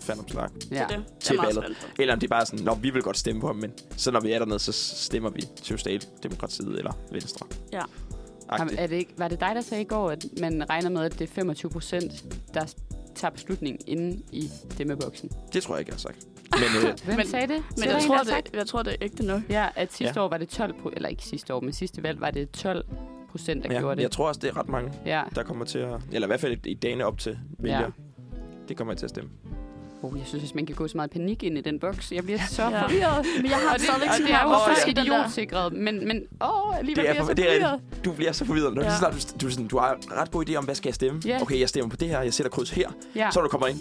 Speaker 2: Fandomslag.
Speaker 1: Ja. Det er det. Det er
Speaker 2: Til
Speaker 1: meget
Speaker 2: valget.
Speaker 1: spændt på.
Speaker 2: Eller om det er bare sådan, Nå, vi vil godt stemme på ham, men så når vi er dernede, så stemmer vi til Socialdemokratiet eller Venstre.
Speaker 1: Ja.
Speaker 3: Jamen,
Speaker 2: Agtigt.
Speaker 3: Er det ikke, var det dig, der sagde i går, at man regner med, at det er 25 procent, der tager beslutningen inde i stemmeboksen?
Speaker 2: Det tror jeg ikke, jeg har sagt. Men øh,
Speaker 3: Hvem men,
Speaker 1: Men-
Speaker 3: sagde det?
Speaker 1: Men jeg tror, det, jeg tror, det er ægte nok.
Speaker 3: Ja, at sidste ja.
Speaker 2: Ja.
Speaker 3: år var det 12 pro- eller ikke sidste år, men sidste valg var det 12 procent, der ja, gjorde
Speaker 2: ja,
Speaker 3: det.
Speaker 2: jeg tror også, det er ret mange,
Speaker 3: Ja.
Speaker 2: der kommer til at... Eller i hvert fald i dagene op til vælger. Ja. Det kommer jeg til at stemme.
Speaker 3: Oh, jeg synes, at man kan gå så meget panik ind i den boks. Jeg bliver så
Speaker 1: Ja.
Speaker 3: forvirret.
Speaker 1: Men jeg har
Speaker 3: Og det,
Speaker 1: stadigvæk
Speaker 3: og
Speaker 1: sådan
Speaker 3: det er
Speaker 1: her,
Speaker 3: jo
Speaker 1: hvorfor
Speaker 3: også
Speaker 1: skal den der-
Speaker 3: idiotsikret, men, men åh, alligevel
Speaker 2: Det
Speaker 3: bliver
Speaker 2: er,
Speaker 3: jeg
Speaker 2: for,
Speaker 3: så
Speaker 2: det er
Speaker 3: forvirret.
Speaker 2: rigtigt. Du bliver så forvirret. Når ja.
Speaker 1: Ja.
Speaker 2: så snart du, du, er sådan, du har ret god idé om, hvad skal jeg stemme?
Speaker 3: Ja.
Speaker 2: Okay, jeg stemmer på det her, jeg sætter kryds her.
Speaker 3: Ja.
Speaker 2: Ja. Så når du kommer ind.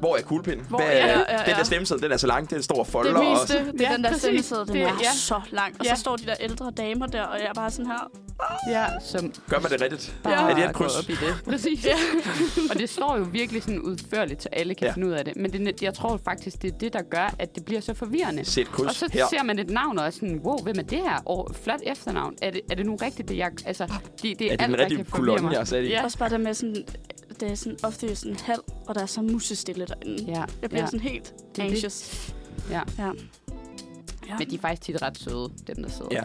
Speaker 2: Hvor er kuglepinden?
Speaker 1: Hvor-
Speaker 2: Hvad,
Speaker 1: ja, ja, ja,
Speaker 2: Den
Speaker 1: ja.
Speaker 2: der stemmeseddel, den er så lang, den står og folder.
Speaker 1: Det meste,
Speaker 2: Og,
Speaker 1: det er
Speaker 3: Ja,
Speaker 1: ja, den der
Speaker 3: præcis.
Speaker 1: sendesæde, den
Speaker 3: Det-
Speaker 1: er
Speaker 3: ja.
Speaker 1: så lang. Og
Speaker 3: Ja.
Speaker 1: så står de der ældre damer der, og jeg er bare sådan her.
Speaker 3: ja, som
Speaker 2: gør man det rigtigt?
Speaker 3: bare
Speaker 2: Er det et kryds?
Speaker 3: går op i det. Præcis. ja. og det står jo virkelig sådan udførligt, så alle kan ja.
Speaker 2: Ja.
Speaker 3: finde ud af det. Men det, er net- jeg tror faktisk, det er det, der gør, at det bliver så forvirrende.
Speaker 2: Sæt kryds
Speaker 3: Og så
Speaker 2: her.
Speaker 3: ser man et navn og er sådan, wow, hvem er det her? Og flot efternavn. Er det, er det nu rigtigt, det jeg... Altså, det, det er,
Speaker 2: Er det
Speaker 3: alt,
Speaker 2: den
Speaker 3: der
Speaker 2: rigtige
Speaker 3: kan forvirre
Speaker 2: kolonne,
Speaker 3: mig.
Speaker 2: jeg har sat i?
Speaker 3: Ja.
Speaker 1: Også bare der med sådan, det er sådan ofte sådan halv, og der er så musestille derinde.
Speaker 3: Ja,
Speaker 1: Jeg bliver
Speaker 3: ja.
Speaker 1: ja. sådan helt
Speaker 3: det.
Speaker 1: anxious.
Speaker 3: Ja.
Speaker 1: Ja. ja.
Speaker 3: Men de er faktisk tit ret søde, dem der sidder.
Speaker 2: Ja.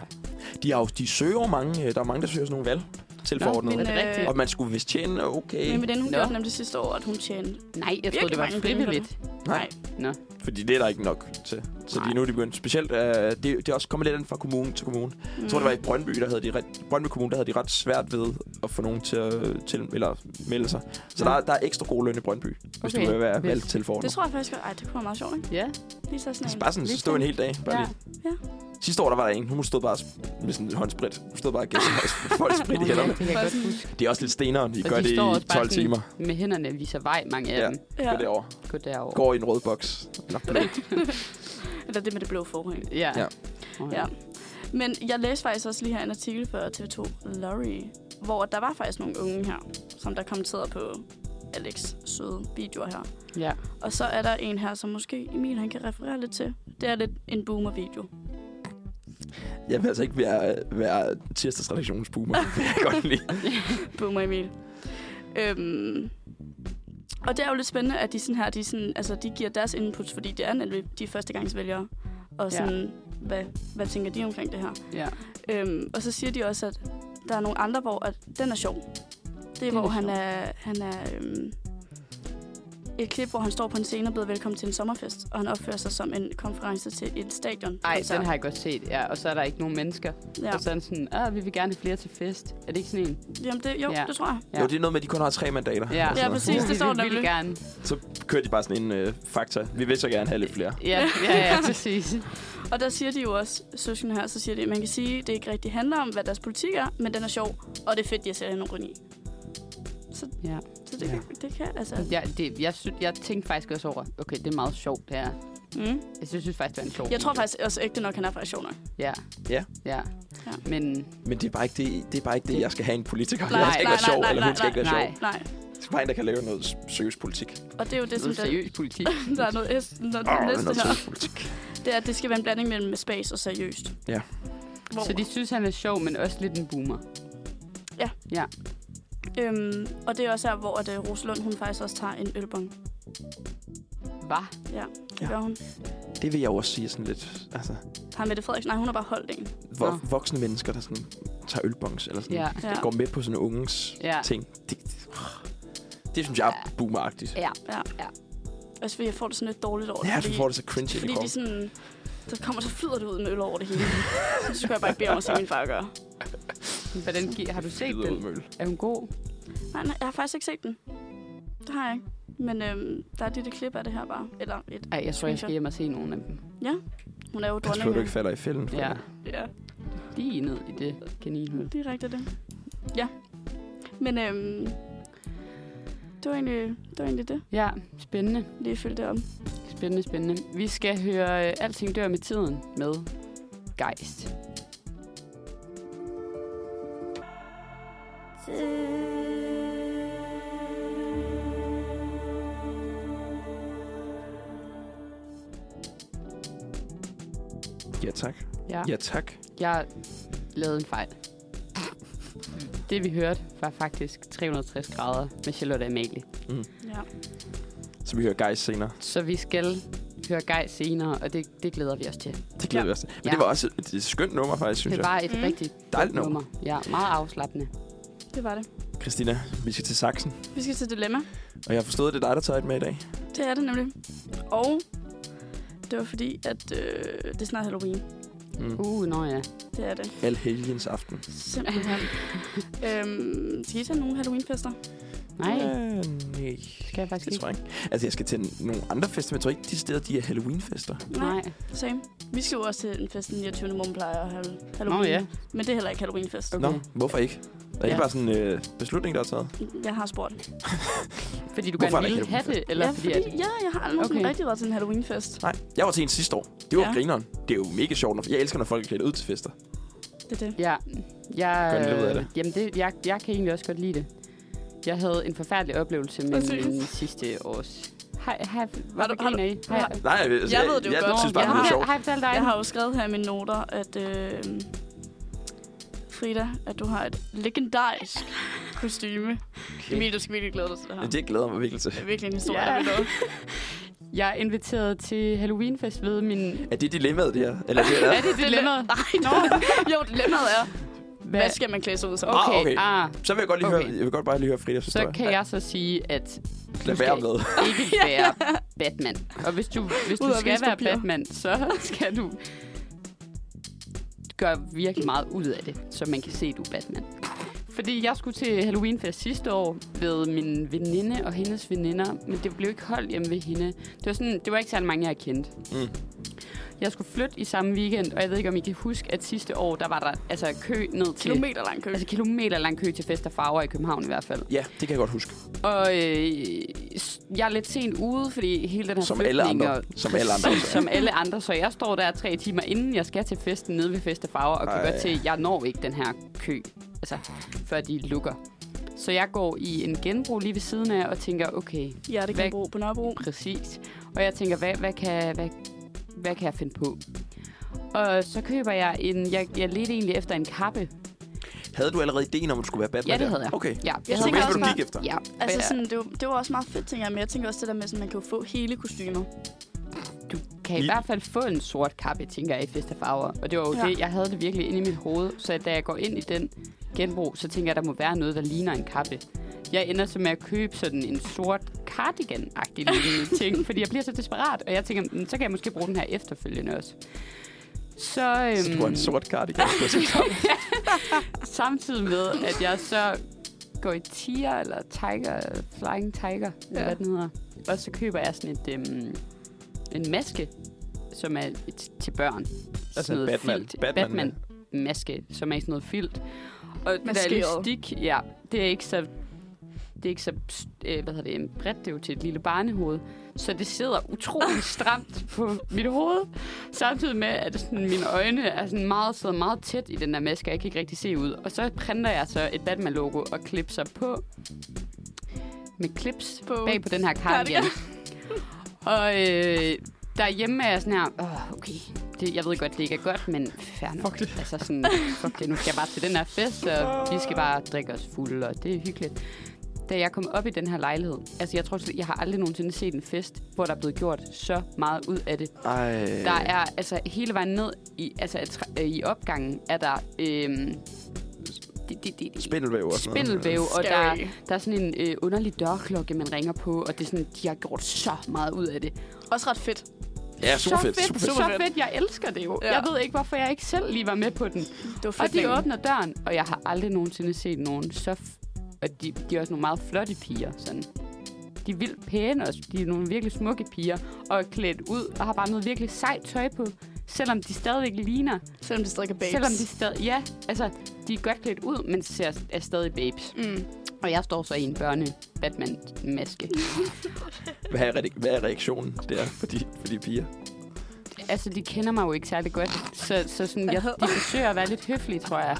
Speaker 2: De, har jo, de søger jo mange, øh, der er mange, der søger sådan nogle valg til
Speaker 3: Nå,
Speaker 2: forordnet.
Speaker 3: men,
Speaker 1: Men,
Speaker 3: er det
Speaker 1: øh,
Speaker 3: rigtigt?
Speaker 2: Og man skulle vist tjene okay,
Speaker 1: Men med den, hun
Speaker 3: Nå.
Speaker 1: Nå. gjorde nemlig sidste år, at hun tjente.
Speaker 3: Nej, jeg troede,
Speaker 1: Virkelig
Speaker 3: det var
Speaker 1: mange penge,
Speaker 3: frivilligt.
Speaker 2: Nej.
Speaker 3: Nå.
Speaker 2: fordi det er der ikke nok til. Så
Speaker 3: Nej.
Speaker 2: lige nu er de begyndt. Specielt, øh, det, det er også kommet lidt an fra kommune til kommune. Mm. Jeg tror, det var i Brøndby, der havde de ret, i Brøndby Kommune, der havde de ret svært ved at få nogen til at til, eller melde sig. Så
Speaker 3: Nå.
Speaker 2: der, er- der er ekstra god løn i Brøndby, hvis
Speaker 3: Okay,
Speaker 2: du vil være
Speaker 3: hvis-
Speaker 2: valgt til
Speaker 1: Mm. Det
Speaker 2: forordnet.
Speaker 1: tror jeg faktisk, at, ej, det kunne være meget sjovt, ikke?
Speaker 3: Ja.
Speaker 1: Lige så sådan en.
Speaker 2: Bare sådan, så stå en hel dag. Bare
Speaker 3: Ja.
Speaker 2: ja. lige. Sidste år, der var der en. Hun stod bare med sådan en håndsprit. Hun stod bare og gav sin håndsprit i
Speaker 3: Nå, ja,
Speaker 2: hænderne.
Speaker 3: det kan jeg godt huske.
Speaker 2: Det er også lidt stenere, de
Speaker 3: Og
Speaker 2: gør det
Speaker 3: står også
Speaker 2: i
Speaker 3: bare
Speaker 2: 12
Speaker 3: sådan
Speaker 2: timer.
Speaker 3: Med hænderne viser vej, mange af
Speaker 2: Ja.
Speaker 3: dem.
Speaker 2: Ja. Gå derover.
Speaker 3: Gå derover.
Speaker 2: Går i en rød boks. Eller blå.
Speaker 1: Eller det med det blå forhæng.
Speaker 3: Ja.
Speaker 2: Ja.
Speaker 3: Okay.
Speaker 1: Ja. Men jeg læste faktisk også lige her en artikel på TV2 Lorry, hvor der var faktisk nogle unge her, som der kommenterede på Alex søde videoer her.
Speaker 3: ja.
Speaker 1: Og så er der en her, som måske Emil han kan referere lidt til. Det er lidt en boomer-video.
Speaker 2: Jeg vil altså ikke være, være tirsdagsredaktionens boomer. Det vil jeg godt lide.
Speaker 1: Boomer Emil. Øhm, og det er jo lidt spændende, at de, sådan her, de, sådan, altså, de giver deres input, fordi det er nemlig de førstegangsvælgere. Og sådan, ja. hvad, hvad tænker de omkring det her?
Speaker 3: ja.
Speaker 1: Øhm, og så siger de også, at der er nogle andre, hvor at den er sjov. Det er,
Speaker 3: Den er
Speaker 1: hvor han
Speaker 3: sjov.
Speaker 1: er... Han er øhm, et klip, hvor han står på en scene og bliver velkommen til en sommerfest, og han opfører sig som en konference til et stadion.
Speaker 3: Ej, den har jeg godt set. Ja. Og så er der ikke nogen mennesker. Ja.
Speaker 1: Altså- Ja.
Speaker 3: Og så er den sådan, ah, vi vil gerne have flere til fest. Er det ikke sådan en?
Speaker 1: Jamen, det, jo,
Speaker 3: Ja.
Speaker 1: ja. det tror jeg.
Speaker 3: Ja.
Speaker 2: Ja. Jo, det er noget med, at de kun har tre mandater.
Speaker 3: Ja.
Speaker 2: Og sådan
Speaker 1: Ja,
Speaker 2: noget.
Speaker 1: præcis. det står
Speaker 3: vi vil
Speaker 1: nemlig.
Speaker 3: gerne.
Speaker 2: Så kører de bare sådan en øh, fakta. Vi vil så gerne have lidt flere.
Speaker 3: Ja, ja, ja, præcis.
Speaker 1: Og der siger de jo også, søskende her, så siger de, at man kan sige, at det ikke rigtig handler om, hvad deres politik er, men den er sjov, og det er fedt, de har serier nogen i. Så,
Speaker 3: Ja.
Speaker 1: så det, kan, det kan altså...
Speaker 3: Jeg, det, jeg, sy- jeg tænkte faktisk også over, okay, det er meget sjovt, det her.
Speaker 1: Mm.
Speaker 3: Jeg synes, det faktisk, det var en sjov
Speaker 1: Jeg tror
Speaker 3: video.
Speaker 1: faktisk også ægte nok, han er faktisk sjov nok.
Speaker 3: Ja.
Speaker 2: Ja.
Speaker 3: Ja.
Speaker 1: Ja.
Speaker 3: Men
Speaker 2: Men det er bare ikke det, det, er bare ikke det jeg skal have en politiker.
Speaker 3: Nej,
Speaker 2: jeg skal ikke
Speaker 1: nej,
Speaker 2: være sjov,
Speaker 1: nej,
Speaker 2: eller
Speaker 1: nej,
Speaker 2: hun skal ikke være
Speaker 3: nej.
Speaker 2: sjov.
Speaker 1: Nej,
Speaker 2: Det skal bare en, der kan lave noget s- seriøs politik.
Speaker 1: og det er jo det,
Speaker 3: det
Speaker 1: som
Speaker 3: er
Speaker 1: der,
Speaker 3: seriøs politik.
Speaker 1: der er noget, S- noget,
Speaker 2: Åh, altså-
Speaker 1: noget
Speaker 2: det er
Speaker 1: næste
Speaker 2: noget
Speaker 1: her.
Speaker 2: seriøs politik.
Speaker 1: Det er, at det skal være en blanding mellem space og seriøst.
Speaker 2: Ja.
Speaker 1: Hvor,
Speaker 3: Så de synes, han er sjov, men også lidt en boomer.
Speaker 1: Ja.
Speaker 3: Ja.
Speaker 1: øhm, og det er også her, hvor at, uh, Rosalund, hun faktisk også tager en ølbong.
Speaker 3: Hvad?
Speaker 2: Mm.
Speaker 1: Ja, det
Speaker 2: Ja.
Speaker 1: gør hun.
Speaker 2: Det vil jeg jo også sige sådan lidt. Altså,
Speaker 1: Har Mette Frederiksen, nej, hun har bare holdt en.
Speaker 2: hvor
Speaker 3: Nå.
Speaker 2: voksne mennesker, der sådan tager ølbongs eller sådan,
Speaker 3: Ja.
Speaker 2: ja.
Speaker 1: Ja.
Speaker 2: går med på sådan unges
Speaker 3: Ja.
Speaker 2: ja. ting. Det, det, det synes jeg er boomeragtigt.
Speaker 3: Ja.
Speaker 1: Ja.
Speaker 3: Ja.
Speaker 1: Også Altså, fordi jeg får det sådan lidt dårligt over det.
Speaker 2: Ja, du
Speaker 1: fordi-
Speaker 2: får det så cringe ind i
Speaker 1: Fordi de
Speaker 2: kroppen.
Speaker 1: sådan... Så kommer så flyder det ud med øl over det hele. så skulle jeg bare ikke bede om at se min far gøre.
Speaker 3: Hvordan, gi- har du set
Speaker 2: Flyder
Speaker 3: den?
Speaker 2: ud med øl.
Speaker 3: Er hun god?
Speaker 1: Nej, nej, jeg har faktisk ikke set den. Det har jeg ikke. Men øhm, der er et lille klip af det her bare. Eller et.
Speaker 3: Ej, jeg tror, jeg skal hjem og se nogle af dem.
Speaker 1: Hun er jo
Speaker 2: Pas på,
Speaker 1: dronning.
Speaker 2: at du ikke falder i fælden. for
Speaker 3: Ja.
Speaker 2: det.
Speaker 1: Ja,
Speaker 3: Lige ned i det kaninhul.
Speaker 1: direkte det. Ja. Men øhm, det var egentlig det. Var egentlig det.
Speaker 3: Ja, spændende.
Speaker 1: Lige fyldt det om.
Speaker 3: Spændende, spændende. Vi skal høre øh, Alting dør med tiden med Geist.
Speaker 2: Ja, tak.
Speaker 3: Ja.
Speaker 2: Ja, tak.
Speaker 3: Jeg lavede en fejl. Det, vi hørte, var faktisk 360 grader med Charlotte Amalie.
Speaker 1: Ja.
Speaker 2: Så vi hører Geist senere.
Speaker 3: Så vi skal høre Geis senere, og det, det glæder vi os til.
Speaker 2: Det
Speaker 1: Ja.
Speaker 2: glæder vi os til. Men
Speaker 3: Ja.
Speaker 2: det var også et, et skønt nummer, faktisk, synes
Speaker 3: Det
Speaker 2: jeg.
Speaker 3: var et
Speaker 1: Mm.
Speaker 3: mm. rigtig
Speaker 2: Dejligt nummer.
Speaker 3: nummer. Ja, meget afslappende.
Speaker 1: Det var det.
Speaker 2: Christina, vi skal til Saxen.
Speaker 1: Vi skal til dilemma.
Speaker 2: Og jeg har forstået, at det er dig, der tager et med i dag.
Speaker 1: Det er det nemlig. Og det var fordi, at øh, det er snart Halloween.
Speaker 2: Mm.
Speaker 3: Uh, nå ja.
Speaker 1: Det er det.
Speaker 2: Al helgens aften.
Speaker 1: Simpelthen. øhm, skal I tage nogle Halloween-fester?
Speaker 3: Nej,
Speaker 2: Øh, nej.
Speaker 3: skal jeg faktisk
Speaker 2: Det
Speaker 3: ikke.
Speaker 2: tror jeg ikke. Altså, jeg skal til nogle andre fester, men jeg tror ikke, de steder, de er Halloween-fester.
Speaker 3: Nej.
Speaker 1: Same. Vi skal jo også til en fest den 29. morgen plejer at have Halloween.
Speaker 3: Nå ja.
Speaker 1: Men det er heller ikke Halloween-fest.
Speaker 3: Okay.
Speaker 2: Nå, hvorfor ikke? Der er
Speaker 3: Ja.
Speaker 2: ikke bare sådan en øh, beslutning, der er taget.
Speaker 1: Jeg har spurgt.
Speaker 3: Fordi du
Speaker 2: Hvorfor er
Speaker 3: gerne
Speaker 2: der
Speaker 3: ville
Speaker 2: ikke
Speaker 3: have det, eller
Speaker 1: ja,
Speaker 3: fordi...
Speaker 1: fordi,
Speaker 3: at-
Speaker 1: ja, jeg har aldrig okay.
Speaker 3: Okay.
Speaker 1: rigtig været til en Halloween-fest.
Speaker 2: Nej, jeg var til en sidste år. Det var
Speaker 1: Ja.
Speaker 2: ja. grineren. Det er jo mega sjovt. Når, jeg elsker, når folk er klædt ud til fester.
Speaker 1: Det er det.
Speaker 3: Ja, jeg,
Speaker 2: Gør lidt ud af det.
Speaker 3: jamen det, jeg, jeg kan egentlig også godt lide det. Jeg havde en forfærdelig oplevelse med
Speaker 1: Præcis.
Speaker 3: min sidste års... Har, har,
Speaker 1: Har du- har du-
Speaker 3: Har,
Speaker 1: har-
Speaker 2: Nej, altså,
Speaker 1: Jeg ved det jo
Speaker 2: jeg,
Speaker 1: godt.
Speaker 2: Jeg synes bare,
Speaker 3: jeg
Speaker 1: Nå,
Speaker 2: det er
Speaker 3: har,
Speaker 2: sjovt.
Speaker 3: har jeg fortalt dig?
Speaker 1: Jeg har jo skrevet her i mine noter, at øh, Frida, at du har et legendarisk kostyme. Okay. Emil, du skal virkelig glæde dig til det her.
Speaker 2: Ja, det glæder jeg mig virkelig til.
Speaker 1: Det er virkelig en historie,
Speaker 3: Ja.
Speaker 1: yeah. der
Speaker 3: Jeg er inviteret til Halloweenfest ved min...
Speaker 2: Er det dilemmaet, det her? Eller det er
Speaker 3: Er det dilemmaet?
Speaker 1: Nej, no. jo, dilemmaet er,
Speaker 3: Hvad?
Speaker 1: hvad skal man klæde sig ud som?
Speaker 2: Ah,
Speaker 3: Okay,
Speaker 2: okay.
Speaker 3: ah,
Speaker 2: Så vil jeg godt lige okay.
Speaker 3: Okay.
Speaker 2: høre, jeg vil godt bare lige høre Fridas
Speaker 3: så
Speaker 2: historie.
Speaker 3: kan jeg så sige, at
Speaker 2: Lad
Speaker 3: du
Speaker 2: være
Speaker 3: skal-
Speaker 2: med.
Speaker 3: ikke være Batman. Og hvis du, hvis
Speaker 1: Ud
Speaker 3: du
Speaker 1: af
Speaker 3: skal være
Speaker 1: avispapir.
Speaker 3: Batman, så skal du gøre virkelig meget ud af det, så man kan se, at du er Batman. Fordi jeg skulle til Halloweenfest sidste år ved min veninde og hendes veninder, men det blev ikke holdt hjemme ved hende. Det var, sådan, det var ikke særlig mange, jeg kendte.
Speaker 2: Mm.
Speaker 3: Jeg skulle flytte i samme weekend, og jeg ved ikke, om I kan huske, at sidste år, der var der altså kø ned til...
Speaker 1: Kilometer lang kø.
Speaker 3: Altså kilometer lang kø til fest og farver i København i hvert fald.
Speaker 2: Ja, det kan jeg godt huske.
Speaker 3: Og øh, s- jeg er lidt sent ude, fordi hele den her
Speaker 2: Som alle
Speaker 3: flytning
Speaker 2: andre.
Speaker 3: Og,
Speaker 2: Som alle andre.
Speaker 3: Præcis, som alle andre. Så jeg står der tre timer inden jeg skal til festen nede ved Festefarver, og kan
Speaker 2: Ej.
Speaker 3: Ej. godt se, at jeg når ikke den her kø, altså før de lukker. Så jeg går i en genbrug lige ved siden af og tænker, okay,
Speaker 1: Ja, det kan
Speaker 3: Hvad-
Speaker 1: bruge på Nørrebro.
Speaker 3: præcis. Og jeg tænker, hvad, hvad, kan, hvad, hvad kan jeg finde på? Og så køber jeg en, jeg, jeg ledte egentlig efter en kappe.
Speaker 2: Havde du allerede ideen om, at du skulle være Batman?
Speaker 3: Ja, det
Speaker 2: der?
Speaker 3: havde jeg.
Speaker 2: Okay.
Speaker 1: Jeg
Speaker 3: Ja,
Speaker 2: Så
Speaker 3: havde
Speaker 1: tænker
Speaker 2: vidste,
Speaker 1: også
Speaker 2: hvad du
Speaker 1: bare-
Speaker 2: gik efter.
Speaker 3: Ja,
Speaker 1: Altså,
Speaker 3: og jeg-
Speaker 1: sådan, det, var, det var også meget fedt, tænker jeg. Men jeg tænker også det der med, at man kan jo få hele kostymer.
Speaker 3: du kan i
Speaker 2: Lige-
Speaker 3: hvert fald få en sort kappe, tænker jeg, i Festa Farver. Og det var jo
Speaker 1: Ja.
Speaker 3: ja. det, jeg havde det virkelig inde i mit hoved. Så da jeg går ind i den genbrug, så tænker jeg, at der må være noget, der ligner en kappe. Jeg ender så med at købe sådan en sort cardigan-agtig lignende ting, fordi jeg bliver så desperat, og jeg tænker, "Mm, så kan jeg måske bruge den her efterfølgende også. Så, øhm,
Speaker 2: Så du var en sort cardigan.
Speaker 3: samtidig med, at jeg så går i tiger eller tiger, flying tiger, ja.
Speaker 1: Ja.
Speaker 3: hvad den hedder. Og så køber jeg sådan et, øhm, en maske, som er et, til børn. Og
Speaker 2: en Batman- Batman-
Speaker 3: Batman maske, som er sådan noget filt. Og det der
Speaker 1: Maskeret.
Speaker 3: elastik, ja, det er ikke så det er ikke så øh, hvad hedder det, bredt, det er jo til et lille barnehoved. Så det sidder utrolig stramt på mit hoved. Samtidig med, at sådan, mine øjne er sådan meget, sidder meget tæt i den der maske, og jeg kan ikke rigtig se ud. Og så printer jeg så et Batman-logo og klipser på med klips
Speaker 1: På
Speaker 3: på bag på den her cardigan. og øh, derhjemme er jeg sådan her, Åh, okay, det, jeg ved godt, det ikke er godt, men fair nok. Fuck det. Altså sådan, fuck det, nu skal jeg bare til den her fest, og vi skal bare drikke os fulde, og det er hyggeligt da jeg kom op i den her lejlighed. Altså, jeg tror, slet- jeg har aldrig nogensinde set en fest, hvor der er blevet gjort så meget ud af det.
Speaker 2: Ej.
Speaker 3: Der er altså hele vejen ned i, altså, at tra- øh, i opgangen, er der øhm, de, de, de, de,
Speaker 2: Spindelvæv og sådan noget.
Speaker 3: spindelvæv, og der,
Speaker 1: Scary.
Speaker 3: der er sådan en øh, underlig dørklokke, man ringer på, og det er sådan, de har gjort så meget ud af det.
Speaker 1: Også ret fedt.
Speaker 2: Ja, super
Speaker 3: så
Speaker 2: fedt. Super fedt.
Speaker 3: så
Speaker 1: fedt.
Speaker 3: fedt, jeg elsker det jo.
Speaker 1: Ja.
Speaker 3: Ja. Jeg ved ikke, hvorfor jeg ikke selv lige var med på den.
Speaker 1: Det var fedt.
Speaker 3: Og de
Speaker 1: men-
Speaker 3: åbner døren, og jeg har aldrig nogensinde set nogen så... F- og de, de er også nogle meget flotte piger, sådan. De er vildt pæne også. De er nogle virkelig smukke piger, og er klædt ud, og har bare noget virkelig sejt tøj på. Selvom de stadigvæk ligner.
Speaker 1: Selvom det stadig er babes.
Speaker 3: Selvom de stadig... Ja, altså, de er godt klædt ud, men ser, er stadig babes.
Speaker 1: Mm.
Speaker 3: Og jeg står så i en børne-Batman-maske.
Speaker 2: Hvad er, re- hvad er reaktionen der for de, for de piger?
Speaker 3: altså, de kender mig jo ikke særlig godt, så, så sådan, jeg, de forsøger at være lidt høflige, tror jeg.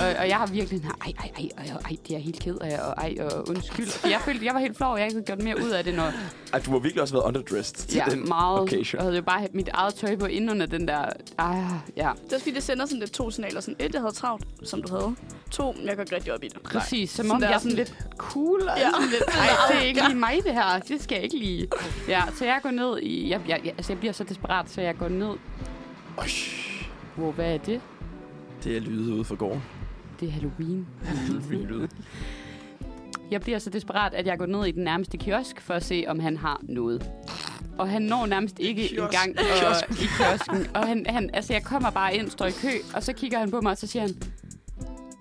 Speaker 3: Og, og jeg har virkelig sådan, ej, ej, ej, ej, ej, det er jeg helt ked af, og ej, og undskyld. For Jeg følte, jeg var helt flov, og jeg ikke havde gjort mere ud af det, når
Speaker 2: Ej, du har virkelig også været underdressed til
Speaker 3: jeg
Speaker 2: den
Speaker 3: meget,
Speaker 2: occasion.
Speaker 3: og havde jo bare mit eget tøj på inden under den der, ah, ja.
Speaker 1: Det er også fordi, det sender sådan lidt to signaler. Sådan, et, jeg havde travlt, som du havde. To, jeg går ikke rigtig op i det.
Speaker 3: Præcis, som
Speaker 1: Sådan
Speaker 3: om
Speaker 1: der
Speaker 3: jeg er
Speaker 1: sådan-
Speaker 3: sådan lidt cool. Og
Speaker 1: Ja.
Speaker 3: ja. sådan lidt, Ej, det er ikke lige mig, det her. Det skal jeg ikke lige. Ja, så jeg går ned i... Jeg, jeg, jeg, altså, jeg bliver så desperat, så jeg går ned...
Speaker 2: Osh,
Speaker 3: Wow, hvad er det?
Speaker 2: det er lyde ude fra gården.
Speaker 3: Det er Halloween.
Speaker 2: Vildt lyde.
Speaker 3: Jeg bliver så desperat, at jeg går ned i den nærmeste kiosk for at se, om han har noget. Og han når nærmest ikke
Speaker 2: Kiosk.
Speaker 3: engang og, i kiosken. Og han, han, altså, jeg kommer bare ind, står i kø, og så kigger han på mig, og så siger han,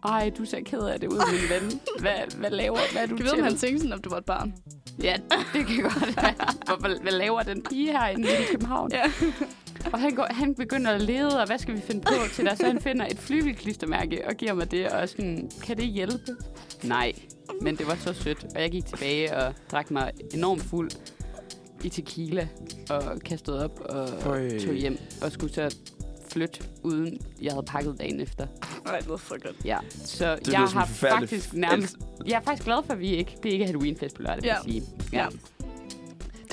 Speaker 3: ej, du ser ked af det ud, min ven. Hvad, hvad laver hvad er
Speaker 1: Kan
Speaker 3: du
Speaker 1: vi vide,
Speaker 3: til?
Speaker 1: om han tænkte sådan, om du var et barn?
Speaker 3: Ja, det kan godt være. Hvor- Hvad, hvad laver den pige herinde midt i København?
Speaker 1: Ja.
Speaker 3: Og han, går, han begynder at lede, og hvad skal vi finde på til dig? Så han finder et flyvelklistermærke og giver mig det, og er sådan, kan det hjælpe? Nej, men det var så sødt. Og jeg gik tilbage og drak mig enormt fuld i tequila, og kastede op og
Speaker 2: Øj.
Speaker 3: tog hjem, og skulle så flytte uden jeg havde pakket dagen efter.
Speaker 1: Nej, det lyder frygteligt.
Speaker 3: Ja, så
Speaker 2: lyder
Speaker 3: jeg
Speaker 2: som en
Speaker 3: har
Speaker 2: forfærdelig
Speaker 3: faktisk nærmest... Jeg er faktisk glad for, at vi ikke... Det er ikke Halloweenfest på lørdag, vil
Speaker 1: Ja.
Speaker 3: jeg sige.
Speaker 1: Ja.
Speaker 2: Altså,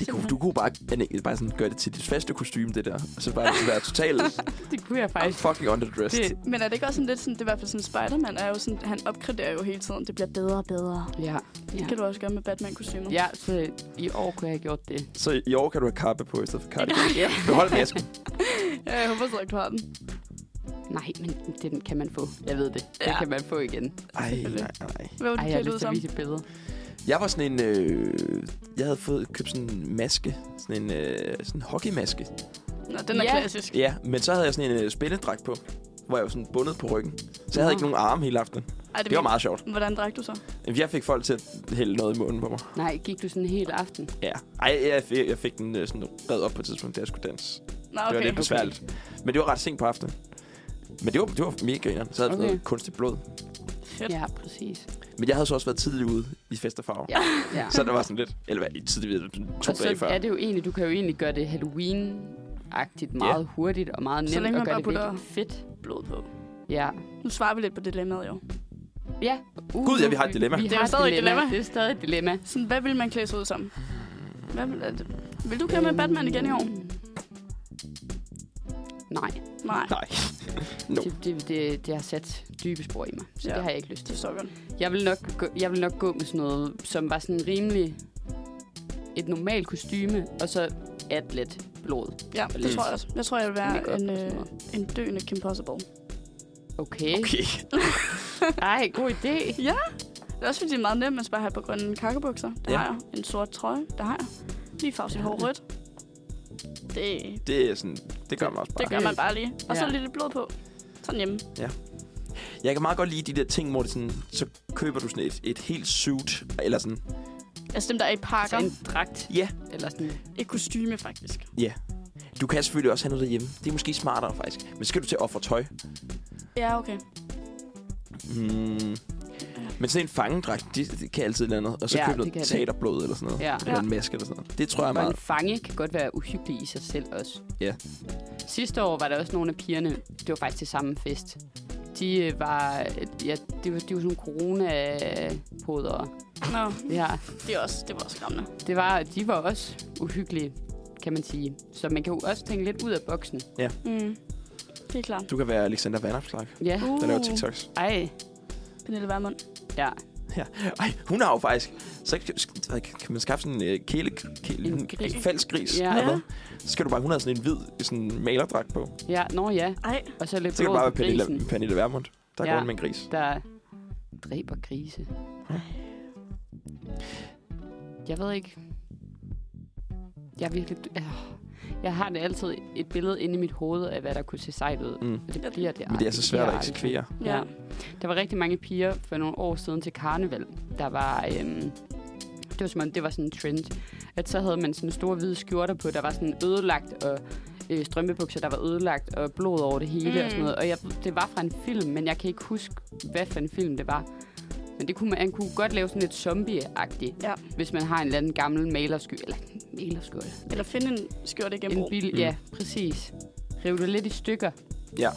Speaker 2: Det kunne, du kunne bare, Anne, bare sådan gøre det til dit faste kostume, det der. Og så bare være totalt
Speaker 3: Det kunne jeg faktisk.
Speaker 2: fucking underdressed.
Speaker 3: Det,
Speaker 2: Det.
Speaker 1: Men er det ikke også sådan lidt sådan, det er i hvert fald sådan, Spider-Man er jo sådan, han opgraderer jo hele tiden. Det bliver bedre og bedre.
Speaker 3: ja.
Speaker 1: Det kan du også gøre med Batman-kostymer.
Speaker 3: ja, så i år kunne jeg have gjort det.
Speaker 2: Så i år kan du have kappe på i stedet for kardigan.
Speaker 3: Ja.
Speaker 2: Behold masken.
Speaker 1: ja jeg håber så, at du har den.
Speaker 3: Nej, men den kan man få. Jeg ved det. Den
Speaker 1: Ja.
Speaker 3: kan man få igen.
Speaker 2: Ej, nej, nej.
Speaker 1: Hvad var du
Speaker 3: Ej, jeg har
Speaker 1: klædt ud
Speaker 3: lyst til at
Speaker 1: som?
Speaker 3: vise et billede.
Speaker 2: Jeg var sådan en... Øh, jeg havde fået købt sådan en maske. Sådan en øh, sådan en hockeymaske.
Speaker 1: Nå, den er
Speaker 3: Ja.
Speaker 1: klassisk.
Speaker 2: Ja, men så havde jeg sådan en øh, spændedragt på. Hvor jeg var sådan bundet på ryggen. Så jeg havde ikke nogen arme hele aftenen.
Speaker 1: Ej,
Speaker 2: Det var meget sjovt.
Speaker 1: Hvordan drak du så?
Speaker 2: Jeg fik folk til at hælde noget i munden på mig.
Speaker 3: Nej, gik du sådan en hel aften?
Speaker 2: Ja. Ej, jeg fik, jeg fik den øh, sådan red op på et tidspunkt, da jeg skulle danse. Okay.
Speaker 1: Nå,
Speaker 2: Det var
Speaker 1: okay.
Speaker 2: lidt besværligt. Men det var ret sent på aftenen. Men det var, det var mega grineren. Så havde jeg
Speaker 3: Okay.
Speaker 2: noget kunstigt blod.
Speaker 1: Fedt.
Speaker 3: Ja, præcis.
Speaker 2: Men jeg havde så også været tidligt ude i fest og farver.
Speaker 3: Ja, ja.
Speaker 2: Så der var sådan lidt... Eller hvad, tidligt ude, sådan to
Speaker 3: og
Speaker 2: dage
Speaker 3: så
Speaker 2: før.
Speaker 3: er det jo egentlig, du kan jo egentlig gøre det Halloween-agtigt meget hurtigt og meget
Speaker 1: Så
Speaker 3: nemt
Speaker 1: længe
Speaker 3: og
Speaker 1: man
Speaker 3: gøre
Speaker 1: bare
Speaker 3: det virkelig
Speaker 1: putter-
Speaker 3: fedt.
Speaker 1: Blod på.
Speaker 3: Ja.
Speaker 1: Nu svarer vi lidt på dilemmaet jo.
Speaker 3: Ja. Uh,
Speaker 2: Gud, ja, vi har et dilemma.
Speaker 3: Vi
Speaker 1: Det er
Speaker 3: har
Speaker 1: jo stadig et dilemma.
Speaker 3: Det er stadig et dilemma.
Speaker 1: Sådan, hvad vil man klæde sig ud som? Hvad vil, er det? vil du køre med Batman igen i år?
Speaker 3: Nej,
Speaker 1: Nej,
Speaker 2: Nej. No.
Speaker 3: det, det, det, det har sat dybe spor i mig, så
Speaker 1: Ja.
Speaker 3: ja. det har jeg ikke lyst
Speaker 1: det
Speaker 3: til.
Speaker 1: forstår jeg godt.
Speaker 3: Jeg vil, nok gå, jeg vil nok gå med sådan noget, som var sådan rimelig et normalt kostyme, og så atlet blod.
Speaker 1: Ja, det
Speaker 2: lidt-
Speaker 1: tror jeg også. Jeg tror, jeg vil være
Speaker 3: Makeup og
Speaker 1: en,
Speaker 3: sådan
Speaker 1: øh,
Speaker 3: noget.
Speaker 1: en døende Kim Possible.
Speaker 3: Okay.
Speaker 2: Okay.
Speaker 3: Ej, god idé.
Speaker 1: Det er også fordi, det er meget nemt, man skal bare have på grønne kakkebukser. Det
Speaker 2: Ja.
Speaker 1: ja. har jeg. En sort trøje, det har jeg. Lige farve sit hår rødt. Det,
Speaker 2: Det, er sådan, det gør man også bare.
Speaker 1: det gør man bare lige. Og så
Speaker 3: Ja.
Speaker 1: lidt lidt blod på. Sådan hjemme.
Speaker 2: Jeg kan meget godt lide de der ting, hvor det sådan, så køber du sådan et, et helt suit, eller sådan,
Speaker 1: Altså dem, der er i
Speaker 3: Så
Speaker 1: pakker.
Speaker 3: en dragt,
Speaker 2: ja,
Speaker 3: eller sådan.
Speaker 1: Et kostyme, faktisk.
Speaker 2: ja. Du kan selvfølgelig også have noget derhjemme. Det er måske smartere, faktisk. Men skal du til at ofre tøj?
Speaker 1: Ja, okay.
Speaker 2: Mm. Men sådan en fangedragt, det, det kan altid et eller andet. Og så
Speaker 3: Ja,
Speaker 2: ja, købe
Speaker 3: det
Speaker 2: noget
Speaker 3: kan det.
Speaker 2: teaterblod eller sådan noget.
Speaker 3: Ja.
Speaker 2: Eller en maske eller sådan noget. Det tror jeg er
Speaker 3: Og en
Speaker 2: meget.
Speaker 3: fange kan godt være uhyggelig i sig selv også.
Speaker 2: Ja.
Speaker 3: Sidste år var der også nogle af pigerne, det var faktisk til samme fest. De øh, var, ja, det var, de var sådan corona-podere.
Speaker 1: Nå,
Speaker 3: Ja,
Speaker 1: det, er også, det var også skræmmende.
Speaker 3: det var, de var også uhyggelige, kan man sige. Så man kan jo også tænke lidt ud af boksen.
Speaker 1: Mm. Det er klart.
Speaker 2: Du kan være Alexander Vanderslag,
Speaker 3: Ja,
Speaker 2: der laver TikToks.
Speaker 3: ej,
Speaker 1: Pernille Vermund.
Speaker 3: ja.
Speaker 2: Ja. Ej, hun har jo faktisk... Så kan, sk- kan man skaffe sådan en øh, kæle, kæle,
Speaker 3: En
Speaker 2: en
Speaker 3: gris.
Speaker 2: falsk gris.
Speaker 3: Ja.
Speaker 2: eller hvad. Så skal du bare... Hun har sådan en hvid sådan malerdragt på.
Speaker 3: Ja, nå ja.
Speaker 1: Ej,
Speaker 3: Og så lidt
Speaker 2: Så kan du
Speaker 3: blod
Speaker 2: bare være
Speaker 3: på grisen,
Speaker 2: Pernille, Pernille Vermund, der ja.
Speaker 3: Ja.
Speaker 2: går rundt med en gris.
Speaker 3: der dræber grise. Jeg ved ikke. Jeg er virkelig... øh. Jeg har det altid et billede inde i mit hoved af, hvad der kunne se sejt ud.
Speaker 2: Mm.
Speaker 3: Og det bliver det
Speaker 2: Men det er
Speaker 3: aldrig.
Speaker 2: så svært at
Speaker 3: bliver
Speaker 2: eksekvere.
Speaker 3: aldrig.
Speaker 1: Ja.
Speaker 3: Ja. Der var rigtig mange piger for nogle år siden til karneval. Der var... Øhm, det var som om, det var sådan en trend. At så havde man sådan store hvide skjorter på, der var sådan ødelagt, og øh, strømpebukser, der var ødelagt, og blod over det hele mm.
Speaker 1: Mm.
Speaker 3: og sådan noget. Og jeg, det var fra en film, men jeg kan ikke huske, hvad for en film det var. Men det kunne man, han kunne godt lave sådan lidt zombie-agtigt,
Speaker 1: Ja.
Speaker 3: hvis man har en eller anden gammel malersky, eller malersky,
Speaker 1: eller finde en skjorte igennem
Speaker 3: en
Speaker 1: brug.
Speaker 3: bil,
Speaker 2: Mm.
Speaker 3: mm. ja, præcis. Rive det lidt i stykker.
Speaker 2: Ja.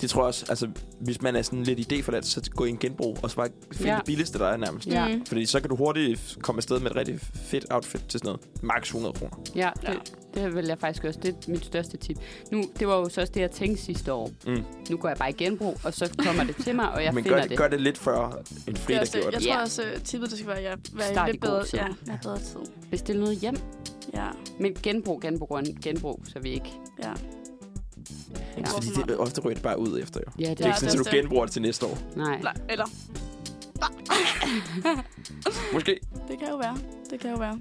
Speaker 2: Det tror jeg også, altså, hvis man er sådan lidt idéforladt, så gå i en genbrug, og så bare finde
Speaker 3: Ja.
Speaker 2: ja. det billigste, der er nærmest.
Speaker 3: Ja.
Speaker 1: Mm.
Speaker 2: Fordi så kan du hurtigt komme afsted med et rigtig fedt outfit til sådan noget. Max 100 kroner.
Speaker 3: Ja,
Speaker 1: Ja.
Speaker 3: det, det vil jeg faktisk også. Det er mit største tip. Nu, det var jo så også det, jeg tænkte sidste år.
Speaker 2: Mm.
Speaker 3: Nu går jeg bare i genbrug, og så kommer det til mig, og jeg
Speaker 2: Men gør
Speaker 3: finder
Speaker 2: det,
Speaker 3: det.
Speaker 2: gør det lidt før en
Speaker 1: Det er
Speaker 2: fredag
Speaker 1: også, det.
Speaker 2: gjorde
Speaker 1: jeg
Speaker 2: det.
Speaker 1: tror
Speaker 3: Ja.
Speaker 1: også, øh, tippet det skal være, at jeg være i
Speaker 3: Start i
Speaker 1: lidt
Speaker 3: god
Speaker 1: bedre,
Speaker 3: tid.
Speaker 1: ja, jeg bedre tid.
Speaker 3: Hvis det er noget hjem.
Speaker 1: Ja,
Speaker 3: Men genbrug, genbrug, grøn- genbrug, så vi ikke...
Speaker 1: ja.
Speaker 3: Ja.
Speaker 2: Fordi det, ofte ryger det bare ud efter, jo.
Speaker 3: Ja,
Speaker 2: Det er
Speaker 1: Ja,
Speaker 2: ikke sådan,
Speaker 1: det er
Speaker 2: at du
Speaker 1: det.
Speaker 2: genbruger det til næste år.
Speaker 3: Nej.
Speaker 1: Nej, eller,
Speaker 2: Måske.
Speaker 1: det kan jo være. Det kan jo være.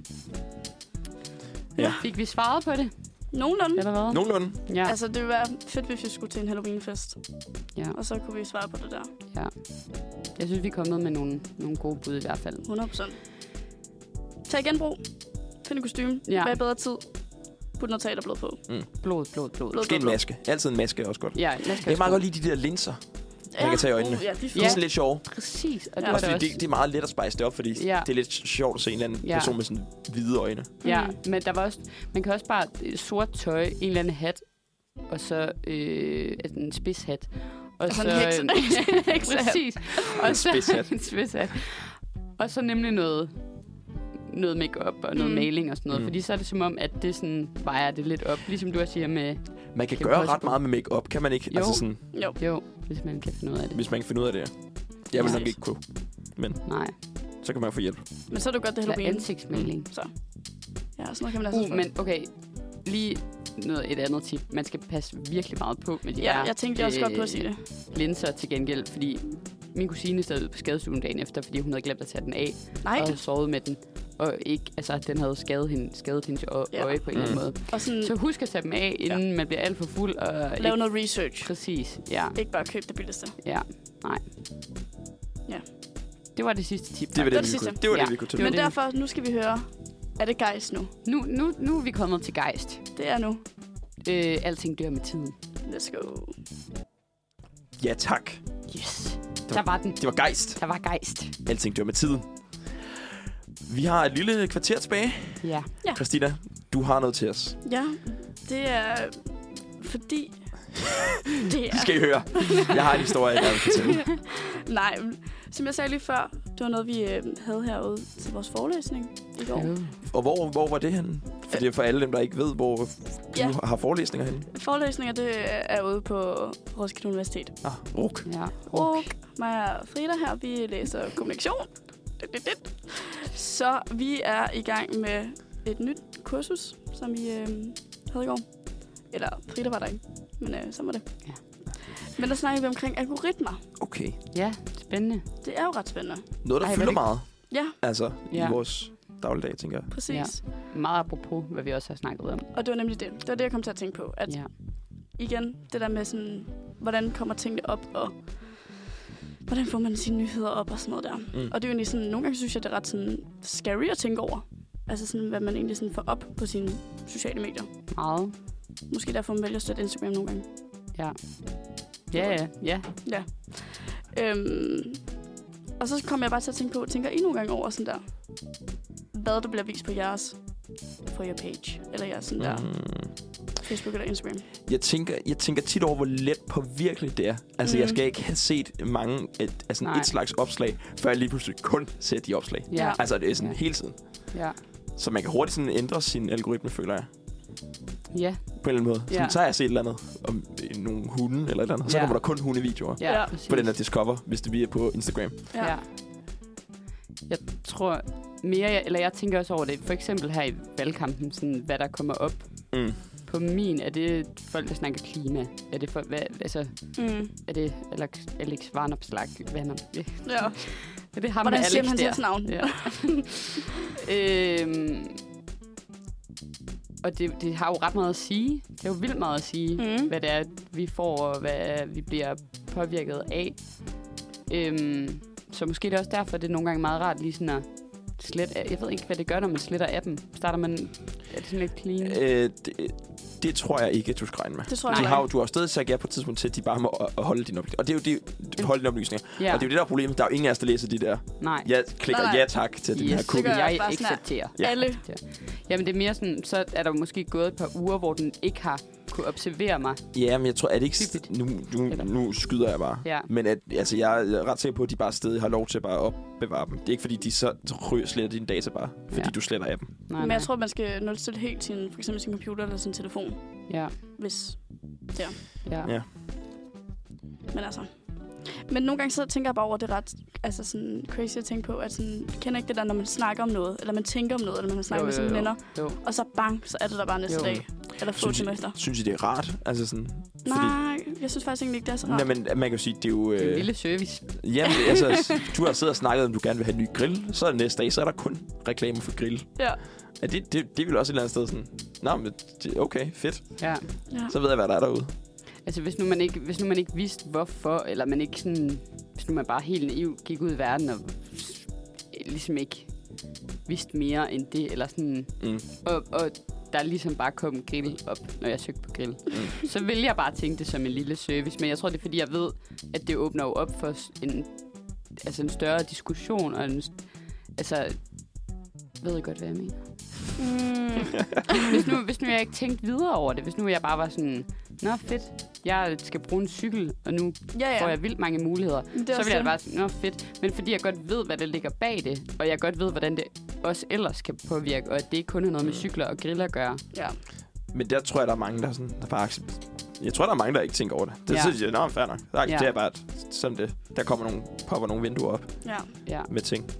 Speaker 3: Fik vi svaret på det,
Speaker 1: Nogenlunde.
Speaker 3: eller hvad?
Speaker 2: Nogenlunde.
Speaker 3: Ja.
Speaker 1: Altså, det ville være fedt, hvis vi skulle til en Halloweenfest.
Speaker 3: Ja.
Speaker 1: Og så kunne vi svare på det der.
Speaker 3: Jeg synes, vi er kommet med nogle, nogle gode bud i hvert fald.
Speaker 1: 100%. Tag genbrug. Find en kostume.
Speaker 3: Ja.
Speaker 1: Ja. Vær i bedre tid. Put noget teaterblod på.
Speaker 3: Blod, blod, blod.
Speaker 1: Blod.
Speaker 2: Måske en maske. Altid en maske er også godt.
Speaker 3: Ja, lad os
Speaker 2: Jeg kan meget godt lide de der linser. Man kan tage i øjnene.
Speaker 1: Uh, ja, de er
Speaker 2: De er
Speaker 1: fede.
Speaker 2: sådan lidt sjove.
Speaker 3: Præcis, og det
Speaker 1: Ja.
Speaker 3: var
Speaker 2: Også
Speaker 3: det
Speaker 2: fordi
Speaker 3: også.
Speaker 2: det, det er meget let at spejse det op, fordi
Speaker 3: Ja.
Speaker 2: det er lidt sjovt at se en eller anden
Speaker 3: Ja.
Speaker 2: person med sådan hvide øjne.
Speaker 3: Ja,
Speaker 1: Mm.
Speaker 3: men der var også, man kan også bare øh, sort tøj, en eller anden hat, og så øh, altså en spidshat. Og
Speaker 1: en hekse- en heksehat.
Speaker 3: præcis. Og så,
Speaker 2: spidshat.
Speaker 3: en spidshat. Og så nemlig noget, noget makeup og noget
Speaker 1: Mm.
Speaker 3: mm. maling og sådan noget.
Speaker 2: Mm.
Speaker 3: Mm. Fordi så er det som om, at det sådan vejer det lidt op. Ligesom du også siger med,
Speaker 2: Man kan
Speaker 3: Kim
Speaker 2: gøre
Speaker 3: Possible.
Speaker 2: ret meget med makeup, kan man ikke?
Speaker 3: Jo.
Speaker 2: Altså sådan,
Speaker 1: Jo.
Speaker 3: jo, hvis man kan finde ud af det.
Speaker 2: hvis man kan finde ud af det. Jeg vil
Speaker 1: Ja.
Speaker 2: nok ikke kunne.
Speaker 3: Nej,
Speaker 2: Så kan man få hjælp.
Speaker 1: Men så er det jo godt, det er
Speaker 3: eller
Speaker 1: Halloween. Mm.
Speaker 3: ansigtsmaling.
Speaker 1: Så. Ja, sådan noget kan man altså
Speaker 3: Uh,
Speaker 1: få.
Speaker 3: men okay, lige noget et andet tip. Man skal passe virkelig meget på med de
Speaker 1: Ja,
Speaker 3: her,
Speaker 1: jeg tænkte også godt på at sige det.
Speaker 3: linser til gengæld, fordi min kusine sad ude på skadestuen dagen efter, fordi hun havde glemt at tage den af,
Speaker 1: Nej,
Speaker 3: og havde sovet med den. Og ikke, altså, den havde skadet, hende, skadet hendes ø-
Speaker 1: Ja.
Speaker 3: øje på en eller anden
Speaker 2: Mm.
Speaker 3: måde.
Speaker 1: og sådan
Speaker 3: Så husk at tage dem af, inden ja. man bliver alt for fuld. Og
Speaker 1: lave
Speaker 3: ikke,
Speaker 1: noget research.
Speaker 3: Præcis, ja.
Speaker 1: Ikke bare købe det billigste.
Speaker 3: ja. Nej.
Speaker 1: Ja.
Speaker 3: Det var det sidste tip.
Speaker 2: Det var
Speaker 1: det
Speaker 2: det, vi
Speaker 1: sidste.
Speaker 2: kunne. Det var
Speaker 3: Ja.
Speaker 2: det, vi kunne tage.
Speaker 1: Men
Speaker 3: det.
Speaker 1: derfor, nu skal vi høre, er det guys nu?
Speaker 3: Nu, nu, nu er vi kommet til gejst.
Speaker 1: Det er nu.
Speaker 3: Øh, alting dør med tiden.
Speaker 1: Let's go.
Speaker 2: Ja, tak.
Speaker 3: Yes.
Speaker 2: var-
Speaker 3: Der var den.
Speaker 2: Det var gejst.
Speaker 3: Der var gejst.
Speaker 2: Alting dør med tiden. Vi har et lille kvarter tilbage.
Speaker 3: Ja.
Speaker 2: Christina, du har noget til os.
Speaker 1: Ja, det er fordi... det
Speaker 2: Det
Speaker 1: er...
Speaker 2: skal I høre. Jeg har en historie, jeg vil fortælle.
Speaker 1: Nej, men som jeg sagde lige før, det var noget, vi øh, havde herude til vores forelæsning i går.
Speaker 3: Jo.
Speaker 2: Og hvor, hvor var det henne? For det er for alle dem, der ikke ved, hvor du
Speaker 1: Ja.
Speaker 2: har forelæsninger henne.
Speaker 1: Forelæsninger, det er ude på Roskilde Universitet.
Speaker 2: Ah, ruk.
Speaker 3: Ja.
Speaker 1: Og mig og Frida her, vi læser kommunikation. Dit, dit, dit. Så vi er i gang med et nyt kursus, som vi øh, havde i går. Eller Frida var der ikke, men øh, så var det.
Speaker 3: Ja.
Speaker 1: Men der snakker vi omkring algoritmer.
Speaker 2: Okay.
Speaker 3: Ja, spændende.
Speaker 1: Det er jo ret spændende.
Speaker 2: Noget, der
Speaker 3: Ej,
Speaker 2: Ej, fylder
Speaker 3: hvor er det-
Speaker 2: meget.
Speaker 1: Ja.
Speaker 2: Altså,
Speaker 3: Ja.
Speaker 2: i vores dagligdag, tænker jeg.
Speaker 1: Præcis. Ja.
Speaker 3: Meget apropos, hvad vi også har snakket om.
Speaker 1: Og det var nemlig det. Det var det, jeg kom til at tænke på. At
Speaker 3: Ja.
Speaker 1: igen, det der med sådan, hvordan kommer tingene op, og hvordan får man sine nyheder op og sådan noget der.
Speaker 2: Mm.
Speaker 1: Og det er jo egentlig sådan, nogle gange synes jeg, det er ret sådan scary at tænke over. Altså sådan, hvad man egentlig sådan får op på sine sociale medier.
Speaker 3: Meget.
Speaker 1: Måske derfor man vælger at støtte Instagram nogle gange.
Speaker 3: Ja, ja, ja.
Speaker 1: Øhm, og så kommer jeg bare til at tænke på, tænker I nogle gange over sådan der, hvad der bliver vist på jeres for your page, eller jeres sådan der
Speaker 2: Mm.
Speaker 1: Facebook eller Instagram.
Speaker 2: Jeg tænker, jeg tænker tit over, hvor let påvirkeligt det er. Altså, mm.
Speaker 1: Mm.
Speaker 2: jeg skal ikke have set mange et, altså
Speaker 3: Nej.
Speaker 2: et slags opslag, før jeg lige pludselig kun ser de opslag.
Speaker 3: Ja,
Speaker 2: Altså, det er sådan
Speaker 3: Ja.
Speaker 2: ja. hele tiden.
Speaker 3: ja.
Speaker 2: Så man kan hurtigt sådan ændre sin algoritme, føler jeg.
Speaker 3: Ja,
Speaker 2: På en eller anden måde. Sådan,
Speaker 3: Ja.
Speaker 2: Så har jeg set et eller andet om øh, nogle hunde eller et eller andet. og Så
Speaker 3: Ja.
Speaker 2: ja. kommer der kun hundevideoer
Speaker 3: ja,
Speaker 1: Ja. Mm.
Speaker 3: ja. præcis.
Speaker 2: på den her Discover, hvis det bliver på Instagram.
Speaker 1: Ja.
Speaker 3: Ja. Jeg tror mere, jeg, eller jeg tænker også over det. For eksempel her i valgkampen, sådan, hvad der kommer op
Speaker 2: Mm.
Speaker 3: på min. Er det folk, der snakker klima? Er det, for, hvad, altså,
Speaker 1: Mm.
Speaker 3: er det Alex, Alex Varnopslag? Varnop-
Speaker 1: ja.
Speaker 3: Er det ham
Speaker 1: Hvordan
Speaker 3: med
Speaker 1: siger
Speaker 3: Alex
Speaker 1: man
Speaker 3: der?
Speaker 1: hans navn?
Speaker 3: Ja. øhm, og det, det har jo ret meget at sige. Det er jo vildt meget at sige,
Speaker 1: Mm.
Speaker 3: mm. hvad det er, vi får, og hvad vi bliver påvirket af. Øhm, så måske er det også derfor, det er nogle gange meget rart lige sådan at slette... af- Jeg ved ikke, hvad det gør, når man sletter appen. Starter man... Er det sådan lidt clean?
Speaker 2: Øh, det, det tror jeg ikke, at du skal regne med.
Speaker 1: Det tror jeg
Speaker 2: Du
Speaker 1: heller
Speaker 2: har jo, du har jo stadig sagt ja på et tidspunkt til, at de bare må øh, holde dine oplysninger. Og det er jo det, holde dine oplysninger.
Speaker 3: ja,
Speaker 2: Og det er jo det, der er problemet. Der er jo ingen af os, der læser de der.
Speaker 3: nej.
Speaker 2: Jeg klikker
Speaker 1: Nej, nej.
Speaker 2: ja tak til yes. den her
Speaker 1: cool.
Speaker 2: cookie.
Speaker 1: Det gør jeg
Speaker 3: jeg,
Speaker 1: også bare sådan her.
Speaker 3: accepterer.
Speaker 1: Alle.
Speaker 3: Jamen det er mere sådan, så er der måske gået et par uger, hvor den ikke har kunne observere mig.
Speaker 2: Ja, men jeg tror, er det ikke... st- Nu, nu,
Speaker 3: Eller-
Speaker 2: nu skyder jeg bare.
Speaker 3: Ja.
Speaker 2: Men at, altså, jeg er ret sikker på, at de bare stadig har lov til at bare opbevare dem. Det er ikke, fordi de så rø- sletter dine data bare, fordi
Speaker 3: Ja.
Speaker 2: ja. du sletter af dem.
Speaker 3: Nej,
Speaker 1: Men
Speaker 3: nej.
Speaker 1: jeg tror, man skal nulstille helt sin, for eksempel sin computer eller sin telefon,
Speaker 3: Ja,
Speaker 1: hvis...
Speaker 3: ja.
Speaker 2: Ja.
Speaker 1: Men altså... Men nogle gange så tænker jeg bare over, at det er ret altså sådan crazy at tænke på, at sådan, jeg kender ikke det der, når man snakker om noget, eller man tænker om noget, eller man har snakket
Speaker 3: Jo,
Speaker 1: med
Speaker 3: jo,
Speaker 1: sine
Speaker 3: jo.
Speaker 1: venner,
Speaker 3: Jo.
Speaker 1: og så bang, så er det der bare næste
Speaker 3: Jo.
Speaker 1: jo. dag, eller få
Speaker 2: Synes I,
Speaker 1: timer efter.
Speaker 2: synes I, det er rart? Altså sådan...
Speaker 1: Nej, jeg synes faktisk egentlig ikke, det er så rart.
Speaker 2: Nej, men man kan jo sige, det er jo...
Speaker 3: Det er en
Speaker 2: Øh,
Speaker 3: lille service.
Speaker 2: jamen, altså, du har siddet og snakket om, du gerne vil have en ny grill. Så er det næste dag, så er der kun reklamer for grill.
Speaker 1: Ja.
Speaker 2: Er det, det, det vil også et eller andet sted sådan... Nå, men det, okay, fedt.
Speaker 3: Ja.
Speaker 1: ja.
Speaker 2: Så ved jeg, hvad der er derude.
Speaker 3: Altså, hvis nu, man ikke, hvis nu man ikke vidste, hvorfor, eller man ikke sådan... Hvis nu man bare helt naiv gik ud i verden og s- ligesom ikke vidste mere end det, eller sådan...
Speaker 2: Mm.
Speaker 3: Og, og der ligesom bare kom grill op, når jeg søgte på grill. Mm. Så vil jeg bare tænke det som en lille service, men jeg tror, det er fordi, jeg ved, at det åbner jo op for s- en, altså en større diskussion, og en, s- altså, ved jeg godt, hvad jeg mener?
Speaker 1: Mm,
Speaker 3: Hvis nu, hvis nu jeg ikke tænkte videre over det, hvis nu jeg bare var sådan, nå fedt, jeg skal bruge en cykel, og nu
Speaker 1: ja,
Speaker 3: ja. får
Speaker 1: ja.
Speaker 3: jeg vildt mange muligheder.
Speaker 1: Det er
Speaker 3: Så
Speaker 1: også
Speaker 3: vil jeg
Speaker 1: det.
Speaker 3: bare sige, nå fedt. Men fordi jeg godt ved, hvad der ligger bag det, og jeg godt ved, hvordan det også ellers kan påvirke, og at det ikke kun har noget med cykler og grill at gøre.
Speaker 1: Ja.
Speaker 2: Men der tror jeg, der er mange, der, er sådan, der bare accept- Jeg tror, der er mange, der ikke tænker over det. Det
Speaker 3: Ja.
Speaker 2: ja. synes jeg, nå, fair nok. Der accepterer
Speaker 3: Ja.
Speaker 2: jeg bare, at sådan det. Der kommer nogle, popper nogle vinduer op
Speaker 1: ja.
Speaker 3: Ja.
Speaker 2: med ting.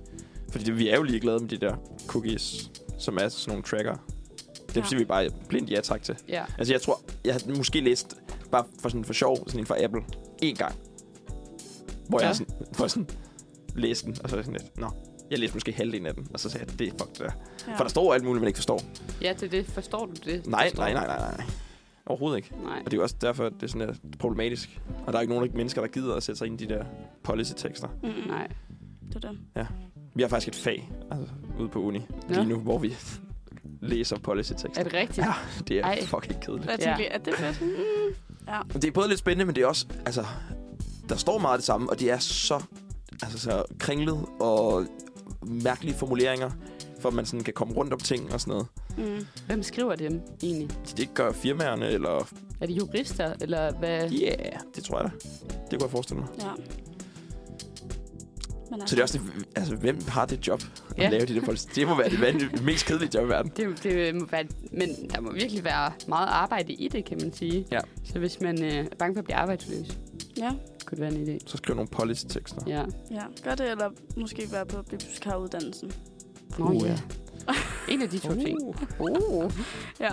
Speaker 2: Fordi det, vi er jo ligeglade med de der cookies, som er sådan nogle tracker. Dem
Speaker 1: Ja.
Speaker 2: ja. siger vi bare blindt ja tak til.
Speaker 3: Ja.
Speaker 2: Altså, jeg tror, jeg har måske læst, bare for sådan for sjov, sådan en fra Apple, en gang. Hvor
Speaker 3: Ja.
Speaker 2: jeg sådan, for sådan, læste den, og så var jeg sådan lidt, nå, jeg læste måske halvdelen af den, og så sagde jeg, det er fuck det der.
Speaker 1: ja.
Speaker 2: For der står alt muligt, man ikke forstår.
Speaker 3: ja, til det. Forstår du det?
Speaker 2: Nej,
Speaker 3: Forstår
Speaker 2: nej,
Speaker 3: du?
Speaker 2: nej, nej, nej. Overhovedet ikke.
Speaker 3: nej.
Speaker 2: Og det er jo også derfor, at det er sådan er problematisk. Og der er ikke nogen mennesker, der gider at sætte sig ind i de der policy-tekster.
Speaker 1: Mm,
Speaker 3: Nej.
Speaker 1: Det er det.
Speaker 2: Vi har faktisk et fag altså, ude på uni
Speaker 3: Nå.
Speaker 2: lige nu, hvor vi læser policy-tekster.
Speaker 3: Er det rigtigt?
Speaker 2: Ja, det er
Speaker 3: Ej.
Speaker 2: Ej. fucking kedeligt.
Speaker 1: Og jeg
Speaker 3: Ja.
Speaker 1: tænkte, ja. er det fedt? Mm.
Speaker 2: Men Det er både lidt spændende, men det er også... Altså, der står meget af det samme, og det er så, altså, så kringlet og mærkelige formuleringer, for at man sådan kan komme rundt om ting og sådan noget.
Speaker 1: Mm.
Speaker 3: Hvem skriver dem egentlig?
Speaker 2: Så det gør firmaerne, eller...
Speaker 3: Er det jurister, eller hvad?
Speaker 2: Ja, yeah, det tror jeg da. Det kunne jeg forestille mig.
Speaker 1: Ja. Men altså,
Speaker 2: Så det er også det, altså, hvem har det job at
Speaker 3: Ja.
Speaker 2: ja. lave de der policy? Det må være det vanvittige- mest kedelige job i verden.
Speaker 3: Det, er jo- det må være, men der må virkelig være meget arbejde i det, kan man sige.
Speaker 2: Ja.
Speaker 3: Så hvis man øh, er bange for at blive arbejdsløs,
Speaker 1: Ja,
Speaker 3: kunne det være en idé.
Speaker 2: Så skriv nogle policy-tekster. Ja.
Speaker 3: Ja.
Speaker 1: ja. Gør det, eller måske være på bibliotekaruddannelsen.
Speaker 3: Nå
Speaker 2: Uh,
Speaker 3: ja.
Speaker 2: ja. Oh.
Speaker 3: En af de to ting. Uh.
Speaker 1: Ja,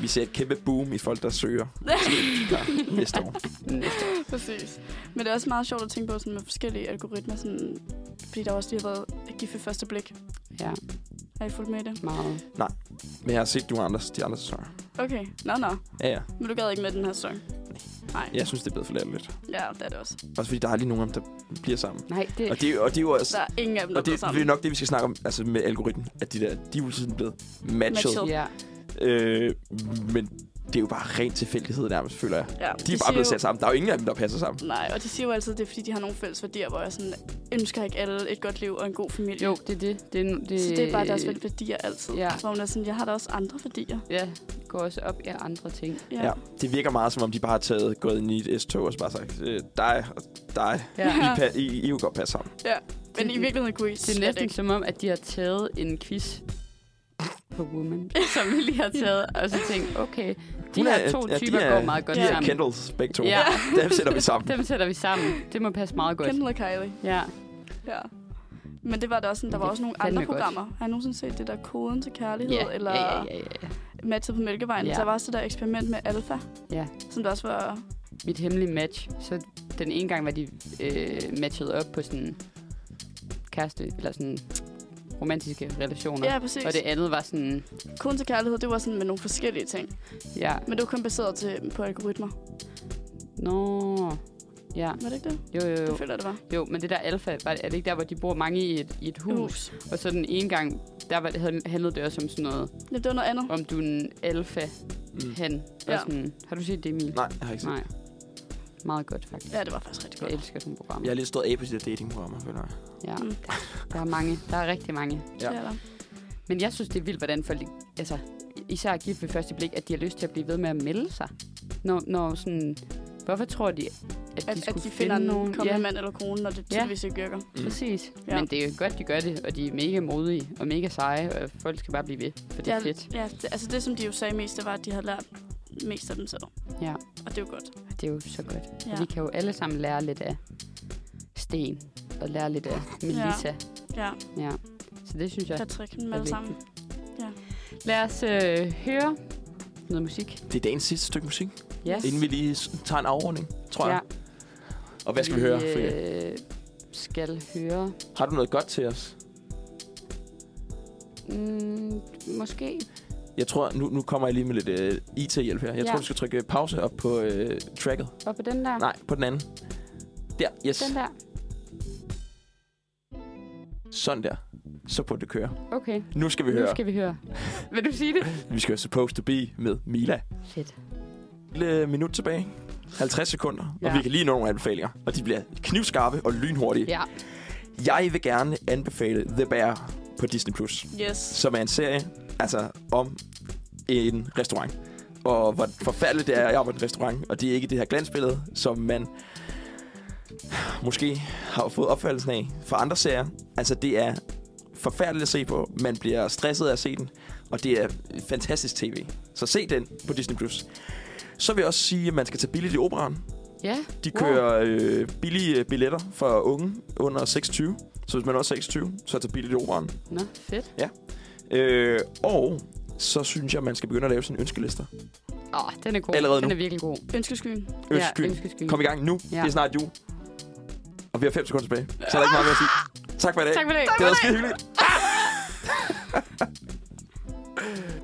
Speaker 2: Vi ser et kæmpe boom i folk, der søger. Ja, næste år.
Speaker 3: Næste.
Speaker 1: præcis. Men det er også meget sjovt at tænke på sådan med forskellige algoritmer, sådan, fordi der også lige har været gift ved første blik.
Speaker 3: Ja,
Speaker 1: Har I fulgt med i det?
Speaker 3: meget.
Speaker 2: Men jeg har set, du har andre, de andre sæsoner.
Speaker 1: Okay, nå nå.
Speaker 2: Ja, ja.
Speaker 1: Men du gad ikke med den her sæson? Nej.
Speaker 2: Jeg synes, det er blevet for lidt.
Speaker 1: Ja, det er det også.
Speaker 2: Også fordi der er lige nogen, af dem, der bliver sammen.
Speaker 3: Nej, det,
Speaker 2: Og det, er jo- og det er jo også...
Speaker 1: Der er ingen af dem, der
Speaker 2: Og det,
Speaker 1: er
Speaker 2: det er
Speaker 1: sammen.
Speaker 2: nok det, vi skal snakke om altså med algoritmen. At de der, de er jo sådan blevet matchet.
Speaker 1: Matchet.
Speaker 2: matchet.
Speaker 3: ja.
Speaker 2: Øh, men det er jo bare ren tilfældighed nærmest, føler jeg.
Speaker 1: Ja,
Speaker 2: De er bare
Speaker 1: siger
Speaker 2: blevet
Speaker 1: jo-
Speaker 2: sat sammen. Der er jo ingen af dem, der passer sammen.
Speaker 1: Nej, og de siger jo altid, at det er, fordi de har nogle fælles værdier, hvor jeg sådan, ønsker ikke alle et godt liv og en god familie.
Speaker 3: Jo, det er det. det, er, det
Speaker 1: Så det er bare deres værdier altid.
Speaker 3: Ja.
Speaker 1: Ja. Så hun er sådan, jeg har da også andre værdier.
Speaker 3: Ja, det går også op i andre ting.
Speaker 2: Ja. ja. Det virker meget, som om de bare har taget, gået ind i et S-tog og så bare sagt, øh, dig og dig,
Speaker 3: Ja.
Speaker 2: I, pa- I, I, I vil godt passe sammen.
Speaker 1: ja. Men
Speaker 3: Det-
Speaker 1: i virkeligheden kunne I
Speaker 3: Det er
Speaker 1: slet
Speaker 3: næsten
Speaker 1: ikke.
Speaker 3: som om, at de har taget en quiz på Woman, som vi lige har taget, og så tænkt, okay, de
Speaker 2: Hun
Speaker 3: her
Speaker 2: er-
Speaker 3: to
Speaker 2: ja, de
Speaker 3: typer
Speaker 2: er-
Speaker 3: går meget godt
Speaker 1: de er
Speaker 2: Ja.
Speaker 3: sammen.
Speaker 2: Kendalls, begge to.
Speaker 3: Ja.
Speaker 2: Ja. Dem sætter vi sammen.
Speaker 3: Dem sætter vi sammen. Det må passe meget godt.
Speaker 1: Kendall og Kylie.
Speaker 3: Ja,
Speaker 1: Ja. Men det var der også sådan, der
Speaker 3: Det
Speaker 1: var
Speaker 3: er
Speaker 1: også nogle
Speaker 3: fandme
Speaker 1: andre
Speaker 3: godt.
Speaker 1: programmer. Har I nogensinde set det der koden til kærlighed,
Speaker 3: ja,
Speaker 1: eller
Speaker 3: ja, ja, ja, ja.
Speaker 1: matchet på Mælkevejen?
Speaker 3: Ja.
Speaker 1: Der var også det der eksperiment med alfa,
Speaker 3: Ja.
Speaker 1: som der også var...
Speaker 3: Mit hemmelige match, så den ene gang var de øh, matchet op på sådan kæreste, eller sådan romantiske relationer.
Speaker 1: Ja, præcis.
Speaker 3: Og det andet var sådan,
Speaker 1: Koden til kærlighed, det var sådan med nogle forskellige ting.
Speaker 3: ja,
Speaker 1: Men det var kun baseret til, på algoritmer.
Speaker 3: nå, ja,
Speaker 1: Var det ikke det?
Speaker 3: jo, jo,
Speaker 1: Det
Speaker 3: jo.
Speaker 1: føler jeg, det var.
Speaker 3: Jo, men det der alfa, var, er det ikke der, hvor de bor mange i et, i et hus?
Speaker 1: Hus.
Speaker 3: Og så den ene gang, der var, havde- handlede det også om sådan noget,
Speaker 1: Ja, det var noget andet.
Speaker 3: om du er en alfa,
Speaker 2: Mm.
Speaker 3: han. Ja.
Speaker 1: Ja.
Speaker 3: Sådan, har du set det, Emil?
Speaker 2: Nej, jeg har ikke set.
Speaker 3: Nej. Meget godt, faktisk.
Speaker 1: Ja, det var faktisk rigtig
Speaker 3: Jeg
Speaker 1: godt.
Speaker 3: elsker sådan program.
Speaker 2: Jeg har lidt stået af på de der datingprogrammer, føler jeg.
Speaker 3: Ja,
Speaker 1: Mm.
Speaker 3: der er mange. Der er rigtig mange.
Speaker 1: Ja.
Speaker 2: Ja.
Speaker 1: Det er der.
Speaker 3: Men jeg synes, det er vildt, hvordan folk, altså, især gift ved første blik, at de har lyst til at blive ved med at melde sig. når, når sådan, hvorfor tror de, at de,
Speaker 1: At, at
Speaker 3: skulle
Speaker 1: de finder
Speaker 3: finde
Speaker 1: en
Speaker 3: nogen?
Speaker 1: kommende
Speaker 3: ja,
Speaker 1: ja. mand eller kone, når det
Speaker 3: Ja.
Speaker 1: tydeligvis ikke virker.
Speaker 2: Mm.
Speaker 3: præcis.
Speaker 1: Ja.
Speaker 3: Ja. Men det er godt, de gør det, og de er mega modige og mega seje, og folk skal bare blive ved, for det er fedt.
Speaker 1: Ja, det, altså det, som de jo sagde mest, det var, at de havde lært mest af dem selv.
Speaker 3: Ja.
Speaker 1: Og det er jo godt.
Speaker 3: Og Det er jo så godt. Ja.
Speaker 1: Ja.
Speaker 3: Og vi kan jo alle sammen lære lidt af Sten, og lære lidt af Melissa.
Speaker 1: Ja,
Speaker 3: Ja. ja. Så det synes jeg
Speaker 1: Patrick, dem
Speaker 3: er
Speaker 1: alle
Speaker 3: vigtigt.
Speaker 1: sammen.
Speaker 3: Lad os øh, høre noget musik.
Speaker 2: Det er dagens sidste stykke musik,
Speaker 3: Yes.
Speaker 2: inden vi lige s- tager en afordning, tror jeg. Og hvad skal vi høre? Frie?
Speaker 3: Øh, skal høre...
Speaker 2: Har du noget godt til os?
Speaker 3: Mm, måske.
Speaker 2: Jeg tror, nu, nu kommer jeg lige med lidt øh, IT-hjælp her. Jeg
Speaker 3: Ja.
Speaker 2: tror, du skal trykke øh, pause op på øh, tracket.
Speaker 3: Og på den der.
Speaker 2: Nej, på den anden. Der, yes.
Speaker 3: Den der.
Speaker 2: Sådan der. Så burde det køre.
Speaker 3: Okay.
Speaker 2: Nu skal vi
Speaker 3: nu
Speaker 2: høre.
Speaker 3: skal vi høre. Vil du sige det?
Speaker 2: Vi skal høre Supposed to Be med Mila.
Speaker 3: Fedt.
Speaker 2: Lille minut tilbage. 50 sekunder. Ja.
Speaker 3: Ja.
Speaker 2: Og vi kan lige nå nogle anbefalinger. Og de bliver knivskarpe og lynhurtige. Ja.
Speaker 3: Ja.
Speaker 2: Jeg vil gerne anbefale The Bear på Disney+. Plus,
Speaker 1: Yes.
Speaker 2: Som er en serie altså om en restaurant. Og hvor forfærdeligt det er at arbejde i en restaurant. Og det er ikke det her glansbillede, som man måske har fået opfattelsen af fra andre serier. Altså, det er forfærdeligt at se på. Man bliver stresset af at se den. Og det er fantastisk tv. Så se den på Disney+. Plus. Så vil jeg også sige, at man skal tage billigt i operan.
Speaker 3: Ja.
Speaker 2: De
Speaker 3: Wow.
Speaker 2: kører øh, billige billetter for unge under 26. Så hvis man er 26, så tager billigt i operan.
Speaker 3: Nå, fedt.
Speaker 2: Øh, og så synes jeg, man skal begynde at lave sine ønskelister.
Speaker 3: Åh, oh, den er god.
Speaker 2: Allerede
Speaker 3: den
Speaker 2: nu.
Speaker 3: er virkelig god.
Speaker 1: Ønskeskyen.
Speaker 2: Ønskeskyen.
Speaker 3: ønskeskyen.
Speaker 2: Kom i gang nu. Ja.
Speaker 3: Ja.
Speaker 2: Det er snart jul. Og vi har 5 sekunder tilbage. Så er der ikke meget mere at sige. Tak for i dag.
Speaker 3: Tak for i dag.
Speaker 2: Det var skide hyggeligt.